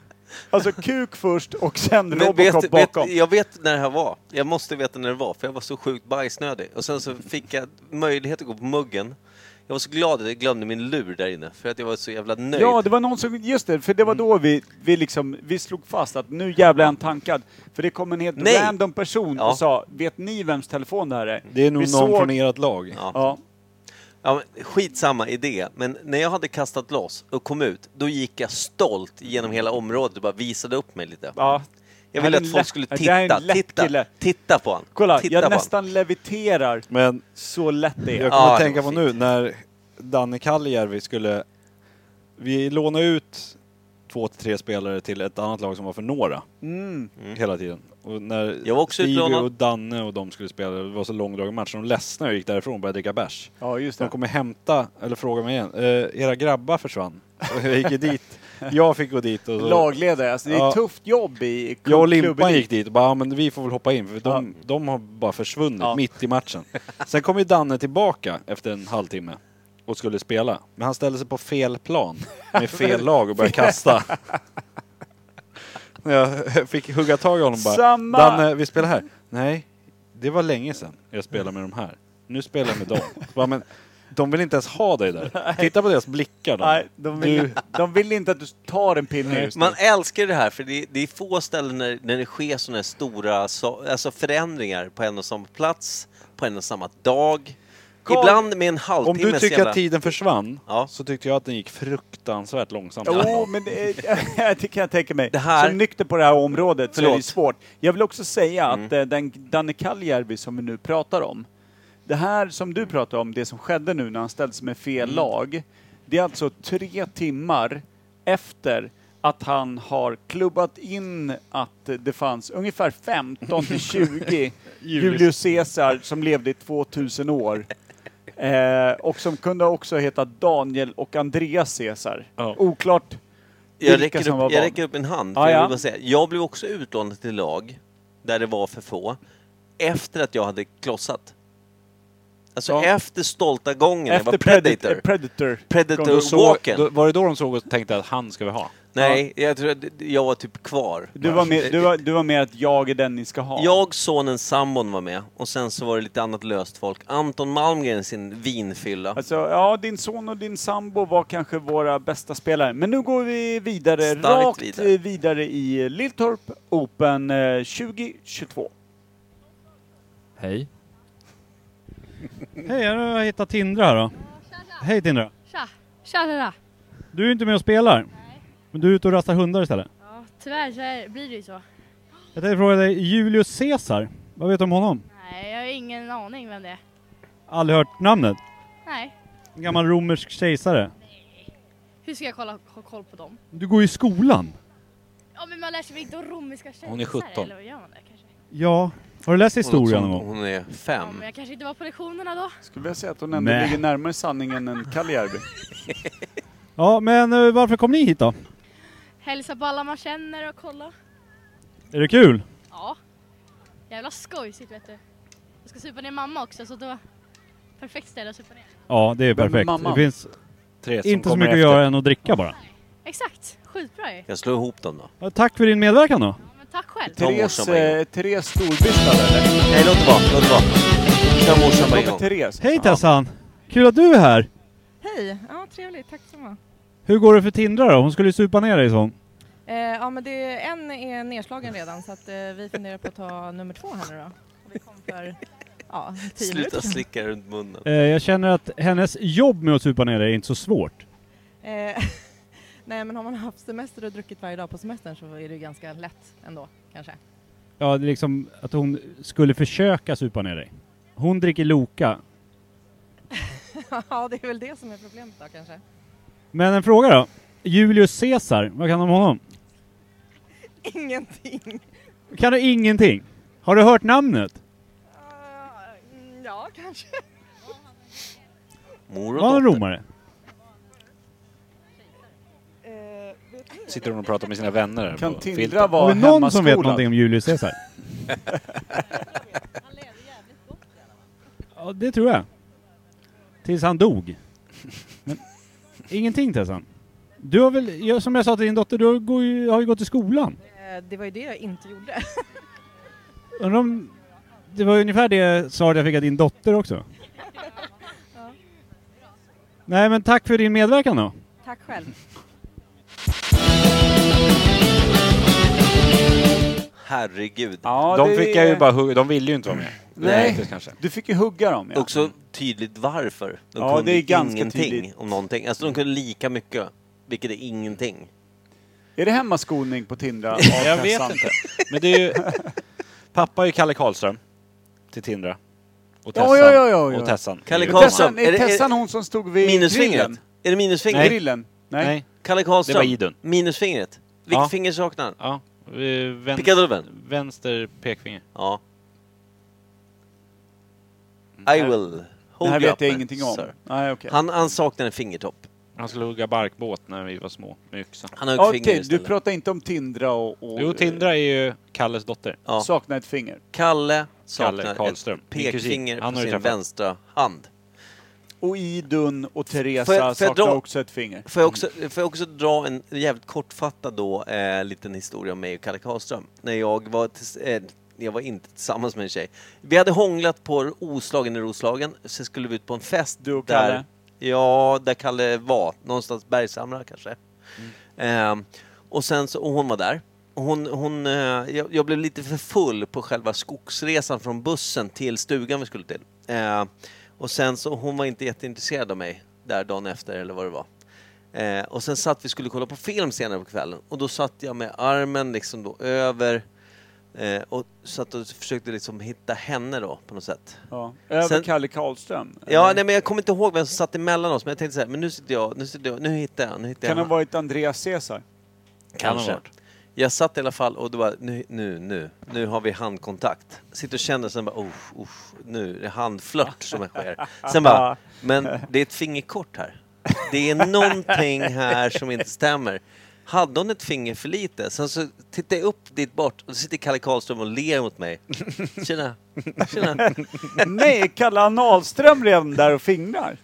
Speaker 2: Alltså kuk först och sen
Speaker 3: Men
Speaker 2: Robocop
Speaker 3: vet,
Speaker 2: bakom.
Speaker 3: Vet, jag vet när det här var. Jag måste veta när det var, för jag var så sjukt bajsnödig. Och sen så fick jag möjlighet att gå på muggen. Jag var så glad att jag glömde min lur där inne, för att jag var så jävla nöjd. Mm.
Speaker 2: Ja, det var någon som, just det, för det var då vi, vi liksom, vi slog fast att nu jävlar är han tankad. För det kom en helt
Speaker 3: Nej.
Speaker 2: random person
Speaker 3: Ja.
Speaker 2: och sa, vet ni vems telefon det här är?
Speaker 9: Det är nog
Speaker 2: vi
Speaker 9: någon från ert lag.
Speaker 3: Ja.
Speaker 2: Ja.
Speaker 3: Ja, men skitsamma idé, men när jag hade kastat loss och kom ut, då gick jag stolt genom hela området och bara visade upp mig lite.
Speaker 2: Ja.
Speaker 3: Jag
Speaker 2: Han
Speaker 3: ville
Speaker 2: är
Speaker 3: att
Speaker 2: lätt-
Speaker 3: folk skulle
Speaker 2: det här är en
Speaker 3: titta,
Speaker 2: lätt
Speaker 3: titta,
Speaker 2: kille.
Speaker 3: titta på honom.
Speaker 2: Kolla,
Speaker 3: titta
Speaker 2: jag
Speaker 3: på han.
Speaker 2: nästan leviterar.
Speaker 9: Men
Speaker 2: så lätt det är.
Speaker 9: Jag kommer
Speaker 2: Ja,
Speaker 9: att
Speaker 2: det
Speaker 9: tänka på
Speaker 2: var
Speaker 9: nu när Danne Kallijärvi skulle... Vi lånade ut två till tre spelare till ett annat lag som var för några.
Speaker 2: Mm.
Speaker 9: Hela tiden. Och när
Speaker 3: Jag var också
Speaker 9: Stevie
Speaker 3: utlånad.
Speaker 9: och Danne och de skulle spela, det var så långdragen match, så de ledsnade och gick därifrån och började dricka bärs.
Speaker 2: Ja, just
Speaker 9: De kommer hämta, eller fråga mig igen, eh, era grabbar [LAUGHS] försvann. Och jag gick ju dit. [LAUGHS] Jag fick gå dit och så...
Speaker 2: Lagledare, alltså det är
Speaker 9: Ja.
Speaker 2: ett tufft jobb i klubben.
Speaker 9: Jag och Limpan gick dit och bara, ja, men vi får väl hoppa in för de, de har bara försvunnit mitt i [LAUGHS] matchen. Sen kom ju Danne tillbaka efter en halvtimme och skulle spela. Men han ställde sig på fel plan med [LAUGHS] fel lag och började kasta. Jag fick hugga tag i honom bara.
Speaker 2: Samma-
Speaker 9: Danne, vi spelar här. Nej, det var länge sedan jag spelade med de här. Nu spelar jag med [LAUGHS] dem. Bara, men, de vill inte ens ha dig där. Titta på deras blickar. Då.
Speaker 2: Nej, de vill,
Speaker 9: Du-
Speaker 2: de vill inte att du tar en pinne just nu.
Speaker 3: Man älskar det här, för det, det är få ställen när, när det sker sådana här stora so- alltså förändringar på en och samma plats, på en och samma dag.
Speaker 9: Carl,
Speaker 3: Ibland med en
Speaker 9: Om
Speaker 3: halvtimme
Speaker 9: du tycker
Speaker 3: jävla-
Speaker 9: att tiden försvann så tyckte jag att den gick fruktansvärt långsamt.
Speaker 2: Jo,
Speaker 3: [LAUGHS]
Speaker 2: men det, är- [LAUGHS] det kan jag tänka mig.
Speaker 9: Det här-
Speaker 2: Som nykter på det här området så är det
Speaker 9: Förlåt. Mm.
Speaker 2: svårt. Jag vill också säga att eh, den Danne Kaljärvi som vi nu pratar om, det här som du pratar om, det som skedde nu när han ställdes med fel
Speaker 9: Mm.
Speaker 2: lag, det är alltså tre timmar efter att han har klubbat in att det fanns ungefär 15
Speaker 9: [LAUGHS]
Speaker 2: till 20 Julius Caesar som levde i 2000 år. Eh, och som kunde också heta Daniel och Andreas Caesar. Oklart
Speaker 3: Jag
Speaker 2: vilka
Speaker 3: räcker,
Speaker 2: som var
Speaker 3: upp, jag
Speaker 2: vad.
Speaker 3: räcker upp en hand. För
Speaker 2: Ja,
Speaker 3: jag,
Speaker 2: ja.
Speaker 3: vill bara säga, jag blev också utlånad till lag där det var för få efter att jag hade klossat. Alltså efter stolta gången. jag var
Speaker 9: Efter Predat-
Speaker 3: predator.
Speaker 2: Predator.
Speaker 9: Då
Speaker 3: Predator
Speaker 9: såg-
Speaker 3: walken.
Speaker 9: då- Var det då de såg och tänkte att han ska vi ha?
Speaker 3: Nej, jag tror att jag var typ kvar.
Speaker 2: Du var, med, du, var, du var med att jag är den ni ska ha.
Speaker 3: Jag, sonen, sambon var med och sen så var det lite annat löst folk. Anton Malmgren i sin vinfylla.
Speaker 2: Alltså, ja, din son och din sambo var kanske våra bästa spelare. Men nu går vi vidare,
Speaker 3: Starkt
Speaker 2: rakt
Speaker 3: vidare.
Speaker 2: vidare, vidare i Lilltorp Open eh, 2022.
Speaker 1: Hej. [LAUGHS] Hej, jag har hittat Tindra här då. Hej Tindra.
Speaker 7: Tja! Tja tja tja!
Speaker 1: Du är inte med och spelar. Men du är ute och rastar hundar istället.
Speaker 7: Ja, tyvärr så är- blir det ju så.
Speaker 1: Jag tänkte fråga dig, Julius Caesar. Vad vet du om honom?
Speaker 7: Nej, jag har ingen aning vem det är.
Speaker 1: Aldrig hört namnet.
Speaker 7: Nej.
Speaker 1: En gammal romersk kejsare.
Speaker 7: Hur ska jag kolla, ha koll på dem?
Speaker 1: Du går ju i skolan.
Speaker 7: Ja men man lär sig väl inte om romerska kejsare?
Speaker 1: Hon är 17.
Speaker 7: Eller vad gör man där kanske?
Speaker 1: Ja, Har du läst
Speaker 3: Hon
Speaker 1: historien
Speaker 3: låter
Speaker 1: någon
Speaker 3: som
Speaker 1: gång?
Speaker 3: Hon är
Speaker 7: Ja,
Speaker 3: fem.
Speaker 7: men jag kanske inte var på lektionerna då.
Speaker 2: Skulle vilja säga att hon ändå
Speaker 1: Nä.
Speaker 2: ligger närmare sanningen än
Speaker 3: [LAUGHS]
Speaker 2: Kaljärvi.
Speaker 1: Ja, men eh, varför kom ni hit då?
Speaker 7: Hälsa på alla man känner och kolla.
Speaker 1: Är det kul?
Speaker 7: Ja. Jävla skojsigt vet du. Jag ska supa ner mamma också så det var perfekt ställe att supa ner.
Speaker 1: Ja, det är
Speaker 9: Vem är
Speaker 1: perfekt.
Speaker 9: mamman?
Speaker 1: det finns
Speaker 9: Therese som
Speaker 1: inte så
Speaker 9: kommer
Speaker 1: mycket att
Speaker 9: efter.
Speaker 1: göra än att dricka bara.
Speaker 7: Exakt, skitbra ju.
Speaker 3: Jag slår ihop dem då.
Speaker 1: Ja, tack för din medverkan då.
Speaker 7: Men tack själv.
Speaker 2: Therese, eh, Therese Storbystad eller?
Speaker 3: Nej, låt det vara. Låt det vara. Kör morsan bara igång.
Speaker 2: Therese.
Speaker 1: Hej Tessan! Kul att du är här!
Speaker 17: Hej! Ja, trevligt. Tack så mycket.
Speaker 1: Hur går det för Tindra då? Hon skulle ju supa ner dig sån.
Speaker 17: Eh, ja, men det, en är nedslagen redan så att eh, vi funderar på att ta nummer två här nu då. Vi kom för ja, tio
Speaker 3: Sluta
Speaker 17: minuter sedan.
Speaker 3: slicka runt munnen.
Speaker 1: Eh, jag känner att hennes jobb med att supa ner dig är inte så svårt.
Speaker 17: Eh, [LAUGHS] nej, men har man haft semester och druckit varje dag på semestern så är det ju ganska lätt ändå, kanske. [LAUGHS]
Speaker 1: Ja, det är liksom att hon skulle försöka supa ner dig. Hon dricker Loka.
Speaker 17: ja, det är väl det som är problemet då kanske.
Speaker 1: Men en fråga då. Julius Caesar, vad kan du om honom?
Speaker 17: Ingenting.
Speaker 1: Kan du ingenting? Har du hört namnet?
Speaker 17: Mm, Eh, Ja, kanske.
Speaker 3: Mor
Speaker 1: Var han romare?
Speaker 17: Eh,
Speaker 9: Sitter hon och pratar med sina vänner här
Speaker 2: Kan
Speaker 9: på
Speaker 2: Tindra
Speaker 9: filten.
Speaker 2: vara
Speaker 1: Har vi någon som vet någonting om Julius Caesar? ja, det tror jag. Tills han dog. Men, ingenting Tessan. Du har väl, jag- som jag sa till din dotter, du har, går ju, har ju gått i skolan.
Speaker 17: Eh, det var ju det jag inte gjorde. [LAUGHS]
Speaker 1: Undrar om, det var ungefär det svaret jag fick av din dotter också.
Speaker 17: ja.
Speaker 1: Nej men tack för din medverkan då.
Speaker 17: Tack själv.
Speaker 3: Herregud.
Speaker 9: Ja, de, fick jag ju bara hugga, de ville ju inte vara med.
Speaker 3: Nej.
Speaker 9: Det kanske.
Speaker 2: Du fick ju hugga dem ja.
Speaker 3: Också tydligt varför. De
Speaker 2: Ja,
Speaker 3: kunde
Speaker 2: det är ganska
Speaker 3: ingenting
Speaker 2: tydligt.
Speaker 3: om någonting. Alltså de kunde lika mycket, vilket är ingenting.
Speaker 2: Är det hemmaskolning
Speaker 3: [LAUGHS]
Speaker 2: på Tindra? av
Speaker 9: Jag vet
Speaker 2: Tessan?
Speaker 9: inte. [LAUGHS] Men det är ju... Pappa är ju Kalle Karlström till Tindra. Och
Speaker 2: Ja,
Speaker 9: Tessan.
Speaker 2: ja, ja, ja, ja.
Speaker 9: Och Tessan.
Speaker 3: Kalle
Speaker 9: Det är ju-
Speaker 3: Karlsson.
Speaker 2: Tessan, är Tessan hon som stod vid
Speaker 3: minusfingret?
Speaker 2: grillen?
Speaker 3: Är det minusfingret?
Speaker 9: Nej.
Speaker 2: Grillen? Nej.
Speaker 3: Kalle
Speaker 9: Det var
Speaker 3: Karlström.
Speaker 9: Idun.
Speaker 3: Minusfingret. Vilket
Speaker 9: Ja.
Speaker 3: finger saknar han?
Speaker 9: Ja. Eh, vän-
Speaker 3: Picadolven?
Speaker 9: Vänster pekfinger.
Speaker 3: Ja.
Speaker 2: Mm.
Speaker 3: I will
Speaker 9: Det
Speaker 3: hold
Speaker 9: här
Speaker 3: you
Speaker 9: vet
Speaker 3: up,
Speaker 9: jag ingenting om.
Speaker 3: sir.
Speaker 9: Nej, okej.
Speaker 3: han, han saknar en fingertopp.
Speaker 9: Han skulle hugga barkbåt när vi var små med yxa.
Speaker 3: Han har ett
Speaker 2: Okej,
Speaker 3: finger
Speaker 2: du
Speaker 3: istället.
Speaker 2: pratar inte om Tindra och... och
Speaker 9: Jo, Tindra är ju Kalles dotter.
Speaker 3: Ja.
Speaker 2: Saknar ett finger.
Speaker 3: Kalle
Speaker 9: Kalle
Speaker 3: saknar
Speaker 9: Karlström.
Speaker 3: ett
Speaker 9: Min kusin.
Speaker 3: pekfinger
Speaker 9: Han
Speaker 3: på
Speaker 9: har ju
Speaker 3: sin
Speaker 9: träffat.
Speaker 3: vänstra hand.
Speaker 2: Och Idun och Teresa
Speaker 3: Får jag- får jag
Speaker 2: saknar
Speaker 3: dra-
Speaker 2: också ett finger.
Speaker 3: Får jag också, får jag också dra en jävligt kortfattad då, eh, liten historia om mig och Kalle Karlström? När jag var, tills- eh, jag var inte tillsammans med en tjej. Vi hade hånglat på Roslagen i Roslagen, sen skulle vi ut på en fest. Du och
Speaker 2: Kalle?
Speaker 3: Där, ja, där Kalle var. Någonstans Bergshamra kanske.
Speaker 2: Mm.
Speaker 3: Ehm, och sen så, och hon var där. Och Hon, hon, eh, jag, jag blev lite för full på själva skogsresan från bussen till stugan vi skulle till. Eh, och sen så, hon var inte jätteintresserad av mig där dagen efter eller vad det var. Eh, och sen satt vi skulle kolla på film senare på kvällen och då satt jag med armen liksom då över eh, och satt och försökte liksom hitta henne då på något sätt.
Speaker 2: Ja. Över
Speaker 3: Sen-
Speaker 2: Kalle Karlström?
Speaker 3: Ja,
Speaker 2: Eller?
Speaker 3: nej, men jag kommer inte ihåg vem som satt emellan oss men jag tänkte så här, men nu sitter jag, nu sitter jag, nu hittar jag, nu hittar jag.
Speaker 2: Kan det ha
Speaker 3: henne.
Speaker 2: varit Andreas Caesar?
Speaker 3: Kanske. Jag satt i alla fall och det var nu, nu, nu, nu har vi handkontakt. Sitter och känner sen bara, oh, oh, nu är det handflört som sker. Sen
Speaker 2: [LAUGHS]
Speaker 3: bara, men det är ett fingerkort här. Det är någonting här som inte stämmer. Hade hon ett finger för lite? Sen så tittar jag upp dit bort och då sitter Kalle Karlström och ler mot mig. Tjena, tjena.
Speaker 2: [LAUGHS] Nej, Kalle Analström redan där
Speaker 3: [LAUGHS]
Speaker 2: och fingrar.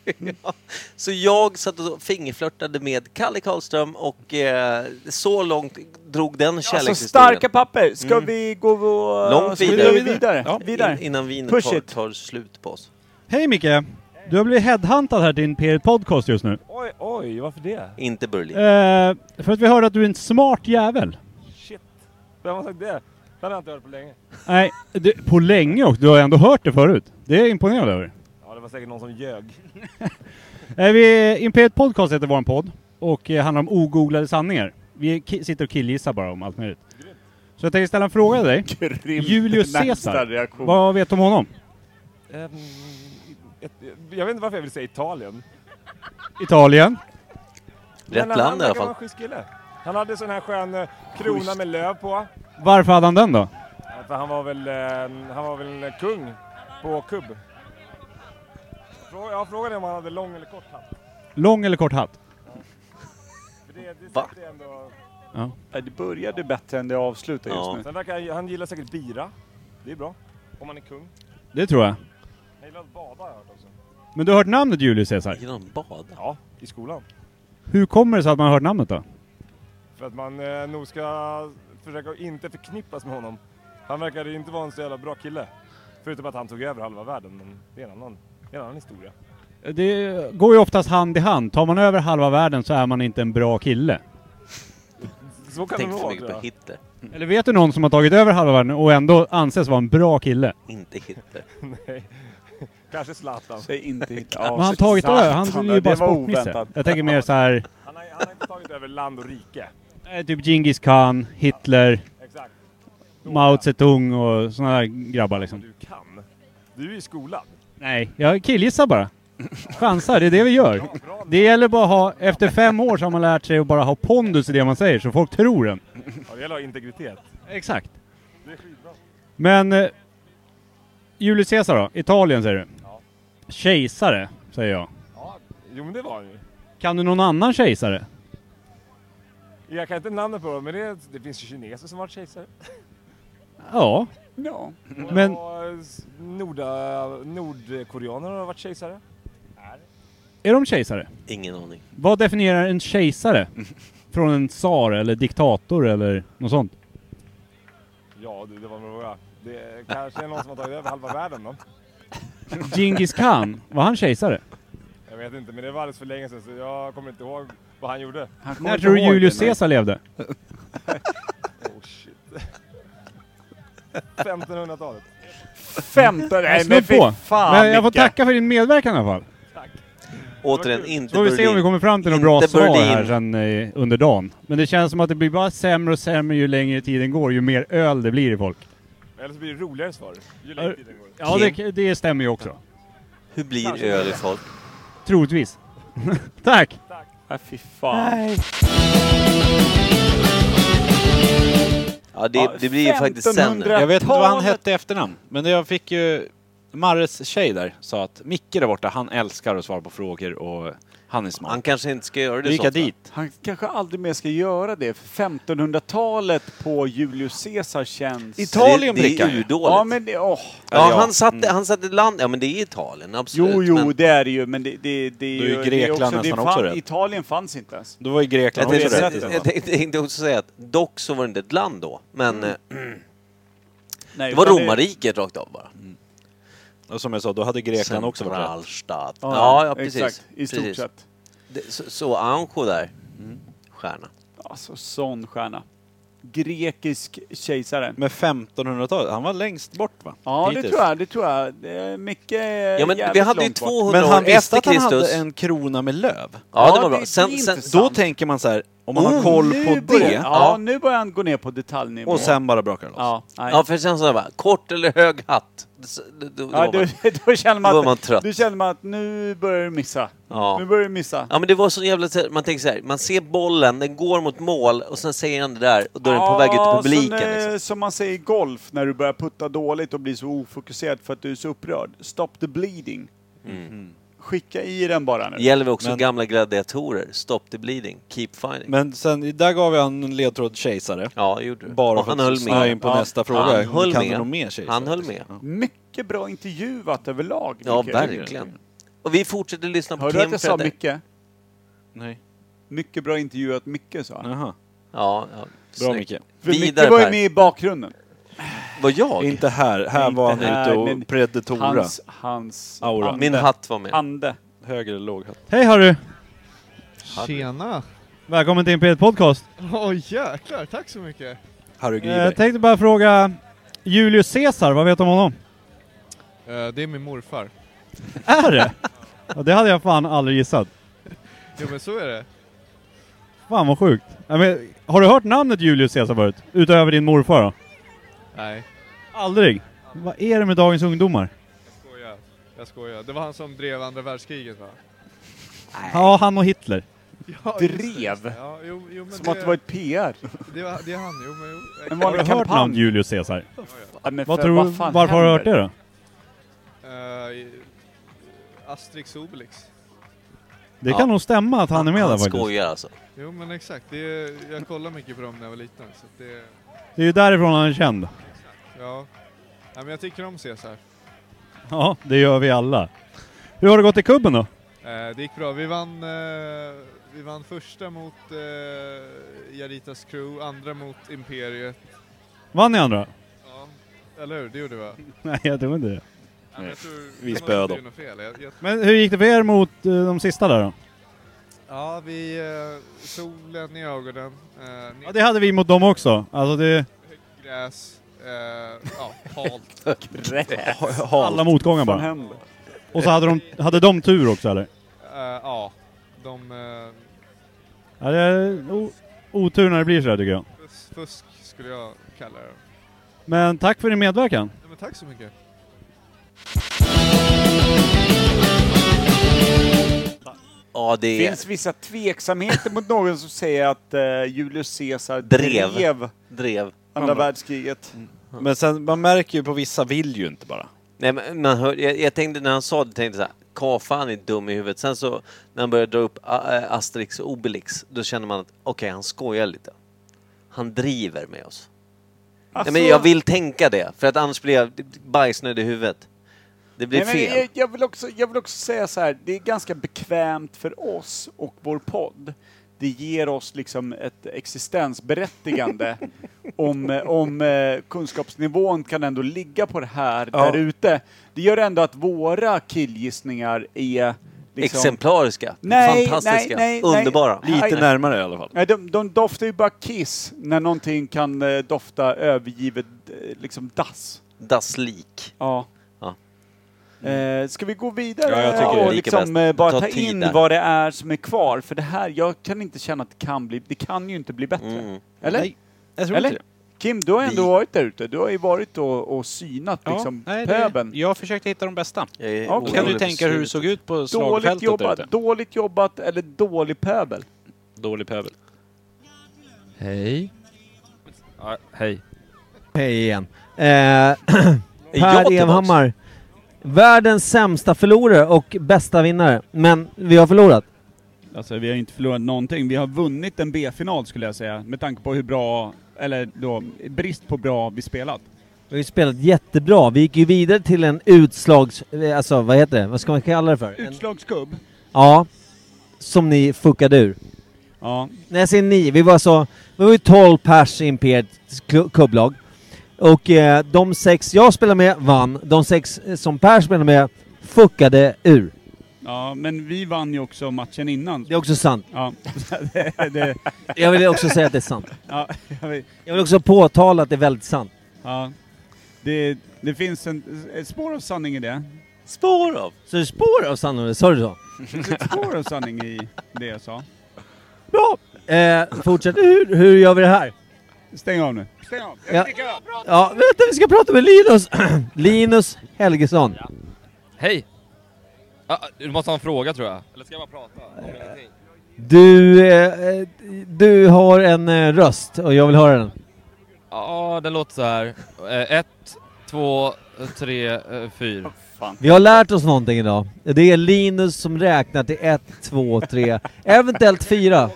Speaker 3: Så jag satt och fingerflörtade med Kalle Karlström och eh, så långt drog den
Speaker 2: Alltså
Speaker 3: kärlekshistorien.
Speaker 2: starka papper. Ska
Speaker 3: Mm.
Speaker 2: vi gå och...
Speaker 3: Långt
Speaker 2: ska vi
Speaker 3: vidare.
Speaker 2: gå vidare.
Speaker 3: Ja.
Speaker 2: vidare.
Speaker 3: In, innan vinet
Speaker 2: Push
Speaker 3: tar,
Speaker 2: it.
Speaker 3: tar slut på oss.
Speaker 1: Hej Micke! Du har blivit headhuntad här till Imperiet Podcast just nu.
Speaker 18: Oj, oj, varför det?
Speaker 3: Inte Burlin.
Speaker 1: Eh, för att vi hörde att du är en smart jävel.
Speaker 18: Shit. Vem har sagt det? Den har jag inte hört på länge.
Speaker 1: Nej, du, på länge och du har ändå hört det förut. Det är jag imponerad över.
Speaker 18: Ja, det var säkert någon som ljög.
Speaker 1: Eh, vi, Imperiet Podcast heter vår podd och eh, handlar om ogooglade sanningar. Vi ki- sitter och killgissar bara om allt möjligt. Så jag tänkte ställa en fråga till dig. Julius
Speaker 18: närmsta
Speaker 1: Caesar,
Speaker 18: reaktion.
Speaker 1: vad vet du om honom?
Speaker 18: [LAUGHS] Ehm, ett, jag vet inte varför jag vill säga Italien.
Speaker 1: Italien?
Speaker 18: Men han- han verkar vara en schysst kille. Han hade sån här skön eh, krona med löv på.
Speaker 1: Varför hade han den då?
Speaker 18: Ja, för För han var väl, eh, han var väl kung på kubb. Fråga- Jag frågade om han hade lång eller kort hatt.
Speaker 1: Lång eller kort hatt?
Speaker 18: För det, det
Speaker 3: Va?
Speaker 18: sätter ändå...
Speaker 1: Ja.
Speaker 2: Det började bättre än det avslutade just nu.
Speaker 18: Sen verkar han, han gillar säkert bira. Det är bra. Om man är kung.
Speaker 1: Det tror jag.
Speaker 18: Han gillar att bada har jag hört också.
Speaker 1: Men du har hört namnet Julius Caesar?
Speaker 3: Gillar han bada?
Speaker 18: Ja, i skolan.
Speaker 1: Hur kommer det sig att man har hört namnet då?
Speaker 18: För att man eh, nog ska försöka att inte förknippas med honom. Han verkade ju inte vara en så jävla bra kille. Förutom att han tog över halva världen, men det är en annan, det är en annan historia.
Speaker 1: Det går ju oftast hand i hand. Tar man över halva världen så är man inte en bra kille.
Speaker 18: Så kan
Speaker 3: Tänk
Speaker 18: det
Speaker 3: för
Speaker 18: vara,
Speaker 3: mycket
Speaker 18: tror
Speaker 3: på
Speaker 18: jag.
Speaker 3: Hitler.
Speaker 1: Eller vet du någon som har tagit över halva världen och ändå anses vara en bra kille?
Speaker 3: Inte
Speaker 2: [LAUGHS]
Speaker 3: Hitler.
Speaker 18: Nej. Kanske Zlatan.
Speaker 2: Säg inte Hitler.
Speaker 1: Men han har tagit över, han är ju bara sportnisse. Jag tänker mer så här,
Speaker 18: Han har, han har inte tagit över land och rike.
Speaker 1: eh, typ Genghis khan, Hitler,
Speaker 18: Exakt.
Speaker 1: Mao Zedong och såna där grabbar liksom.
Speaker 18: Du kan. Du är ju skolad.
Speaker 1: Nej, jag killgissar bara. Chansar, det är det vi gör. Det gäller bara att ha, efter fem år så har man lärt sig att bara ha pondus i det man säger så folk tror en.
Speaker 18: Ja, det gäller att ha integritet.
Speaker 1: Exakt.
Speaker 18: Det är skitbra.
Speaker 1: Men eh, Julius Caesar då? Italien säger du? Kejsare, säger jag.
Speaker 18: Jo, men det var han ju.
Speaker 1: Kan du någon annan kejsare?
Speaker 18: Jag kan inte namnet på honom, men det, det finns ju kineser som har varit kejsare.
Speaker 1: Ja.
Speaker 18: Ja.
Speaker 1: Men-
Speaker 18: Och norda, nordkoreaner har varit kejsare.
Speaker 1: Är de kejsare?
Speaker 3: Ingen aning.
Speaker 1: Vad definierar en kejsare? Från en tsar eller diktator eller något sånt?
Speaker 18: Ja, du, det var en fråga. Det kanske är någon som har tagit över halva världen då.
Speaker 1: Genghis khan, var han kejsare?
Speaker 18: Jag vet inte, men det var alldeles för länge sedan så jag kommer inte ihåg vad han gjorde.
Speaker 1: När tror du Julius Caesar levde?
Speaker 18: Oh shit. 1500-talet.
Speaker 2: 15?
Speaker 1: Jag slog på. Men jag får tacka för din medverkan i alla fall.
Speaker 3: Återigen, inte
Speaker 1: Så får vi se om
Speaker 3: Berlin.
Speaker 1: vi kommer fram till något
Speaker 3: Inte
Speaker 1: bra svar
Speaker 3: Berlin.
Speaker 1: här sen eh, under dagen. Men det känns som att det blir bara sämre och sämre ju längre tiden går, ju mer öl det blir i folk.
Speaker 18: Eller så blir det roligare svar. Ju längre tiden går.
Speaker 1: Ja, det, det stämmer ju också.
Speaker 3: Hur blir öl i folk?
Speaker 1: Troligtvis. [LAUGHS] Tack!
Speaker 2: Nej, fy fan.
Speaker 3: Ja, det, det blir ju faktiskt sämre.
Speaker 9: Jag vet inte vad han hette i efternamn, men jag fick ju... Marres tjej där sa att Micke där borta, han älskar att svara på frågor och han är smart. Han
Speaker 3: kanske inte ska göra
Speaker 9: det gick jag dit.
Speaker 2: Han kanske aldrig mer ska göra det, för 1500-talet på Julius Caesar känns...
Speaker 3: Italien Det- det är prickar. urdåligt.
Speaker 2: Ja, men det... Åh.
Speaker 3: Ja, mm. han satte, han satte land... Ja, men det är Italien, absolut.
Speaker 2: Jo, jo,
Speaker 3: men
Speaker 2: det är det ju, men det, det, det är
Speaker 3: Mm. Då är
Speaker 2: ju...
Speaker 3: Grekland
Speaker 2: det är också,
Speaker 3: nästan
Speaker 2: det
Speaker 3: också
Speaker 2: fan-
Speaker 3: rätt.
Speaker 2: Italien fanns inte ens.
Speaker 9: Då var ju
Speaker 3: jag
Speaker 9: Grekland
Speaker 3: tänkte,
Speaker 9: också
Speaker 3: jag,
Speaker 9: rätt. i så fall.
Speaker 3: [LAUGHS] tänkte- jag tänkte också säga att dock så var det inte ett land då, men eh,
Speaker 2: Nej,
Speaker 3: det var
Speaker 9: utan det-
Speaker 3: romarriket rakt av bara.
Speaker 9: Och Mm. som jag sa, då hade Grekland också varit rätt.
Speaker 3: Centralstat.
Speaker 9: Ja,
Speaker 3: Ja, ja, precis.
Speaker 9: exakt.
Speaker 2: I stort
Speaker 3: precis.
Speaker 2: sett. Mm.
Speaker 3: Det, så, så Anjo där, stjärna.
Speaker 2: Alltså, sån stjärna. Grekisk kejsare.
Speaker 9: Men 1500-talet, han var längst bort va?
Speaker 2: Ja, det
Speaker 9: Hittills.
Speaker 2: tror jag. Det tror jag. Det är mycket
Speaker 9: Ja, men
Speaker 2: jävligt
Speaker 9: vi hade ju
Speaker 2: långt bort.
Speaker 9: 200
Speaker 2: Mm,
Speaker 9: Men han år visste efter att han Kristus. hade en krona med löv. Ja,
Speaker 2: Ja, det var bra. det- Sen- det är
Speaker 9: då
Speaker 2: sen- intressant.
Speaker 9: tänker man så här, om man har
Speaker 2: Oh,
Speaker 9: koll
Speaker 2: nu
Speaker 9: på
Speaker 2: börjar-
Speaker 9: det.
Speaker 2: Ja, nu börjar han gå ner på detaljnivå.
Speaker 9: Och sen bara brakar det loss.
Speaker 2: Ja, nej.
Speaker 3: Ja, för sen så bara, kort eller hög hatt? Då, då, då,
Speaker 2: Ja,
Speaker 3: var man,
Speaker 2: du, [LAUGHS] då känner man
Speaker 3: då
Speaker 2: att,
Speaker 3: var man trött.
Speaker 2: Du känner man att nu börjar du missa.
Speaker 3: Ja.
Speaker 2: Nu börjar du missa.
Speaker 3: Ja men det var så jävla... Man tänker så här, man ser bollen, den går mot mål och sen säger han det där och då är den på väg ut
Speaker 2: Ja,
Speaker 3: i publiken.
Speaker 2: Som, eh,
Speaker 3: Liksom.
Speaker 2: som man säger i golf, när du börjar putta dåligt och blir så ofokuserad för att du är så upprörd. Stop the bleeding.
Speaker 3: liksom. Mm.
Speaker 9: Mm.
Speaker 2: Skicka i den bara nu.
Speaker 3: Det gäller väl också gamla gladiatorer, stop the bleeding, keep fighting.
Speaker 9: Men sen, där gav jag en ledtråd kejsare.
Speaker 3: Ja, det gjorde du.
Speaker 9: Bara
Speaker 3: Och
Speaker 9: för
Speaker 3: han
Speaker 9: att
Speaker 3: höll
Speaker 9: snöa
Speaker 3: med.
Speaker 9: in på
Speaker 3: Ja.
Speaker 9: nästa fråga.
Speaker 3: Han höll
Speaker 9: kan
Speaker 3: med.
Speaker 9: du någon mer kejsare?
Speaker 3: Han höll med.
Speaker 2: Mycket bra intervjuat överlag.
Speaker 3: Ja,
Speaker 2: Micke.
Speaker 3: verkligen. Och vi fortsätter lyssna på
Speaker 2: Hörde du att
Speaker 3: Kim
Speaker 2: jag sa
Speaker 3: Fredde.
Speaker 2: mycket?
Speaker 9: Nej.
Speaker 2: Mycket bra intervjuat mycket sa jag.
Speaker 9: Jaha.
Speaker 3: Ja, ja.
Speaker 9: Bra
Speaker 3: snyggt.
Speaker 9: Micke.
Speaker 2: För
Speaker 3: Vidare,
Speaker 2: Micke var ju
Speaker 3: Per.
Speaker 2: med i bakgrunden.
Speaker 3: Var jag?
Speaker 9: Inte här. Här var han
Speaker 2: Inte här,
Speaker 9: ute och
Speaker 2: men
Speaker 9: predatora.
Speaker 2: Hans, hans
Speaker 9: Aura.
Speaker 3: Min hatt var med.
Speaker 2: Ande.
Speaker 9: Höger eller låg hatt.
Speaker 1: Hej Harry!
Speaker 19: Tjena! [LAUGHS]
Speaker 1: Välkommen till Imperiet Podcast.
Speaker 19: Åh jäklar, tack så mycket!
Speaker 9: Harry
Speaker 1: Jag tänkte bara fråga Julius Caesar, vad vet du om honom?
Speaker 19: Eh, det är min morfar.
Speaker 1: Är det? Ja, det hade jag fan aldrig gissat.
Speaker 19: Jo men så är det.
Speaker 1: Fan vad sjukt. Ja, men, har du hört namnet Julius Caesar förut? Utöver din morfar då?
Speaker 19: Nej,
Speaker 1: Aldrig? Vad är det med dagens ungdomar?
Speaker 19: skojar. Jag skojar. Det var han som drev andra världskriget va?
Speaker 1: Ja, han och Hitler.
Speaker 19: Ja, just det, just det.
Speaker 2: drev.
Speaker 19: Ja, jo, jo, men
Speaker 2: Som att det var ett PR.
Speaker 19: [LAUGHS] Det, var, det är han, jo men... jo.
Speaker 2: En
Speaker 1: Har du
Speaker 2: vanlig
Speaker 1: hört
Speaker 2: kampanj.
Speaker 1: namn Julius Caesar?
Speaker 2: Ja, men
Speaker 1: Vad
Speaker 2: för
Speaker 1: tror,
Speaker 2: vad fan
Speaker 1: varför har du hört det
Speaker 2: händer?
Speaker 1: då?
Speaker 19: Eh, Asterix Obelix.
Speaker 1: Det kan nog stämma att han är med
Speaker 12: Han
Speaker 1: där faktiskt.
Speaker 12: skojar alltså.
Speaker 19: Jo men exakt, det är, jag kollade mycket på dem när jag var liten. Så att det,
Speaker 1: Det är ju därifrån han är känd.
Speaker 19: ja. ja, men jag tycker om Caesar.
Speaker 1: Ja, det gör vi alla. Hur har det gått i kubben då?
Speaker 19: Eh, det gick bra. Vi vann, eh, vi vann första mot eh, Jaritas crew, andra mot Imperiet.
Speaker 1: Vann ni andra? [LAUGHS]
Speaker 19: Ja, eller hur? Det gjorde vi va?
Speaker 1: Nej, jag tror inte det.
Speaker 19: Ja, men jag tror-
Speaker 20: Vi
Speaker 19: jag
Speaker 20: spöade
Speaker 19: tror
Speaker 20: dem.
Speaker 19: inte det är något fel. Jag- jag-
Speaker 1: Men hur gick det för er mot eh, de sista där då?
Speaker 19: Ja, vi... Eh, solen i ögonen. Eh,
Speaker 1: Ja, det hade vi mot dem också. Alltså det...
Speaker 19: Gräs. Eh, [LAUGHS] ja, halt.
Speaker 1: Alla motgångar bara. Och så hade de, hade de tur också eller?
Speaker 19: Eh, ja, de... Eh,
Speaker 1: Ja, det är o- otur när det blir sådär tycker jag.
Speaker 19: fus- fusk skulle jag kalla det.
Speaker 1: Men tack för din medverkan.
Speaker 19: Ja, men tack så mycket.
Speaker 12: Ja, det
Speaker 2: Det
Speaker 12: är...
Speaker 2: finns vissa tveksamheter mot någon som säger att eh, Julius Caesar
Speaker 12: Drev.
Speaker 2: drev,
Speaker 12: Drev.
Speaker 2: andra världskriget.
Speaker 20: Men sen, man märker ju på vissa vill ju inte bara.
Speaker 12: Nej, men man hör, jag, jag tänkte när han sa det, tänkte jag så här, Ka fan är dum i huvudet. Sen så när han började dra upp A- eh, Asterix och Obelix, då känner man att okej, han skojar lite. Han driver med oss.
Speaker 2: Alltså-
Speaker 12: Nej, men jag vill tänka det, för att annars blir jag bajsnödig i huvudet. Det blir
Speaker 2: Nej, men
Speaker 12: fel.
Speaker 2: jag, jag, vill också, jag vill också säga så här, det är ganska bekvämt för oss och vår podd. Det ger oss liksom ett
Speaker 12: [LAUGHS]
Speaker 2: existensberättigande om, eh, om eh, kunskapsnivån kan ändå ligga på det här
Speaker 12: Ja.
Speaker 2: där ute. Det gör ändå att våra killgissningar är liksom,
Speaker 12: Exemplariska,
Speaker 2: Nej,
Speaker 12: fantastiska,
Speaker 2: nej, nej, nej.
Speaker 12: underbara.
Speaker 2: Lite närmare
Speaker 20: i alla fall.
Speaker 2: Nej, de, de doftar ju bara kiss när någonting kan eh, dofta övergivet eh, liksom dass.
Speaker 12: Dasslik.
Speaker 2: Ja.
Speaker 12: ja.
Speaker 2: Eh, ska vi gå vidare
Speaker 12: Ja, jag tycker det.
Speaker 2: och
Speaker 12: Lika
Speaker 2: liksom
Speaker 12: bäst.
Speaker 2: eh, bara
Speaker 12: Ta
Speaker 2: ta,
Speaker 12: tid
Speaker 2: in
Speaker 12: där.
Speaker 2: vad det är som är kvar? För det här, jag kan inte känna att det kan bli, det kan ju inte bli bättre.
Speaker 12: Mm.
Speaker 2: Eller?
Speaker 20: Nej, jag tror
Speaker 2: Eller?
Speaker 20: inte
Speaker 2: Kim, du har ändå
Speaker 20: Vi-
Speaker 2: varit där ute. Du har ju varit och, och synat liksom
Speaker 20: nej, det-
Speaker 2: pöben.
Speaker 20: Jag försökte hitta de bästa.
Speaker 12: Okej.
Speaker 20: Då kan du tänka hur det såg ut på
Speaker 2: Dåligt
Speaker 20: slagfältet
Speaker 2: jobbat,
Speaker 20: där ute.
Speaker 2: dåligt jobbat eller dålig pöbel?
Speaker 20: Dålig pöbel.
Speaker 3: Hej.
Speaker 21: Ja, hej.
Speaker 3: Hej igen. Eh, [CLEARS THROAT]
Speaker 21: jag
Speaker 3: per
Speaker 21: tillbaks?
Speaker 3: Evhammar. Världens sämsta förlorare och bästa vinnare. Men vi har förlorat.
Speaker 22: Alltså vi har inte förlorat någonting. Vi har vunnit en B-final skulle jag säga, med tanke på hur bra, eller då brist på bra vi spelat.
Speaker 3: Vi har ju spelat jättebra. Vi gick ju vidare till en utslags... eh, Alltså vad heter det? Vad ska man kalla det för? En,
Speaker 22: Utslagskubb.
Speaker 3: ja. Som ni fuckade ur.
Speaker 22: Ja.
Speaker 3: När jag säger ni, vi var så... Vi var ju 12 pers i Imperiets klu- kubblag. Och eh, de sex jag spelade med vann. De sex eh, som Per spelade med fuckade ur.
Speaker 22: Ja, men vi vann ju också matchen innan. Det
Speaker 3: är också sant.
Speaker 22: Ja. [LAUGHS] det, det.
Speaker 3: Jag vill också säga att det är sant.
Speaker 22: Ja, jag vet.
Speaker 3: Jag vill också påtala att det är väldigt sant.
Speaker 22: Ja. Det, det finns en, ett spår av sanning i det.
Speaker 12: Spår av?
Speaker 3: Så det är spår av sannolikhet, sa du så?
Speaker 22: Det finns ett spår av sanning i det jag sa.
Speaker 3: Bra! Eh, fortsätt. Hur, hur gör vi det här?
Speaker 22: Stäng av nu. Stäng av. Jag
Speaker 3: ja. ja, vänta vi ska prata med Linus! [CLEARS THROAT] Linus Helgesson.
Speaker 21: Hej! Ah, du måste ha en fråga tror jag. Eller ska jag bara prata om ingenting?
Speaker 3: Du, eh, du har en eh, röst och jag vill höra den.
Speaker 21: Ja, den låter så här. Eh, ett, två, tre, eh, fyra.
Speaker 3: Vi har lärt oss någonting idag. Det är Linus som räknar till 1, 2, 3, eventuellt 4.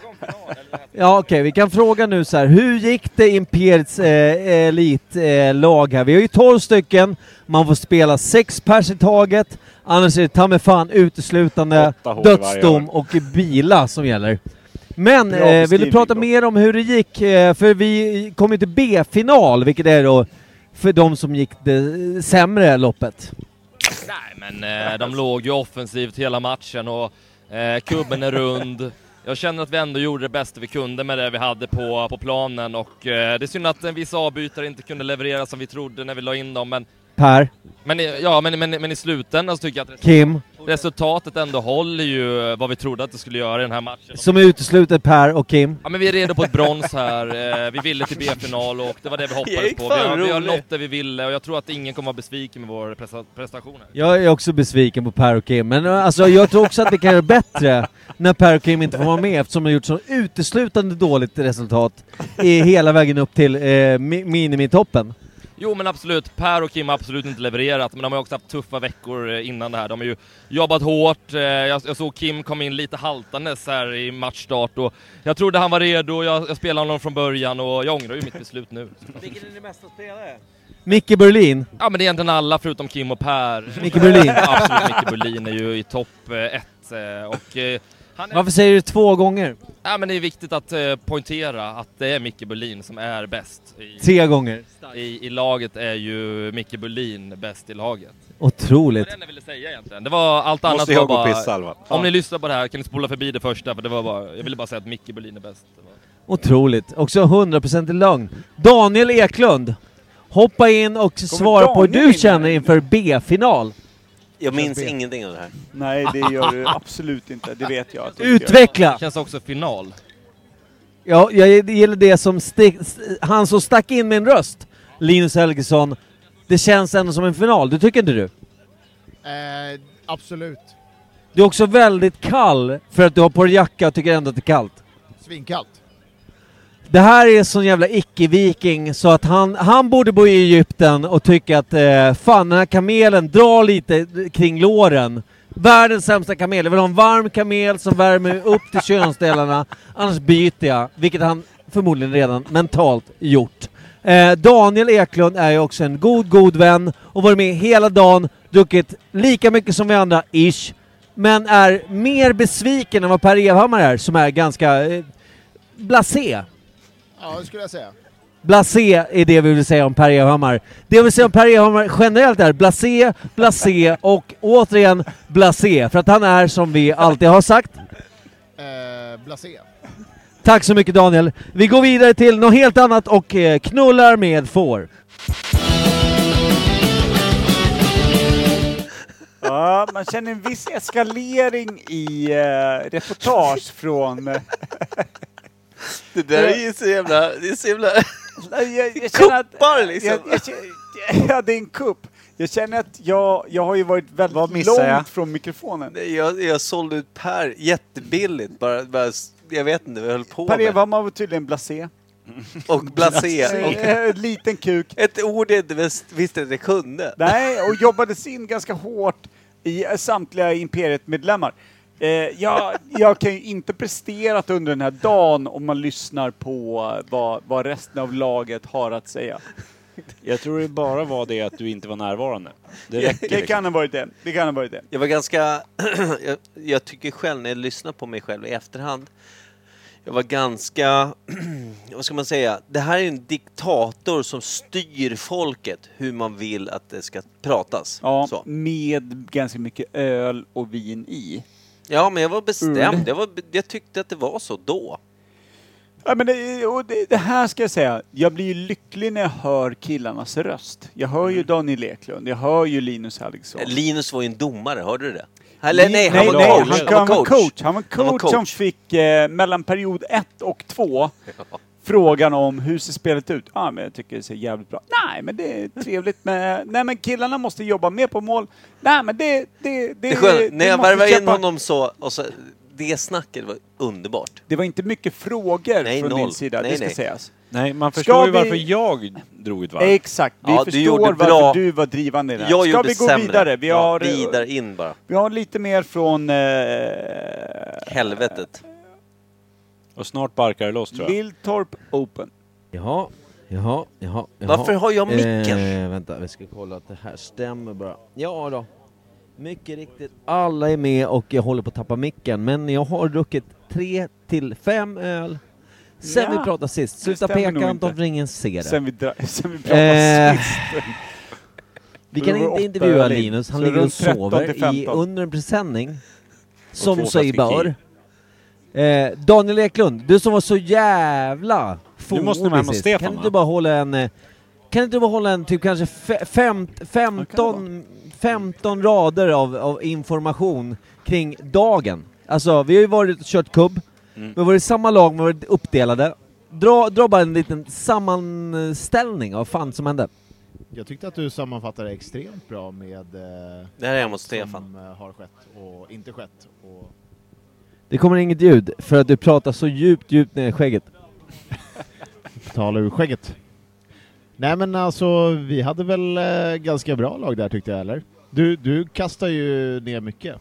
Speaker 3: Ja okej, vi kan fråga nu så här. Hur gick det i Imperiets eh, elitlag eh, lag här? Vi har ju 12 stycken, man får spela 6 pers i taget. Annars är det ta mig fan uteslutande
Speaker 20: Åtta hål varje
Speaker 3: dödsdom och bila som gäller. Men
Speaker 20: Bra
Speaker 3: eh, vill du
Speaker 20: beskrivning
Speaker 3: prata mer om hur det gick? Eh, för vi kom ju till B-final, vilket är då för de som gick det sämre loppet.
Speaker 21: Nej men eh, de låg ju offensivt hela matchen och eh, kubben är rund. Jag känner att vi ändå gjorde det bästa vi kunde med det vi hade på, på planen och eh, det är synd att en viss avbytare inte kunde leverera som vi trodde när vi la in dem men
Speaker 3: Per,
Speaker 21: men, i- ja, men, men, men i slutändan så tycker jag att
Speaker 3: Kim.
Speaker 21: Och resultatet ändå håller ju eh, vad vi trodde att det skulle göra i den här matchen.
Speaker 3: Som är uteslutet Per och Kim.
Speaker 21: Ja men vi är redo på ett brons här, eh, vi ville till B-final och det var det vi hoppades
Speaker 3: Erik,
Speaker 21: på.
Speaker 3: fan
Speaker 21: Vi har, vi har
Speaker 3: rolig.
Speaker 21: nått det vi ville och jag tror att ingen kommer vara besviken med vår presta- prestation här.
Speaker 3: Jag är också besviken på Per och Kim, men eh, alltså, jag tror också att vi kan göra bättre när Per och Kim inte får vara med eftersom de har gjort så uteslutande dåligt resultat i hela vägen upp till eh, mi- minimitoppen.
Speaker 21: Jo men absolut, Per och Kim har absolut inte levererat, men de har ju också haft tuffa veckor eh, innan det här. De har ju jobbat hårt, eh, jag, jag såg Kim kom in lite haltandes här i matchstart och jag trodde han var redo, jag, jag spelade honom från början och jag ångrar ju mitt beslut nu.
Speaker 23: Vilken är din bästa spelare?
Speaker 3: Micke Berlin.
Speaker 21: Ja men det är egentligen alla förutom Kim och Per.
Speaker 3: Micke Berlin.
Speaker 21: Ja, absolut, Micke Berlin är ju i topp eh, ett eh, och eh, han är...
Speaker 3: Varför säger du två gånger?
Speaker 21: Ja men det är viktigt att eh, poängtera att det är Micke Berlin som är bäst. I,
Speaker 3: Tre gånger.
Speaker 21: I, I laget är ju Micke Berlin bäst i laget.
Speaker 3: Otroligt.
Speaker 21: Det ville säga egentligen. Det var allt
Speaker 1: Måste
Speaker 21: annat
Speaker 1: jag gå
Speaker 21: var
Speaker 1: och
Speaker 21: bara...
Speaker 1: pissa, Alva?
Speaker 21: Om
Speaker 1: Ja.
Speaker 21: ni lyssnar på det här kan ni spola förbi det första för det var bara... Jag ville bara säga att Micke Berlin är bäst.
Speaker 3: Otroligt. Också 100% lögn. Daniel Eklund. Hoppa in och svara på hur
Speaker 2: Daniel
Speaker 3: du
Speaker 2: in
Speaker 3: känner inför B-final.
Speaker 5: Jag minns
Speaker 2: Känns B.
Speaker 5: ingenting av det här.
Speaker 2: Nej, det gör du absolut inte. Det vet jag. att du inte gör.
Speaker 3: Utveckla!
Speaker 21: Känns också final.
Speaker 3: Ja, jag gillar det som stick, han som stack in med en röst, Linus Helgesson. Det känns ändå som en final, det tycker inte du?
Speaker 23: Eh, absolut.
Speaker 3: Du är också väldigt kall för att du har på dig jacka och tycker ändå att det är kallt.
Speaker 23: Svinkallt.
Speaker 3: Det här är sån jävla icke-viking så att han, han borde bo i Egypten och tycka att eh, fan den här kamelen drar lite kring låren. Världens sämsta kamel. Jag vill ha en varm kamel som värmer upp till könsdelarna, annars byter jag. Vilket han förmodligen redan mentalt gjort. Eh, Daniel Eklund är ju också en god, god vän och varit med hela dagen, druckit lika mycket som vi andra, ish. Men är mer besviken än vad Per Evhammar är, som är ganska eh, blasé.
Speaker 23: Ja, det skulle jag säga.
Speaker 3: Blasé är det vi vill säga om Per Evhammar. Det vi vill säga om Per Evhammar generellt är blasé, blasé och återigen blasé. För att han är som vi alltid har sagt.
Speaker 23: Eh, blasé.
Speaker 3: Tack så mycket Daniel. Vi går vidare till något helt annat och eh, knullar med får.
Speaker 2: Ja, man känner en viss eskalering i eh, reportage från...
Speaker 5: Det där är ju så jävla... Det är så jävla...
Speaker 2: jag, jag känner att-
Speaker 5: Kuppar liksom!
Speaker 2: Jag, jag, känner- [LAUGHS] ja, det är en kupp. Jag känner att jag, jag har ju varit väldigt långt
Speaker 5: missar jag?
Speaker 2: från mikrofonen.
Speaker 5: Nej, Jag, jag sålde ut Per jättebilligt. Bara, bara, jag vet inte vad jag höll på
Speaker 2: Per
Speaker 5: med.
Speaker 2: Evhammar var tydligen blasé.
Speaker 5: [LAUGHS] Och blasé.
Speaker 2: Eh, Liten kuk.
Speaker 5: Ett ord jag inte visst- visste att jag kunde.
Speaker 2: Nej, och jobbades in ganska hårt i eh, samtliga Imperiet-medlemmar. Eh, jag, jag kan ju inte presterat under den här dagen om man lyssnar på eh, vad, vad resten av laget har att säga.
Speaker 1: Jag tror det bara var det att du inte var närvarande. Det
Speaker 2: Det,
Speaker 1: räcker. liksom.
Speaker 2: kan ha varit det. Det kan ha varit det.
Speaker 5: Jag var ganska... [CLEARS THROAT] jag, jag tycker själv när jag lyssnar på mig själv i efterhand. Jag var ganska... [CLEARS THROAT] vad ska man säga? Det här är en diktator som styr folket hur man vill att det ska pratas.
Speaker 2: Ja, med ganska mycket öl och vin i.
Speaker 5: Ja, men jag var
Speaker 2: Ur.
Speaker 5: bestämd. Jag, var, jag tyckte att det var så då.
Speaker 2: Ja, men det, och det, det här ska jag säga, jag blir ju lycklig när jag hör killarnas röst. Jag hör
Speaker 5: Mm.
Speaker 2: ju Daniel Eklund, jag hör ju Linus Helgesson.
Speaker 5: Linus var ju en domare, hörde du det? Eller, nej, han
Speaker 2: nej,
Speaker 5: var
Speaker 2: nej,
Speaker 5: coach.
Speaker 2: han- han var coach. Han var coach som fick eh, mellan period ett och
Speaker 5: [LAUGHS]
Speaker 2: två frågan om hur ser spelet ut? Ja, ah, men jag tycker det ser jävligt bra Nej, men det är trevligt med... Nej, men killarna måste jobba mer på mål. Nej, men det... Det, det,
Speaker 5: Det är skönt. När
Speaker 2: det
Speaker 5: jag
Speaker 2: måste
Speaker 5: värvade in
Speaker 2: kämpa.
Speaker 5: honom så, och så... Det snacket var underbart.
Speaker 2: Det var inte mycket frågor
Speaker 5: Nej,
Speaker 2: från din
Speaker 5: noll.
Speaker 2: sida,
Speaker 5: Nej,
Speaker 2: det ska
Speaker 5: nej.
Speaker 2: sägas.
Speaker 1: Nej, man
Speaker 2: Ska
Speaker 1: förstår ju
Speaker 2: vi-
Speaker 1: varför jag drog ett varv.
Speaker 2: Exakt, vi
Speaker 1: Ja, du
Speaker 2: förstår
Speaker 1: gjorde
Speaker 2: varför
Speaker 1: bra.
Speaker 2: du var drivande i det här.
Speaker 1: Jag
Speaker 2: Ska
Speaker 1: gjorde
Speaker 2: vi gå
Speaker 1: sämre.
Speaker 2: vidare? Vi
Speaker 1: Ja,
Speaker 2: har, eh,
Speaker 5: Vidare in bara.
Speaker 2: vi har lite mer från... Eh,
Speaker 5: Helvetet.
Speaker 1: Och snart barkar det loss tror jag.
Speaker 2: Lilltorp Open.
Speaker 3: Jaha, jaha, jaha. jaha.
Speaker 1: Varför har jag micken?
Speaker 3: Eh, vänta, vi ska kolla att det här stämmer bara. Ja då. Mycket riktigt. Alla är med och jag håller på att tappa micken, men jag har druckit tre till fem öl sen
Speaker 2: Ja,
Speaker 3: vi pratade
Speaker 2: det
Speaker 3: sist. Sluta
Speaker 2: stämmer nog
Speaker 3: peka,
Speaker 2: inte.
Speaker 3: Anton ingen ser det.
Speaker 2: Sen vi, dra- [LAUGHS] sen vi pratade
Speaker 3: Eh,
Speaker 2: sist.
Speaker 3: Vi
Speaker 2: Då
Speaker 3: kan
Speaker 2: var det
Speaker 3: inte
Speaker 2: åtta
Speaker 3: intervjua
Speaker 2: öl in.
Speaker 3: Linus, han
Speaker 2: Så
Speaker 3: ligger och
Speaker 2: runt 13 till
Speaker 3: sover i,
Speaker 2: 15.
Speaker 3: under en presenning.
Speaker 2: Och
Speaker 3: Som
Speaker 2: två
Speaker 3: sig
Speaker 2: flaskor
Speaker 3: bör. Eh, Daniel Eklund, du som var så jävla
Speaker 1: Nu måste man hem och
Speaker 3: sist,
Speaker 1: Stefan,
Speaker 3: Kan du
Speaker 1: va?
Speaker 3: inte bara hålla en... eh, Kan inte du hålla en typ kanske fe- femt- 15, 15 rader av, av information kring dagen? Alltså, vi har ju varit och kört kubb,
Speaker 1: Mm.
Speaker 3: vi har varit i samma lag, vi har varit uppdelade. Dra, dra bara en liten sammanställning av vad fan som hände.
Speaker 23: Jag tyckte att du sammanfattade extremt bra med eh,
Speaker 24: Det här är jag mot Stefan.
Speaker 23: som eh, har skett och inte skett. Och
Speaker 3: Det kommer inget ljud för att du pratar så djupt, djupt ner i skägget.
Speaker 23: tala ur skägget. Nej men alltså, vi hade väl eh, ganska bra lag där tyckte jag, eller? Du, du kastar ju ner mycket.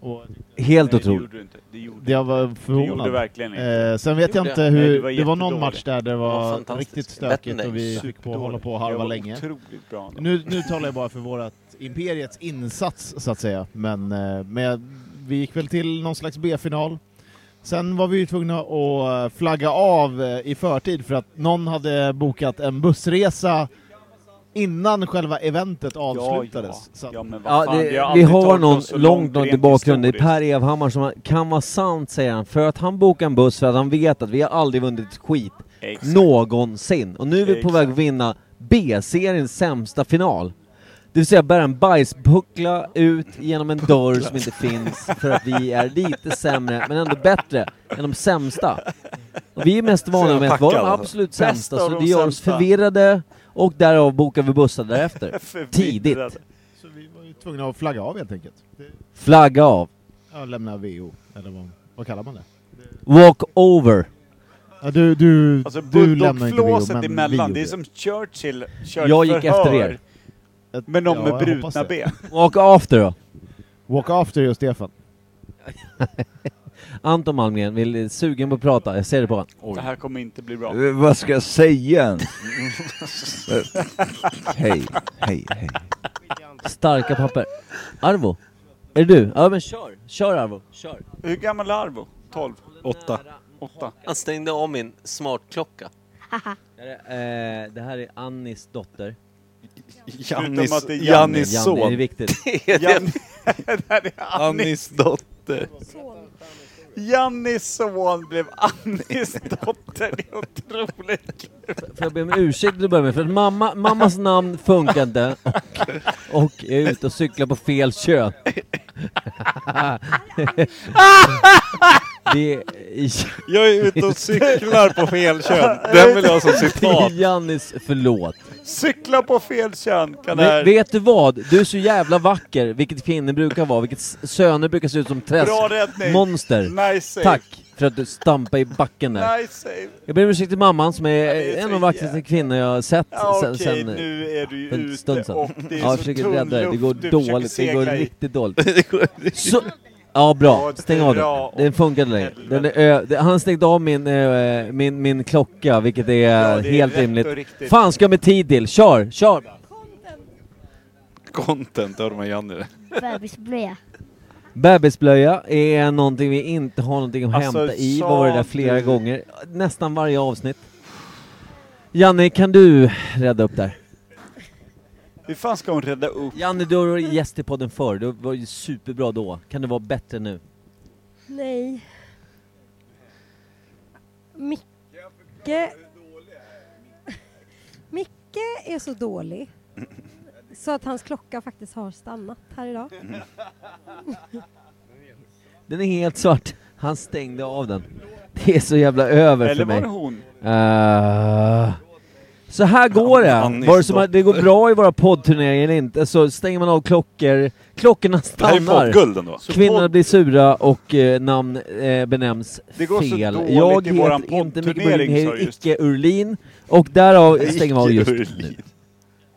Speaker 23: Och
Speaker 3: Helt
Speaker 23: Nej,
Speaker 3: otroligt.
Speaker 23: det gjorde du inte. jag var
Speaker 2: Det
Speaker 23: förvånad.
Speaker 2: gjorde du verkligen inte.
Speaker 23: Eh, sen vet jag
Speaker 2: Det
Speaker 23: inte
Speaker 2: gjorde jag.
Speaker 23: hur,
Speaker 2: Nej, du var
Speaker 23: det var någon
Speaker 2: jättedålig.
Speaker 23: match där det
Speaker 2: Det var
Speaker 23: var
Speaker 2: fantastiskt.
Speaker 23: riktigt stökigt
Speaker 2: Bettendijk.
Speaker 23: och vi fick på
Speaker 2: Superdålig.
Speaker 23: hålla på och harva
Speaker 2: Jag var
Speaker 23: länge.
Speaker 2: otroligt bra ändå.
Speaker 23: Nu, nu talar jag bara för vårat Imperiets insats så att säga, men, eh, men jag- vi gick väl till någon slags B-final. Sen var vi ju tvungna att flagga av eh, i förtid för att någon hade bokat en bussresa innan själva eventet avslutades. Så att-
Speaker 3: Ja, det, vi har någon långt, långt i bakgrunden. Det är Per Evhammar som kan vara sant, säger han, för att han bokar en buss för att han vet att vi har aldrig vunnit ett skit
Speaker 2: Exakt.
Speaker 3: någonsin. Och nu är vi på
Speaker 2: Exakt.
Speaker 3: väg att vinna B-seriens sämsta final. Det vill säga bära en bajsbuckla ut genom en dörr som inte finns för att vi är lite sämre, men ändå bättre än de sämsta. Och vi är mest vana med att vara de absolut
Speaker 2: Bäst
Speaker 3: sämsta,
Speaker 2: av
Speaker 3: så
Speaker 2: de
Speaker 3: det gör oss
Speaker 2: sämsta.
Speaker 3: förvirrade och därav bokar vi bussar [LAUGHS]
Speaker 2: [LAUGHS]
Speaker 3: därefter. Tidigt.
Speaker 23: Så vi var ju tvungna att flagga av helt enkelt. Det-
Speaker 3: Flagga av.
Speaker 23: Ja, lämna VO, eller vad, vad kallar man det?
Speaker 3: Walk over.
Speaker 23: Ja, du, du,
Speaker 2: Alltså
Speaker 23: du lämnar inte VO,
Speaker 2: bulldogflåset
Speaker 23: men
Speaker 2: emellan,
Speaker 23: vi
Speaker 2: det är
Speaker 23: gjorde.
Speaker 2: som Churchill körde
Speaker 3: Jag gick
Speaker 2: förhör
Speaker 3: efter er.
Speaker 2: Med någon
Speaker 23: Ja,
Speaker 2: med
Speaker 23: jag hoppas
Speaker 2: brutna
Speaker 23: det.
Speaker 2: ben.
Speaker 3: Walk after då?
Speaker 23: Walk after just Stefan.
Speaker 3: Anton Malmgren vill eh, sugen på att prata, jag ser det på honom.
Speaker 2: Det här kommer inte bli bra.
Speaker 25: Eh, Vad ska jag säga
Speaker 3: [LAUGHS]
Speaker 25: ens? Eh, hej, hej, hej.
Speaker 3: Starka papper. Arvo, är det du? Ja men kör, kör Arvo, kör.
Speaker 2: Hur gammal är Arvo? 12? 8. 8.
Speaker 24: Han stängde av min smartklocka.
Speaker 3: Eh, det här är Annis dotter.
Speaker 1: Jannis- Jannis son.
Speaker 3: Janni,
Speaker 24: [LAUGHS]
Speaker 3: det är
Speaker 1: [LAUGHS]
Speaker 3: viktigt.
Speaker 2: Jan... [LAUGHS] det här är
Speaker 1: Annis dotter.
Speaker 2: Jannis son blev Annis dotter. Det är otroligt kul.
Speaker 3: Får jag be om ursäkt till att börja med, för att mamma, mammas namn
Speaker 24: [LAUGHS]
Speaker 3: funkar inte och, och jag är ute och cyklar på fel kön. Det
Speaker 1: Jag är ute och cyklar på fel kön. Den vill jag ha som citat.
Speaker 3: Det är Jannis förlåt.
Speaker 2: Cykla på fel kön kan det
Speaker 3: Men
Speaker 2: här...
Speaker 3: vet du vad? Du är så jävla vacker, vilket kvinnor brukar vara, vilket s- söner brukar se ut som
Speaker 2: Bra räddning.
Speaker 3: träskmonster.
Speaker 2: Nice save.
Speaker 3: Tack för att du stampade i backen där.
Speaker 2: Nice save.
Speaker 3: Jag ber om ursäkt till mamman som är, en av de vackraste kvinnor jag har sett
Speaker 2: Ja,
Speaker 3: sen,
Speaker 2: okej,
Speaker 3: sen
Speaker 2: nu är du ju
Speaker 3: för en
Speaker 2: ute
Speaker 3: stund sedan.
Speaker 2: och det är
Speaker 3: ja, jag
Speaker 2: så
Speaker 3: försöker
Speaker 2: tunn
Speaker 3: rädda dig, det går
Speaker 2: luft du
Speaker 3: dåligt, det
Speaker 2: försöker
Speaker 3: går
Speaker 2: segla i. [LAUGHS]
Speaker 3: riktigt dåligt. så, ja bra, stäng av
Speaker 2: bra.
Speaker 3: den. Den funkade längre. Den är, ö, det- han stängde av min, eh, min, min klocka, vilket är,
Speaker 1: det är
Speaker 3: helt
Speaker 1: rätt och
Speaker 3: rimligt.
Speaker 1: riktigt.
Speaker 3: Fan ska jag med tid till? Kör, kör!
Speaker 1: Content, hörde man Janni det?
Speaker 7: Bebisblöja.
Speaker 3: Bebisblöja är någonting vi inte har någonting att
Speaker 7: Alltså,
Speaker 3: hämta i.
Speaker 7: sa
Speaker 3: Vad var det där flera
Speaker 7: du-
Speaker 3: gånger? Nästan varje avsnitt. Janne, kan du rädda upp där?
Speaker 2: Hur fan ska hon rädda upp?
Speaker 3: Janne, du har varit gäst i podden förr. Du var ju superbra då. Kan det vara bättre nu?
Speaker 7: Nej.
Speaker 6: Micke... Micke är så dålig så att hans klocka faktiskt har stannat här idag. Eh,
Speaker 3: Den är helt svart. Han stängde av den. Det är så jävla över
Speaker 2: Eller
Speaker 3: för mig.
Speaker 2: var det hon?
Speaker 3: Eh, så här går det.
Speaker 2: Annis
Speaker 3: Vare som att det går
Speaker 2: dotter.
Speaker 3: bra i våra poddturneringar eller inte så stänger man av klockor. Klockorna
Speaker 1: Det här är
Speaker 3: stannar.
Speaker 1: poddguld ändå. Så
Speaker 3: Kvinnorna
Speaker 1: podd-
Speaker 3: blir sura och eh, namn eh, benämns
Speaker 2: Det går så
Speaker 3: fel.
Speaker 2: dåligt i
Speaker 3: Jag
Speaker 2: våran
Speaker 3: heter inte Micke
Speaker 2: poddturnering,
Speaker 3: Berlin,
Speaker 2: sa
Speaker 3: jag
Speaker 2: jag
Speaker 3: heter
Speaker 2: just.
Speaker 3: Icke Urlin och därav stänger man av just
Speaker 1: Icke
Speaker 3: nu.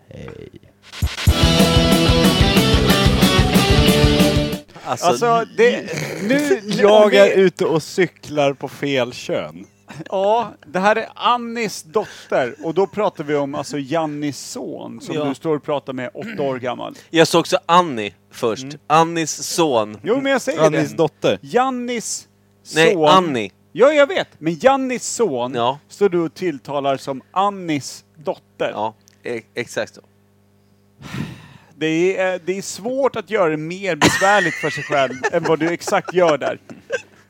Speaker 3: Hej.
Speaker 1: Alltså,
Speaker 2: Alltså, det,
Speaker 1: [LAUGHS]
Speaker 2: nu, nu...
Speaker 1: Jag är ute och cyklar på fel kön.
Speaker 2: Ja, det här är Annis dotter och då pratar vi om alltså Jannis son som
Speaker 24: Ja.
Speaker 2: du står och pratar med, åtta år gammal.
Speaker 24: Jag sa också Annie först. Annis son.
Speaker 2: Mm. [LAUGHS] Jo, men jag säger det. Jannis son.
Speaker 24: Nej, Annie.
Speaker 2: Ja, jag vet. Men Jannis son står du och tilltalar som Annis dotter.
Speaker 24: Ja, e- exakt så.
Speaker 2: Det är, eh, det är svårt att göra det mer besvärligt för
Speaker 24: [LAUGHS]
Speaker 2: sig själv än vad du exakt gör där.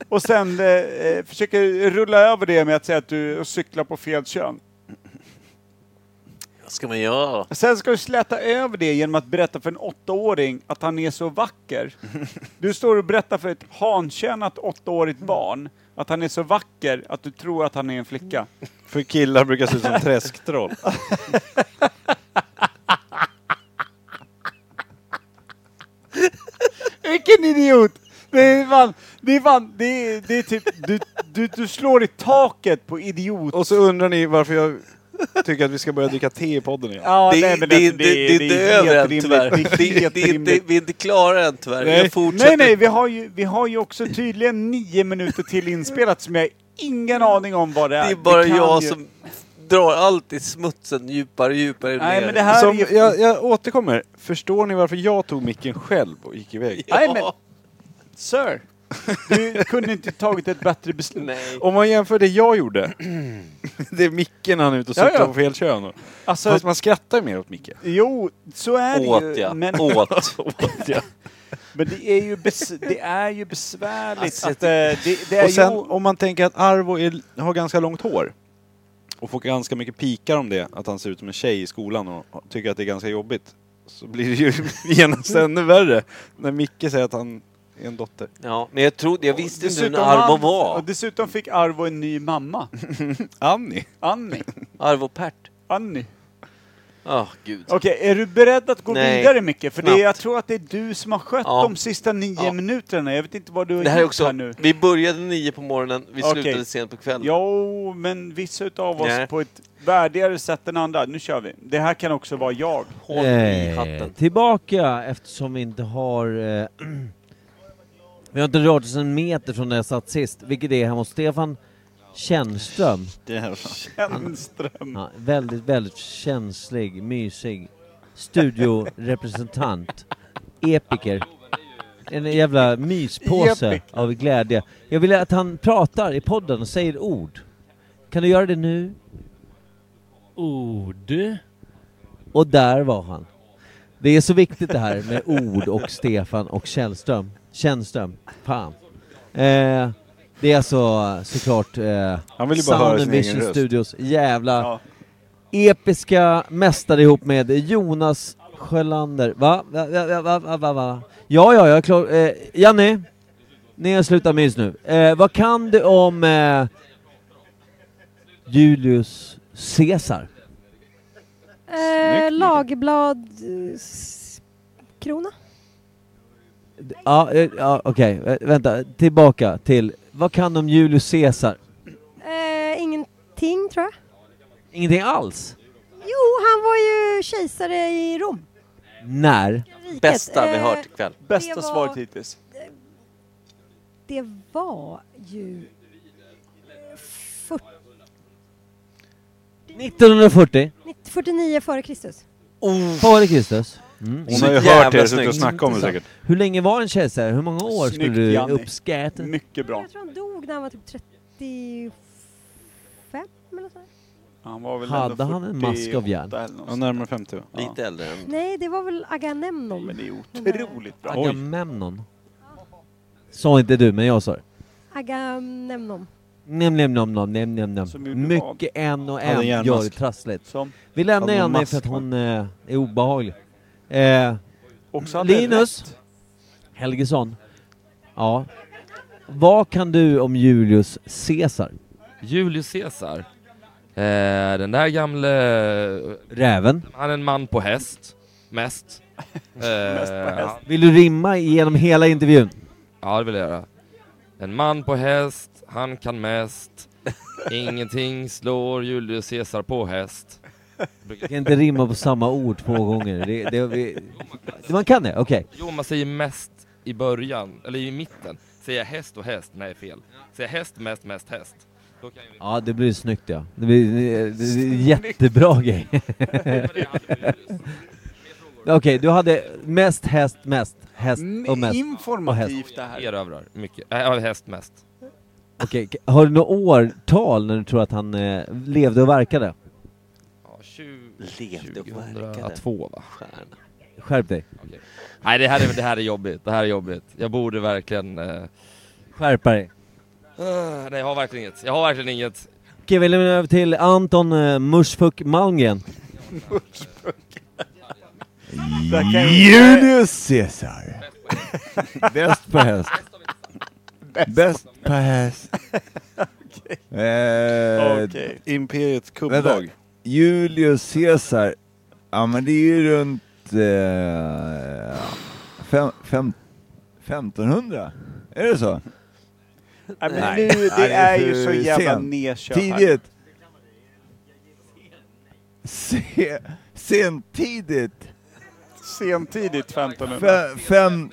Speaker 2: Och sen eh, eh, försöker rulla över det med att säga att du cyklar på fel kön.
Speaker 26: ska man göra?
Speaker 2: Sen ska du släta över det genom att berätta för en åttaåring att han är
Speaker 26: [LAUGHS]
Speaker 2: så vacker. Du står och berättar för ett hankönat åttaårigt barn att han är så vacker att du tror att han är
Speaker 26: [LAUGHS]
Speaker 2: en flicka.
Speaker 1: För killar brukar se ut som [LAUGHS] träsktroll.
Speaker 2: Vilken idiot! Det är fan, det är fan, det är, det är typ, du, du, du slår i taket på idiot.
Speaker 1: Och så undrar ni varför jag tycker att vi ska börja dricka te i podden igen.
Speaker 2: Ja,
Speaker 26: Det,
Speaker 2: nej,
Speaker 26: det, alltså,
Speaker 2: men
Speaker 26: det, det,
Speaker 2: det- det-
Speaker 26: är inte
Speaker 2: det är helt
Speaker 26: över än
Speaker 2: rimligt.
Speaker 26: tyvärr.
Speaker 2: Det är
Speaker 26: Det, det,
Speaker 2: helt
Speaker 26: det, är inte-
Speaker 2: rimligt.
Speaker 26: vi är inte klara än tyvärr. Jag fortsätter.
Speaker 2: nej, nej, vi har, ju, vi har ju också tydligen nio minuter till inspelat som jag har ingen aning om vad det är.
Speaker 26: Det är bara
Speaker 2: kan
Speaker 26: jag
Speaker 2: ju-
Speaker 26: som drar allt i smutsen djupare och djupare
Speaker 2: Nej,
Speaker 26: ner.
Speaker 2: men det här
Speaker 1: Som,
Speaker 2: är ju-
Speaker 1: jag, jag återkommer. Förstår ni varför jag tog micken själv och gick iväg?
Speaker 2: Nej, men, sir, du kunde inte tagit ett bättre beslut.
Speaker 1: Om man jämför det
Speaker 2: [CLEARS THROAT]
Speaker 1: jag gjorde. det är micken han är ute och suttar
Speaker 2: Ja, ja.
Speaker 1: på fel kön. och-
Speaker 2: Alltså-
Speaker 1: Fast man skrattar ju mer åt Micke.
Speaker 2: Jo, så är det
Speaker 1: Åt
Speaker 2: ju.
Speaker 1: jag.
Speaker 2: Men, [LAUGHS]
Speaker 1: [LAUGHS] Åt. jag.
Speaker 2: men det är ju, bes, det är ju besvärligt
Speaker 1: Alltså,
Speaker 2: att eh, det, det är
Speaker 1: och sen
Speaker 2: ju...
Speaker 1: om man tänker att Arvo är, har ganska långt hår och får ganska mycket pikar om det, att han ser ut som en tjej i skolan och tycker att det är ganska jobbigt. Så blir det ju [LAUGHS] genast ännu värre när Micke säger att han är en dotter.
Speaker 26: Ja, men jag trodde, jag visste inte hur
Speaker 2: Dessutom
Speaker 26: Arvo
Speaker 2: han-
Speaker 26: var.
Speaker 2: och dessutom fick Arvo en
Speaker 26: [LAUGHS]
Speaker 2: ny mamma.
Speaker 1: Annie.
Speaker 2: Annie.
Speaker 26: Arvo Pärt.
Speaker 2: Annie.
Speaker 26: Åh, gud.
Speaker 2: Okej, är du beredd att gå
Speaker 26: Nej,
Speaker 2: vidare Micke? För det,
Speaker 26: knappt.
Speaker 2: jag tror att det är du som har skött
Speaker 26: Ja.
Speaker 2: de sista nio minuterna. Jag vet inte vad du har
Speaker 26: Det här är
Speaker 2: gjort
Speaker 26: också,
Speaker 2: här nu.
Speaker 26: vi började nio på morgonen, vi
Speaker 2: Okej.
Speaker 26: slutade sent på kvällen.
Speaker 2: Jo, men vissa utav oss
Speaker 26: Nej.
Speaker 2: på ett värdigare sätt än andra. Nu kör vi. Det här kan också vara jag.
Speaker 3: Eh, tillbaka eftersom vi inte har... Eh, [CLEARS THROAT] vi har inte rört oss en meter från där jag satt sist, vilket är hemma hos Stefan Tjärnström.
Speaker 2: Tjärnström.
Speaker 3: Ja, väldigt, väldigt känslig, mysig studiorepresentant. Epiker. En jävla myspåse
Speaker 2: Epiker.
Speaker 3: av glädje. Jag vill att han pratar i podden och säger ord. Kan du göra det nu? Ord. Och där var han. Det är så viktigt det här med ord och Stefan och Källström. Källström. Fan. Eh, det är alltså såklart eh,
Speaker 1: Han vill ju bara höra
Speaker 3: Sound
Speaker 1: sin
Speaker 3: and
Speaker 1: egen
Speaker 3: Vision
Speaker 1: röst.
Speaker 3: Studios jävla episka mästare ihop med Jonas Sjölander. Va? Va, va, va, va, va, va, va? Ja, ja, jag är klar. Eh, Janne, ni slutar mys nu. Eh, vad kan du om eh, Julius Caesar?
Speaker 6: Eh, Lagerblad... eh, s- Krona?
Speaker 3: Ja, eh, ja okej, Eh, vänta, tillbaka till, vad kan du om Julius Caesar?
Speaker 6: Eh, ingenting, tror jag.
Speaker 3: Ingenting alls?
Speaker 6: Jo, han var ju kejsare i Rom.
Speaker 3: När?
Speaker 6: Riket, Bästa vi eh, hört ikväll.
Speaker 2: Bästa
Speaker 6: det var-
Speaker 2: svaret hittills.
Speaker 6: Det var ju... eh, 40,
Speaker 3: 1940?
Speaker 6: 49 före Kristus.
Speaker 3: Före Oh. Kristus?
Speaker 1: Mm. Hon har ju hört er suttit och snackat om det säkert.
Speaker 3: Hur länge var en kejsare? Hur många år skulle
Speaker 1: Snyggt,
Speaker 3: du
Speaker 1: Janni.
Speaker 3: uppskatta?
Speaker 2: Mycket bra.
Speaker 6: Jag tror han dog när han var typ 35 eller så.
Speaker 2: Han var väl
Speaker 3: Hade
Speaker 2: ändå
Speaker 3: han en mask av
Speaker 2: 48
Speaker 3: järn?
Speaker 2: eller något
Speaker 1: Ja, närmare 50 va?
Speaker 26: Lite äldre än...
Speaker 6: Nej, det var väl Agamemnon.
Speaker 2: Men det är
Speaker 6: Den där-
Speaker 2: otroligt bra.
Speaker 3: Agamemnon? Sa inte du, men jag sa det.
Speaker 6: Agamemnon.
Speaker 3: Nem, nem, nom, nom, nem, nem, nem.
Speaker 6: Som gjorde
Speaker 3: Mycket en och
Speaker 1: Hade
Speaker 3: en
Speaker 1: en
Speaker 3: gör
Speaker 1: järnmask.
Speaker 3: det trassligt.
Speaker 2: Som?
Speaker 3: Vi lämnar
Speaker 1: Hade någon
Speaker 3: Janne för
Speaker 1: mask,
Speaker 3: att hon eh, är obehaglig. Eh,
Speaker 2: Också hade
Speaker 3: Linus Helgesson. Ja. Vad kan du om Julius Caesar?
Speaker 21: Julius Caesar. Eh, den där gamle...
Speaker 3: Räven.
Speaker 21: Han är en man på häst.
Speaker 1: [LAUGHS]
Speaker 21: Mest. Eh,
Speaker 3: Mest på häst. Vill du rimma genom hela intervjun?
Speaker 21: Ja, det vill jag göra. En man på häst, han kan mest. Ingenting slår Julius Caesar på häst.
Speaker 3: Jag kan inte rimma på samma ord två gånger. Det, det, vi, man kan det? Okej.
Speaker 21: Jo, man säger mest i början, eller i mitten. Säger jag häst och häst? Nej, fel. Säger jag häst, mest, mest, häst? Då kan jag...
Speaker 3: Ja, det blir snyggt ja. Det blir det, det, det, jättebra [LAUGHS] grej. Okej, du hade mest häst, mest, häst och mest. och häst.
Speaker 2: Mm, Informativt det här.
Speaker 21: Erövrar mycket. Äh, ja, häst mest.
Speaker 3: Okej, k- har du något årtal när du tror att han eh, levde och verkade?
Speaker 21: Ja, 20...
Speaker 26: Levde och verkade.
Speaker 21: 2002 va?
Speaker 26: Stjärna.
Speaker 3: Skärp dig.
Speaker 21: Nej, det här, är, det här är jobbigt. Det här är jobbigt. Jag borde verkligen... eh,
Speaker 3: Skärpa dig.
Speaker 21: Ah, nej, jag har verkligen inget. Jag har verkligen inget.
Speaker 3: Okej, vi lämnar över till Anton eh, Mushfuk Malmgren.
Speaker 27: Julius Caesar. [LAUGHS] Bäst på häst. Bäst på häst. Eh,
Speaker 1: Okej. Imperiets
Speaker 27: vänta.
Speaker 1: kubbdag.
Speaker 27: Julius Caesar. Ja men det är ju runt eh, fem, fem, 1500. Är det så?
Speaker 2: Nej, men nu, det är ju så
Speaker 27: för
Speaker 2: jävla
Speaker 27: sent.
Speaker 2: nedkört här.
Speaker 27: Tidigt. Se, sentidigt.
Speaker 28: Sentidigt 1500.
Speaker 27: Fem, fem,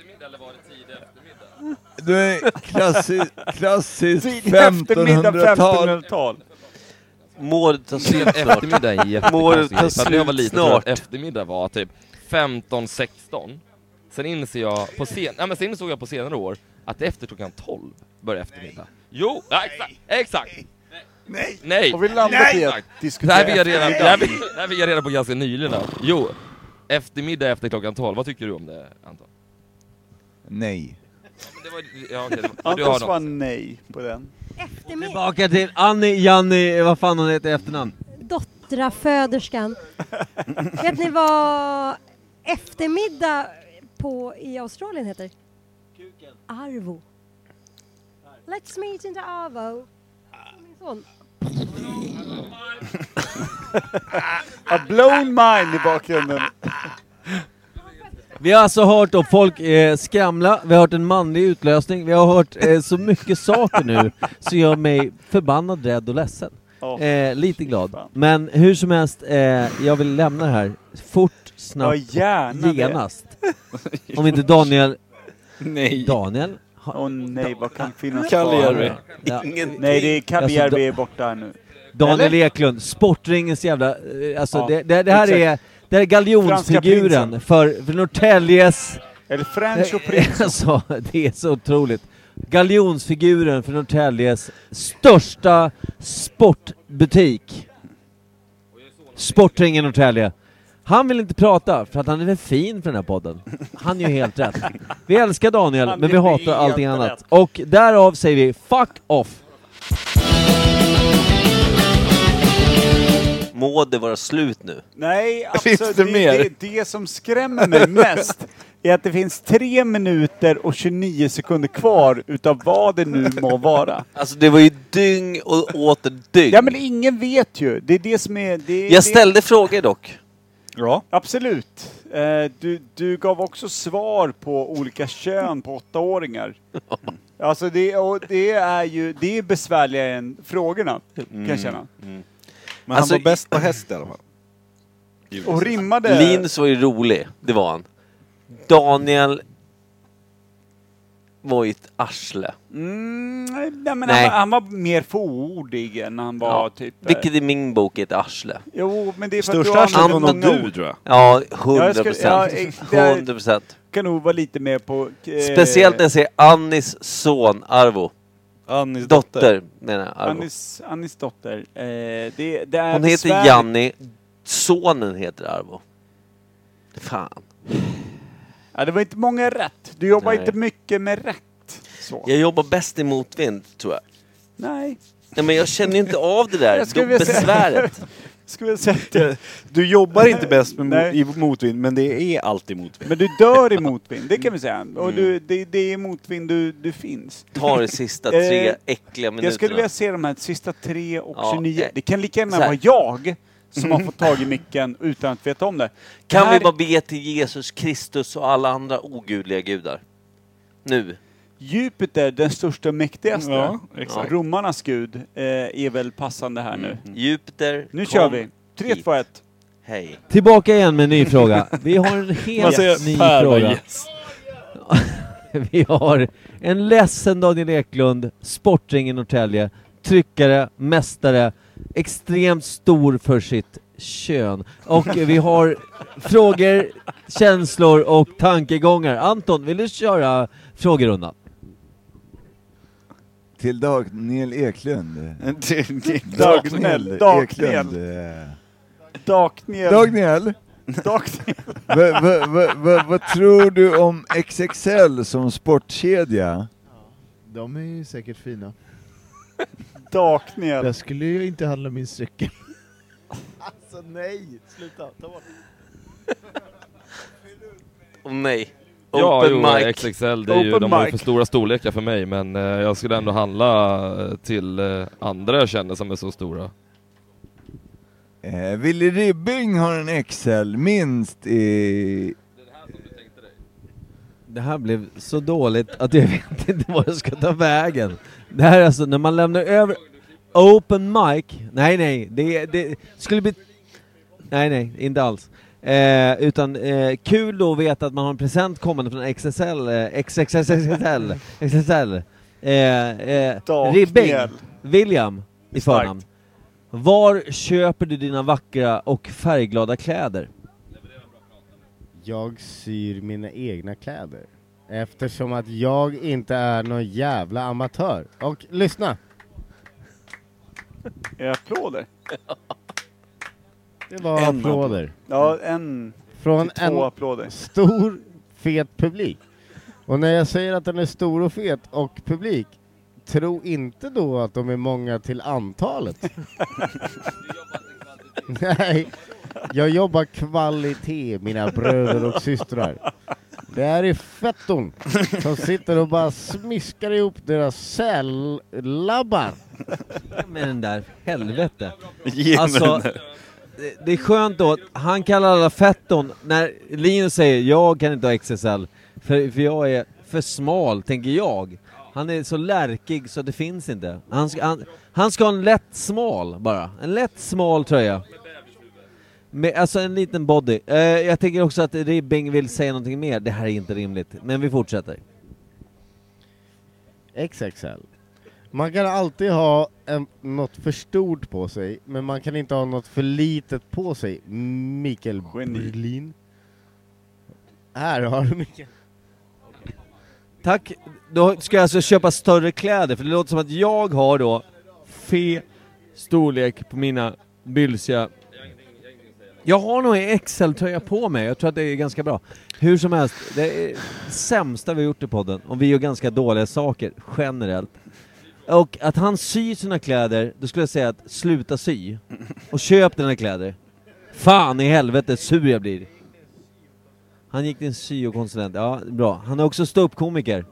Speaker 27: du är klassiskt klassisk
Speaker 28: Tidig eftermiddag,
Speaker 27: 1500-tal.
Speaker 18: [LAUGHS] Målet tar
Speaker 21: Sen
Speaker 18: slut snart.
Speaker 21: eftermiddag är
Speaker 18: Målet
Speaker 21: jättekonstigt.
Speaker 18: tar
Speaker 21: För att När jag var
Speaker 18: slut
Speaker 21: liten tror jag att
Speaker 18: snart.
Speaker 21: eftermiddag var typ 15-16. Sen inser jag på sen, nej, men sen insåg jag på senare år att efter klockan 12 börjar eftermiddag. Jo, ja, exakt, exakt. Nej! Nej!
Speaker 28: Har vi landat i att
Speaker 21: Det
Speaker 28: diskutera
Speaker 21: här fick jag reda,
Speaker 28: eftermiddag?
Speaker 21: det här fick- det här fick jag reda på ganska nyligen. här. Jo, eftermiddag efter klockan 12. Vad tycker du om det, Anton?
Speaker 27: Nej.
Speaker 21: Det var, ja, okej, det var, du
Speaker 28: Anton
Speaker 21: har något.
Speaker 28: svarar nej på den.
Speaker 3: Tillbaka till Annie, Janni, vad fan hon heter i efternamn.
Speaker 6: Dottraföderskan. Vet ni vad eftermiddag på i Australien heter? Arvo. Let's meet in the Arvo. Min son.
Speaker 28: A blown mind i bakgrunden.
Speaker 3: Vi har alltså hört då folk eh, skramla, vi har hört en manlig utlösning, vi har hört eh, så mycket saker nu som gör mig förbannad, rädd och ledsen.
Speaker 28: Ja.
Speaker 3: Eh, lite glad. Men hur som helst, eh, jag vill lämna det här fort, snabbt,
Speaker 28: Ja, gärna det.
Speaker 3: genast. Om
Speaker 28: [LAUGHS]
Speaker 3: inte Daniel...
Speaker 1: Nej.
Speaker 3: Daniel? har-
Speaker 2: Åh nej, vad kan finnas
Speaker 3: Kaljärvi.
Speaker 2: kvar?
Speaker 3: Ja.
Speaker 2: Ingenting. Nej, det är
Speaker 3: Alltså,
Speaker 2: Kaljärvi
Speaker 3: da-
Speaker 2: är borta nu.
Speaker 3: Daniel
Speaker 2: Eller?
Speaker 3: Eklund, Sportringens jävla... eh, Alltså
Speaker 2: Ja,
Speaker 3: det, det, det här är...
Speaker 2: exakt.
Speaker 3: Det här är
Speaker 2: Franska
Speaker 3: galjonsfiguren
Speaker 2: prinsen.
Speaker 3: för, för Norrtäljes...
Speaker 2: Eller French och
Speaker 3: prins. Alltså, det är [LAUGHS] så otroligt. Galjonsfiguren för Norrtäljes största sportbutik. Sportringen Norrtälje. Han vill inte prata för att han är för fin för den här podden. Han gör helt rätt. Vi älskar Daniel,
Speaker 2: Han
Speaker 3: men vi
Speaker 2: är
Speaker 3: hatar
Speaker 2: helt
Speaker 3: allting annat.
Speaker 2: rätt.
Speaker 3: Och därav säger vi fuck off!
Speaker 18: Må det vara slut nu.
Speaker 2: Nej,
Speaker 1: [LAUGHS]
Speaker 18: Finns
Speaker 2: absolut.
Speaker 18: det
Speaker 2: Det,
Speaker 18: mer?
Speaker 2: det, det som skrämmer mig mest är att det finns 3 minuter och 29 sekunder kvar utav vad det nu må vara.
Speaker 18: Alltså det var ju dyng och åter dygn.
Speaker 2: Ja men ingen vet ju. Det är det som är... Det, det-
Speaker 18: jag ställde frågor dock.
Speaker 1: Ja.
Speaker 2: Absolut. Eh, du, du gav också svar på olika kön på
Speaker 18: [LAUGHS]
Speaker 2: åttaåringar. Alltså det, och det är ju det är besvärligare än frågorna, kan jag känna.
Speaker 18: Mm.
Speaker 1: Men han var bäst på häst i alla fall.
Speaker 2: Och rimmade...
Speaker 18: Linus var ju rolig, det var han. Daniel var ju ett arsle.
Speaker 2: Mm, nej, men
Speaker 18: Nej.
Speaker 2: Han, var- han var mer fåordig än han var
Speaker 18: Ja.
Speaker 2: typ... eh,
Speaker 18: Vilket i min bok är ett arsle.
Speaker 2: Jo, men det är för
Speaker 1: Största
Speaker 2: att du
Speaker 1: arslet var
Speaker 2: använder
Speaker 1: nog du,
Speaker 2: ord.
Speaker 1: tror jag.
Speaker 18: Ja,
Speaker 2: Ja, jag
Speaker 18: hundra
Speaker 2: skulle- ja,
Speaker 18: procent.
Speaker 2: eh, det är-
Speaker 18: [LAUGHS] Hundra procent.
Speaker 2: kan nog vara lite mer på... eh,
Speaker 18: Speciellt när jag säger Annis son Arvo.
Speaker 1: Annis
Speaker 18: dotter. menar jag, Arvo.
Speaker 2: Annis, Annis dotter. Eh, det, det är
Speaker 18: Hon heter
Speaker 2: besvärligt.
Speaker 18: Janni. Sonen heter Arvo. Fan.
Speaker 2: Ja, det var inte många rätt. Du jobbar
Speaker 18: Nej.
Speaker 2: inte mycket med rätt. Så.
Speaker 18: Jag jobbar bäst i motvind, tror jag.
Speaker 2: Nej.
Speaker 18: Nej, men jag känner ju inte av det
Speaker 2: [LAUGHS]
Speaker 18: där.
Speaker 2: Jag skulle
Speaker 18: Då
Speaker 2: vilja säga-
Speaker 18: besväret.
Speaker 2: [LAUGHS] Skulle jag säga att det-
Speaker 1: Du jobbar inte bäst med mot,
Speaker 2: Nej.
Speaker 1: i motvind, men det är alltid motvind.
Speaker 2: Men du dör i motvind, det kan vi säga. Och du, det, det är i motvind du, du finns.
Speaker 18: Ta Mm. de sista tre
Speaker 2: Eh,
Speaker 18: äckliga minuterna.
Speaker 2: Jag skulle vilja se de här sista 3 och
Speaker 18: Ja,
Speaker 2: 29.
Speaker 18: eh,
Speaker 2: det kan lika gärna
Speaker 18: så här.
Speaker 2: vara jag som
Speaker 18: [LAUGHS]
Speaker 2: har fått tag i micken utan att veta om det.
Speaker 18: Kan
Speaker 2: här,
Speaker 18: vi bara be till Jesus Kristus och alla andra ogudliga gudar? Nu.
Speaker 2: Jupiter, den största och mäktigaste,
Speaker 18: Ja, exakt.
Speaker 2: romarnas gud, eh, är väl passande här nu.
Speaker 18: Mm. Jupiter,
Speaker 2: Nu
Speaker 18: kom
Speaker 2: kör vi! 3,
Speaker 18: hit.
Speaker 2: 2, 1.
Speaker 18: Hej.
Speaker 3: Tillbaka igen med en ny fråga. Vi har
Speaker 21: [LAUGHS]
Speaker 3: en
Speaker 18: Vad
Speaker 3: helt
Speaker 18: säger
Speaker 3: ny
Speaker 18: Per då?
Speaker 3: fråga.
Speaker 18: Yes.
Speaker 3: [LAUGHS] Vi har en ledsen Daniel Eklund, Sportringen Norrtälje, tryckare, mästare, extremt stor för sitt kön. Och vi har frågor, känslor och tankegångar. Anton, vill du köra frågerundan?
Speaker 27: Till Daniel Eklund.
Speaker 1: Till- till
Speaker 27: Daniel
Speaker 2: Dagnell, Dagnell.
Speaker 27: Eklund. eh.
Speaker 2: Dakniel.
Speaker 27: Daniel. Vad- vad- vad- vad- Vad tror du om XXL som sportkedja?
Speaker 29: De är ju säkert fina.
Speaker 2: Dakniel.
Speaker 29: Jag skulle ju inte handla min cykel. Alltså nej, sluta, ta bort.
Speaker 30: Åh nej.
Speaker 21: Ja,
Speaker 30: Open
Speaker 21: jo,
Speaker 30: mic.
Speaker 21: XXL, det är ju,
Speaker 30: Open
Speaker 21: de har ju
Speaker 30: mic.
Speaker 21: för stora storlekar för mig, men eh, jag skulle ändå handla eh, till eh, andra jag känner som är så stora.
Speaker 27: Eh, Willy Ribbing har en XL minst i...
Speaker 3: Det här blev så dåligt att jag [LAUGHS] vet inte vad jag ska ta vägen. Det här är alltså när man lämnar över open mic. Nej, nej, det, det skulle bli... Nej, nej, inte alls. Eh, utan eh, kul då att veta att man har en present kommande från XSL, eh, XXXXL, XSL. Eh, eh,
Speaker 29: Daniel.
Speaker 3: Ribbing, William i förnamn. Var köper du dina vackra och färgglada kläder?
Speaker 29: Jag syr mina egna kläder. Eftersom att jag inte är någon jävla amatör. Och lyssna!
Speaker 2: Eh, Applåder.
Speaker 29: Det var
Speaker 2: En
Speaker 29: applåder.
Speaker 2: Ja, en
Speaker 29: Från
Speaker 2: till
Speaker 29: en
Speaker 2: två applåder.
Speaker 29: stor, fet publik. Och när jag säger att den är stor och fet och publik, tro inte då att de är många till antalet.
Speaker 2: [LAUGHS]
Speaker 29: [LAUGHS] Nej, jag jobbar kvalitet mina bröder och systrar. Det här är fetton som sitter och bara smiskar ihop deras sällabbar.
Speaker 3: med den där, helvete.
Speaker 29: Ge mig
Speaker 3: Alltså,
Speaker 29: den där.
Speaker 3: det- det är skönt då, att han kallar alla fetton, när Linus säger jag kan inte ha XSL, för, för jag är för smal, tänker jag. Han är så lärkig så det finns inte. Han ska, han, han ska ha en lätt smal bara, en lätt smal tröja. Med, alltså en liten body. Eh, jag tänker också att Ribbing vill säga någonting mer, det här är inte rimligt. Men vi fortsätter.
Speaker 29: XXL. Man kan alltid ha en, något för stort på sig, men man kan inte ha något för litet på sig. Mikael Berlin. Här har du Mikael.
Speaker 3: Tack. Då ska jag alltså köpa större kläder, för det låter som att jag har då fe storlek på mina bylsiga... Jag har nog en XL-tröja på mig, jag tror att det är ganska bra. Hur som helst, det är sämsta vi har gjort i podden, och vi gör ganska dåliga saker generellt. Och att han syr sina kläder, då skulle jag säga att sluta sy. Och köp dina kläder. Fan i helvete sur jag blir. Han gick till en syokonsulent, ja bra. Han är också ståuppkomiker.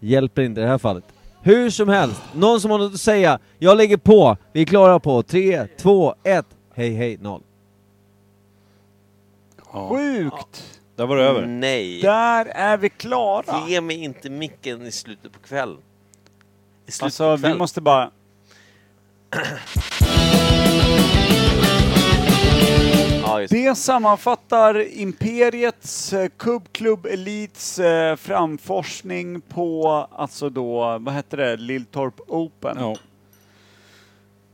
Speaker 3: Hjälper inte i det här fallet. Hur som helst, någon som har något att säga. Jag lägger på, vi är klara på 3, 2, 1, hej hej 0.
Speaker 2: Sjukt!
Speaker 1: Där var det över.
Speaker 30: Nej.
Speaker 2: Där är vi klara!
Speaker 30: Ge mig inte micken i slutet på kvällen. I slutet
Speaker 2: Alltså,
Speaker 30: på
Speaker 2: vi
Speaker 30: kvällen.
Speaker 2: måste bara... Det sammanfattar Imperiets eh, Cub Club Elites eh, framforskning på, alltså då, vad hette det, Lilltorp Open.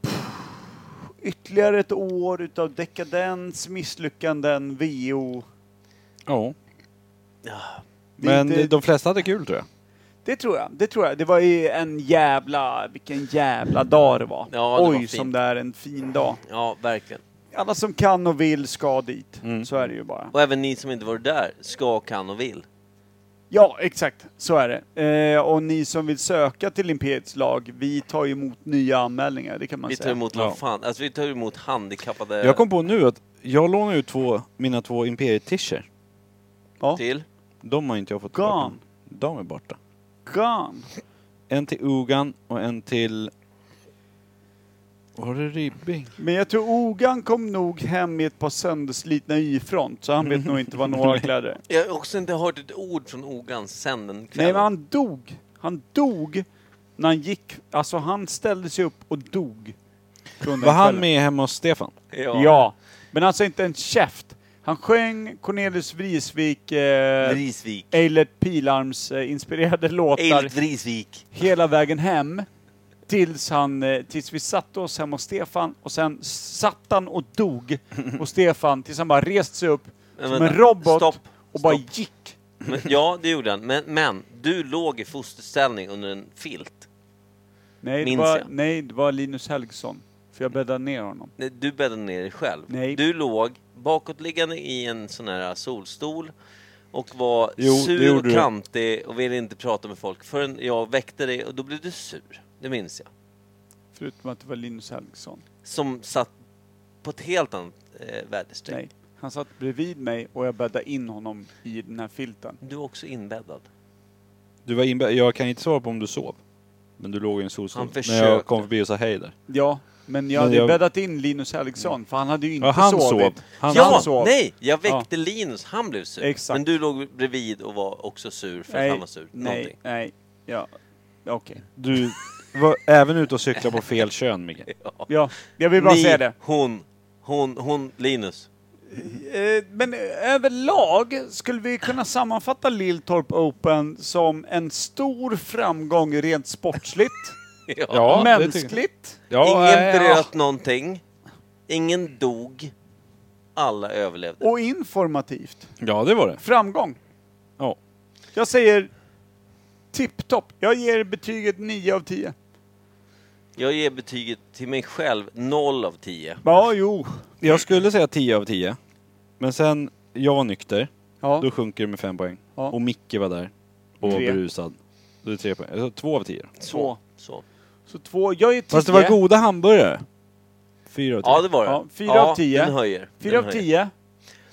Speaker 2: Pff, Ytterligare ett år utav dekadens, misslyckanden, VO.
Speaker 1: Ja.
Speaker 2: Det
Speaker 1: Men
Speaker 2: är inte-
Speaker 1: de flesta hade kul tror jag.
Speaker 2: Det tror jag, det tror jag. Det var ju en jävla, vilken jävla dag det var.
Speaker 30: Ja, det var
Speaker 2: Oj,
Speaker 30: fint.
Speaker 2: som det är en fin dag.
Speaker 30: Ja, verkligen.
Speaker 2: Alla som kan och vill ska dit. Så är det ju bara.
Speaker 30: Och även ni som inte varit där, ska, kan och vill.
Speaker 2: Ja, exakt. Så är det. Eh, och ni som vill söka till Imperiets lag, vi tar ju emot nya anmälningar, det kan man
Speaker 30: Vi
Speaker 2: säga.
Speaker 30: tar emot vad fan, alltså vi tar emot handikappade
Speaker 1: Jag kom på nu att jag lånar ut två, mina två Imperiet-t-shirts.
Speaker 30: till.
Speaker 1: De har inte jag fått
Speaker 2: Gone.
Speaker 1: De är borta.
Speaker 2: Gone.
Speaker 1: En till Ugan och en till... Var det Ribbing?
Speaker 2: Men jag tror Ogan kom nog hem i ett par sönderslitna Y-front, så han vet nog inte vad
Speaker 1: [LAUGHS]
Speaker 2: några kläder är.
Speaker 30: [LAUGHS] Jag har också inte hört ett ord från Ogan sen den
Speaker 2: Nej,
Speaker 30: kvällen.
Speaker 2: men han dog. Han dog när han gick. Alltså, han ställde sig upp och dog. från den
Speaker 1: Var han
Speaker 2: kvällen.
Speaker 1: med hemma hos Stefan?
Speaker 2: Ja. Men alltså inte en käft. Han sjöng Cornelius Vrisvik, eh,
Speaker 30: Vrisvik.
Speaker 2: Eilert Pilarms eh, inspirerade [LAUGHS] låtar.
Speaker 30: Eilert Vrisvik.
Speaker 2: Hela vägen hem. Tills, han, eh, tills vi satte oss hemma hos Stefan och sen satt han och
Speaker 30: [LAUGHS]
Speaker 2: dog hos Stefan tills han bara reste sig upp
Speaker 30: Men
Speaker 2: som en
Speaker 30: vänta,
Speaker 2: robot
Speaker 30: stopp,
Speaker 2: och bara
Speaker 30: stopp.
Speaker 2: gick.
Speaker 30: Men, ja, det gjorde han. Men, men du låg i fosterställning under en filt.
Speaker 2: Nej det,
Speaker 30: Minns
Speaker 2: var,
Speaker 30: jag.
Speaker 2: nej, det var Linus Helgesson. För jag bäddade ner honom.
Speaker 30: Nej, Du bäddade ner dig själv.
Speaker 2: Nej.
Speaker 30: Du låg bakåtliggande i en sån här solstol och var
Speaker 1: Jo, det
Speaker 30: sur och
Speaker 1: gjorde du.
Speaker 30: klantig och ville inte prata med folk förrän jag väckte dig och då blev du sur. Det minns jag.
Speaker 2: Förutom att det var Linus Helgesson.
Speaker 30: Som satt
Speaker 3: på ett helt annat eh, väderstreck.
Speaker 2: Nej. Han satt bredvid mig och jag bäddade in honom i den här filten.
Speaker 3: Du är också inbäddad.
Speaker 1: Du var inbe- jag kan inte svara på om du sov. Men du låg i en solstol.
Speaker 3: Han
Speaker 1: När jag
Speaker 3: försökte.
Speaker 1: kom förbi och sa hej där.
Speaker 2: Ja, men jag hade
Speaker 1: jag-
Speaker 2: bäddat in Linus Helgesson för han hade ju inte
Speaker 1: Ja, han
Speaker 2: sovit.
Speaker 1: sov.
Speaker 3: ja,
Speaker 2: Han sov.
Speaker 3: nej! Jag väckte Linus, han blev sur.
Speaker 2: Exakt.
Speaker 3: Men du låg bredvid och var också sur för att
Speaker 2: Nej,
Speaker 3: han var sur.
Speaker 2: Nej, nej, ja, okej.
Speaker 1: Du var även ute och cyklade på fel kön, Micke.
Speaker 2: Ja, jag vill bara
Speaker 3: Ni,
Speaker 2: säga det.
Speaker 3: Hon, hon, hon, Linus.
Speaker 2: Eh, Men överlag skulle vi kunna sammanfatta Lilltorp Open som en stor framgång rent sportsligt,
Speaker 3: [LAUGHS] Ja, det
Speaker 2: mänskligt.
Speaker 3: Ingen bröt någonting. Ingen dog. Alla överlevde.
Speaker 2: Och informativt.
Speaker 1: Ja, det var det.
Speaker 2: Framgång.
Speaker 1: Ja.
Speaker 2: Jag säger tipptopp. Jag ger betyget 9 av 10.
Speaker 3: Jag ger betyget till mig själv 0 av 10.
Speaker 2: Ja, jo.
Speaker 1: Jag skulle säga 10 av 10. Men sen, jag var nykter. Då sjunker det med 5 poäng.
Speaker 2: Ja.
Speaker 1: Och Micke var där. Och var
Speaker 2: Tre.
Speaker 1: berusad. Då är det 3 poäng. Alltså 2 av 10.
Speaker 2: Två.
Speaker 3: Så.
Speaker 2: Så två. Jag är 10.
Speaker 1: Fast det var goda hamburgare. 4 av 10.
Speaker 3: Ja, det var det.
Speaker 1: Ja,
Speaker 2: fyra av tio.
Speaker 3: Den höjer.
Speaker 2: Fyra
Speaker 3: den
Speaker 2: av
Speaker 3: höjer.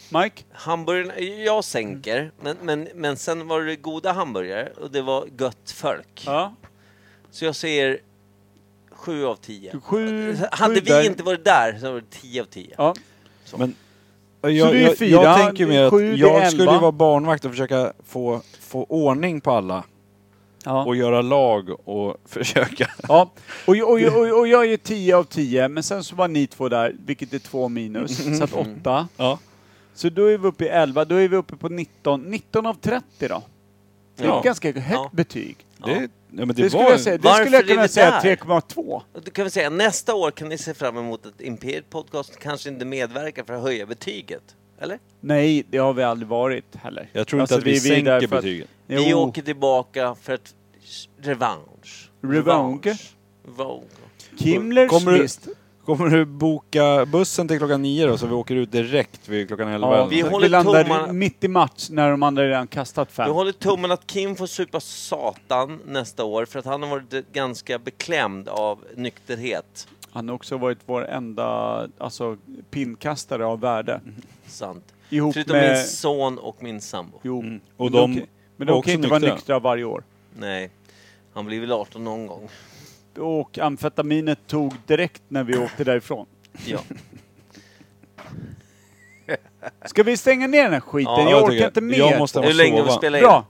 Speaker 2: tio. Mike?
Speaker 3: Hamburgaren, jag sänker. Men, men, men sen var det goda hamburgare och det var gött folk. Så jag säger 7 av 10.
Speaker 2: Sju,
Speaker 3: Hade
Speaker 2: sju
Speaker 3: vi
Speaker 2: där.
Speaker 3: inte varit där så var det 10 av 10.
Speaker 2: Ja.
Speaker 1: Men
Speaker 2: Så
Speaker 1: jag,
Speaker 2: det är
Speaker 1: jag,
Speaker 2: fyra,
Speaker 1: jag tänker ju
Speaker 2: det är
Speaker 1: mer
Speaker 2: sju,
Speaker 1: att
Speaker 2: det
Speaker 1: jag
Speaker 2: är
Speaker 1: skulle
Speaker 2: elva.
Speaker 1: ju vara barnvakt och försöka få, få ordning på alla. Och göra lag och [LAUGHS] försöka.
Speaker 2: Ja, och, jag- och, jag- och, och jag är 10 av 10, men sen så var ni två där, vilket är 2 minus, så att 8.
Speaker 1: Mm. Ja.
Speaker 2: Så då är vi uppe i 11, då är vi uppe på 19. 19 av 30 då. Det är
Speaker 1: Ja.
Speaker 2: ett ganska högt betyg.
Speaker 1: Det, ja, men det,
Speaker 2: Det skulle
Speaker 1: var...
Speaker 2: jag säga- det
Speaker 3: Varför
Speaker 2: skulle jag
Speaker 3: är
Speaker 2: kunna
Speaker 3: vi
Speaker 2: säga
Speaker 3: där?
Speaker 2: 3,2.
Speaker 3: Och Då kan vi säga nästa år kan ni se fram emot att Imperiet Podcast kanske inte medverkar för att höja betyget. Eller?
Speaker 2: Nej, det har vi aldrig varit heller. Alltså,
Speaker 1: Jag tror inte att vi
Speaker 2: är
Speaker 1: sänker
Speaker 2: där för att-
Speaker 1: betygen.
Speaker 2: Jo.
Speaker 3: Vi åker tillbaka för att revansch.
Speaker 2: Revanke.
Speaker 3: Revansch.
Speaker 2: Himmlers
Speaker 1: kommer du,
Speaker 2: list.
Speaker 1: kommer du boka bussen till klockan nio då så vi åker ut direkt vid klockan elva?
Speaker 2: Ja,
Speaker 1: eller
Speaker 2: vi,
Speaker 1: någonting?
Speaker 2: landar mitt i match när de andra redan kastat
Speaker 3: Vi
Speaker 2: fem.
Speaker 3: håller tummen att Kim får supa satan nästa år för att han har varit ganska beklämd av nykterhet.
Speaker 2: Han har också varit vår enda alltså, pinkastare av värde.
Speaker 3: Mhm. Sant.
Speaker 2: Ihop
Speaker 3: Förutom
Speaker 2: med-
Speaker 3: min son och min sambo.
Speaker 2: Jo.
Speaker 1: Mm. Och de-
Speaker 2: men de
Speaker 1: också
Speaker 2: kan inte vara
Speaker 1: nyktra.
Speaker 2: nyktra varje år.
Speaker 3: Nej. Han blir väl 18 någon gång.
Speaker 2: Och amfetaminet tog direkt när vi åkte därifrån.
Speaker 3: Ja.
Speaker 2: [LAUGHS] Ska vi stänga ner den här skiten?
Speaker 3: Ja,
Speaker 2: jag
Speaker 3: jag
Speaker 2: orkar
Speaker 3: tycker-
Speaker 2: inte mer.
Speaker 1: jag måste
Speaker 3: Hur länge har vi sova. spelat in?
Speaker 2: Bra.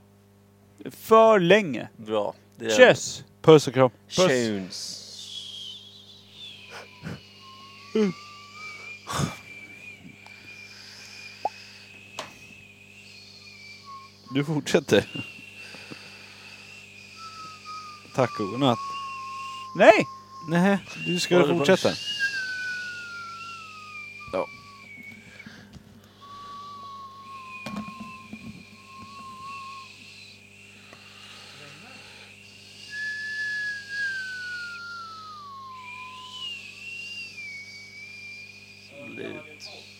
Speaker 2: För länge.
Speaker 3: Bra. Det är-
Speaker 2: Tjöss!
Speaker 1: Puss och kram.
Speaker 3: Tunes.
Speaker 1: Du fortsätter. Tack och godnatt.
Speaker 2: Nej!
Speaker 1: Nej, du ska
Speaker 2: Håller på-
Speaker 1: fortsätta.
Speaker 3: Slut.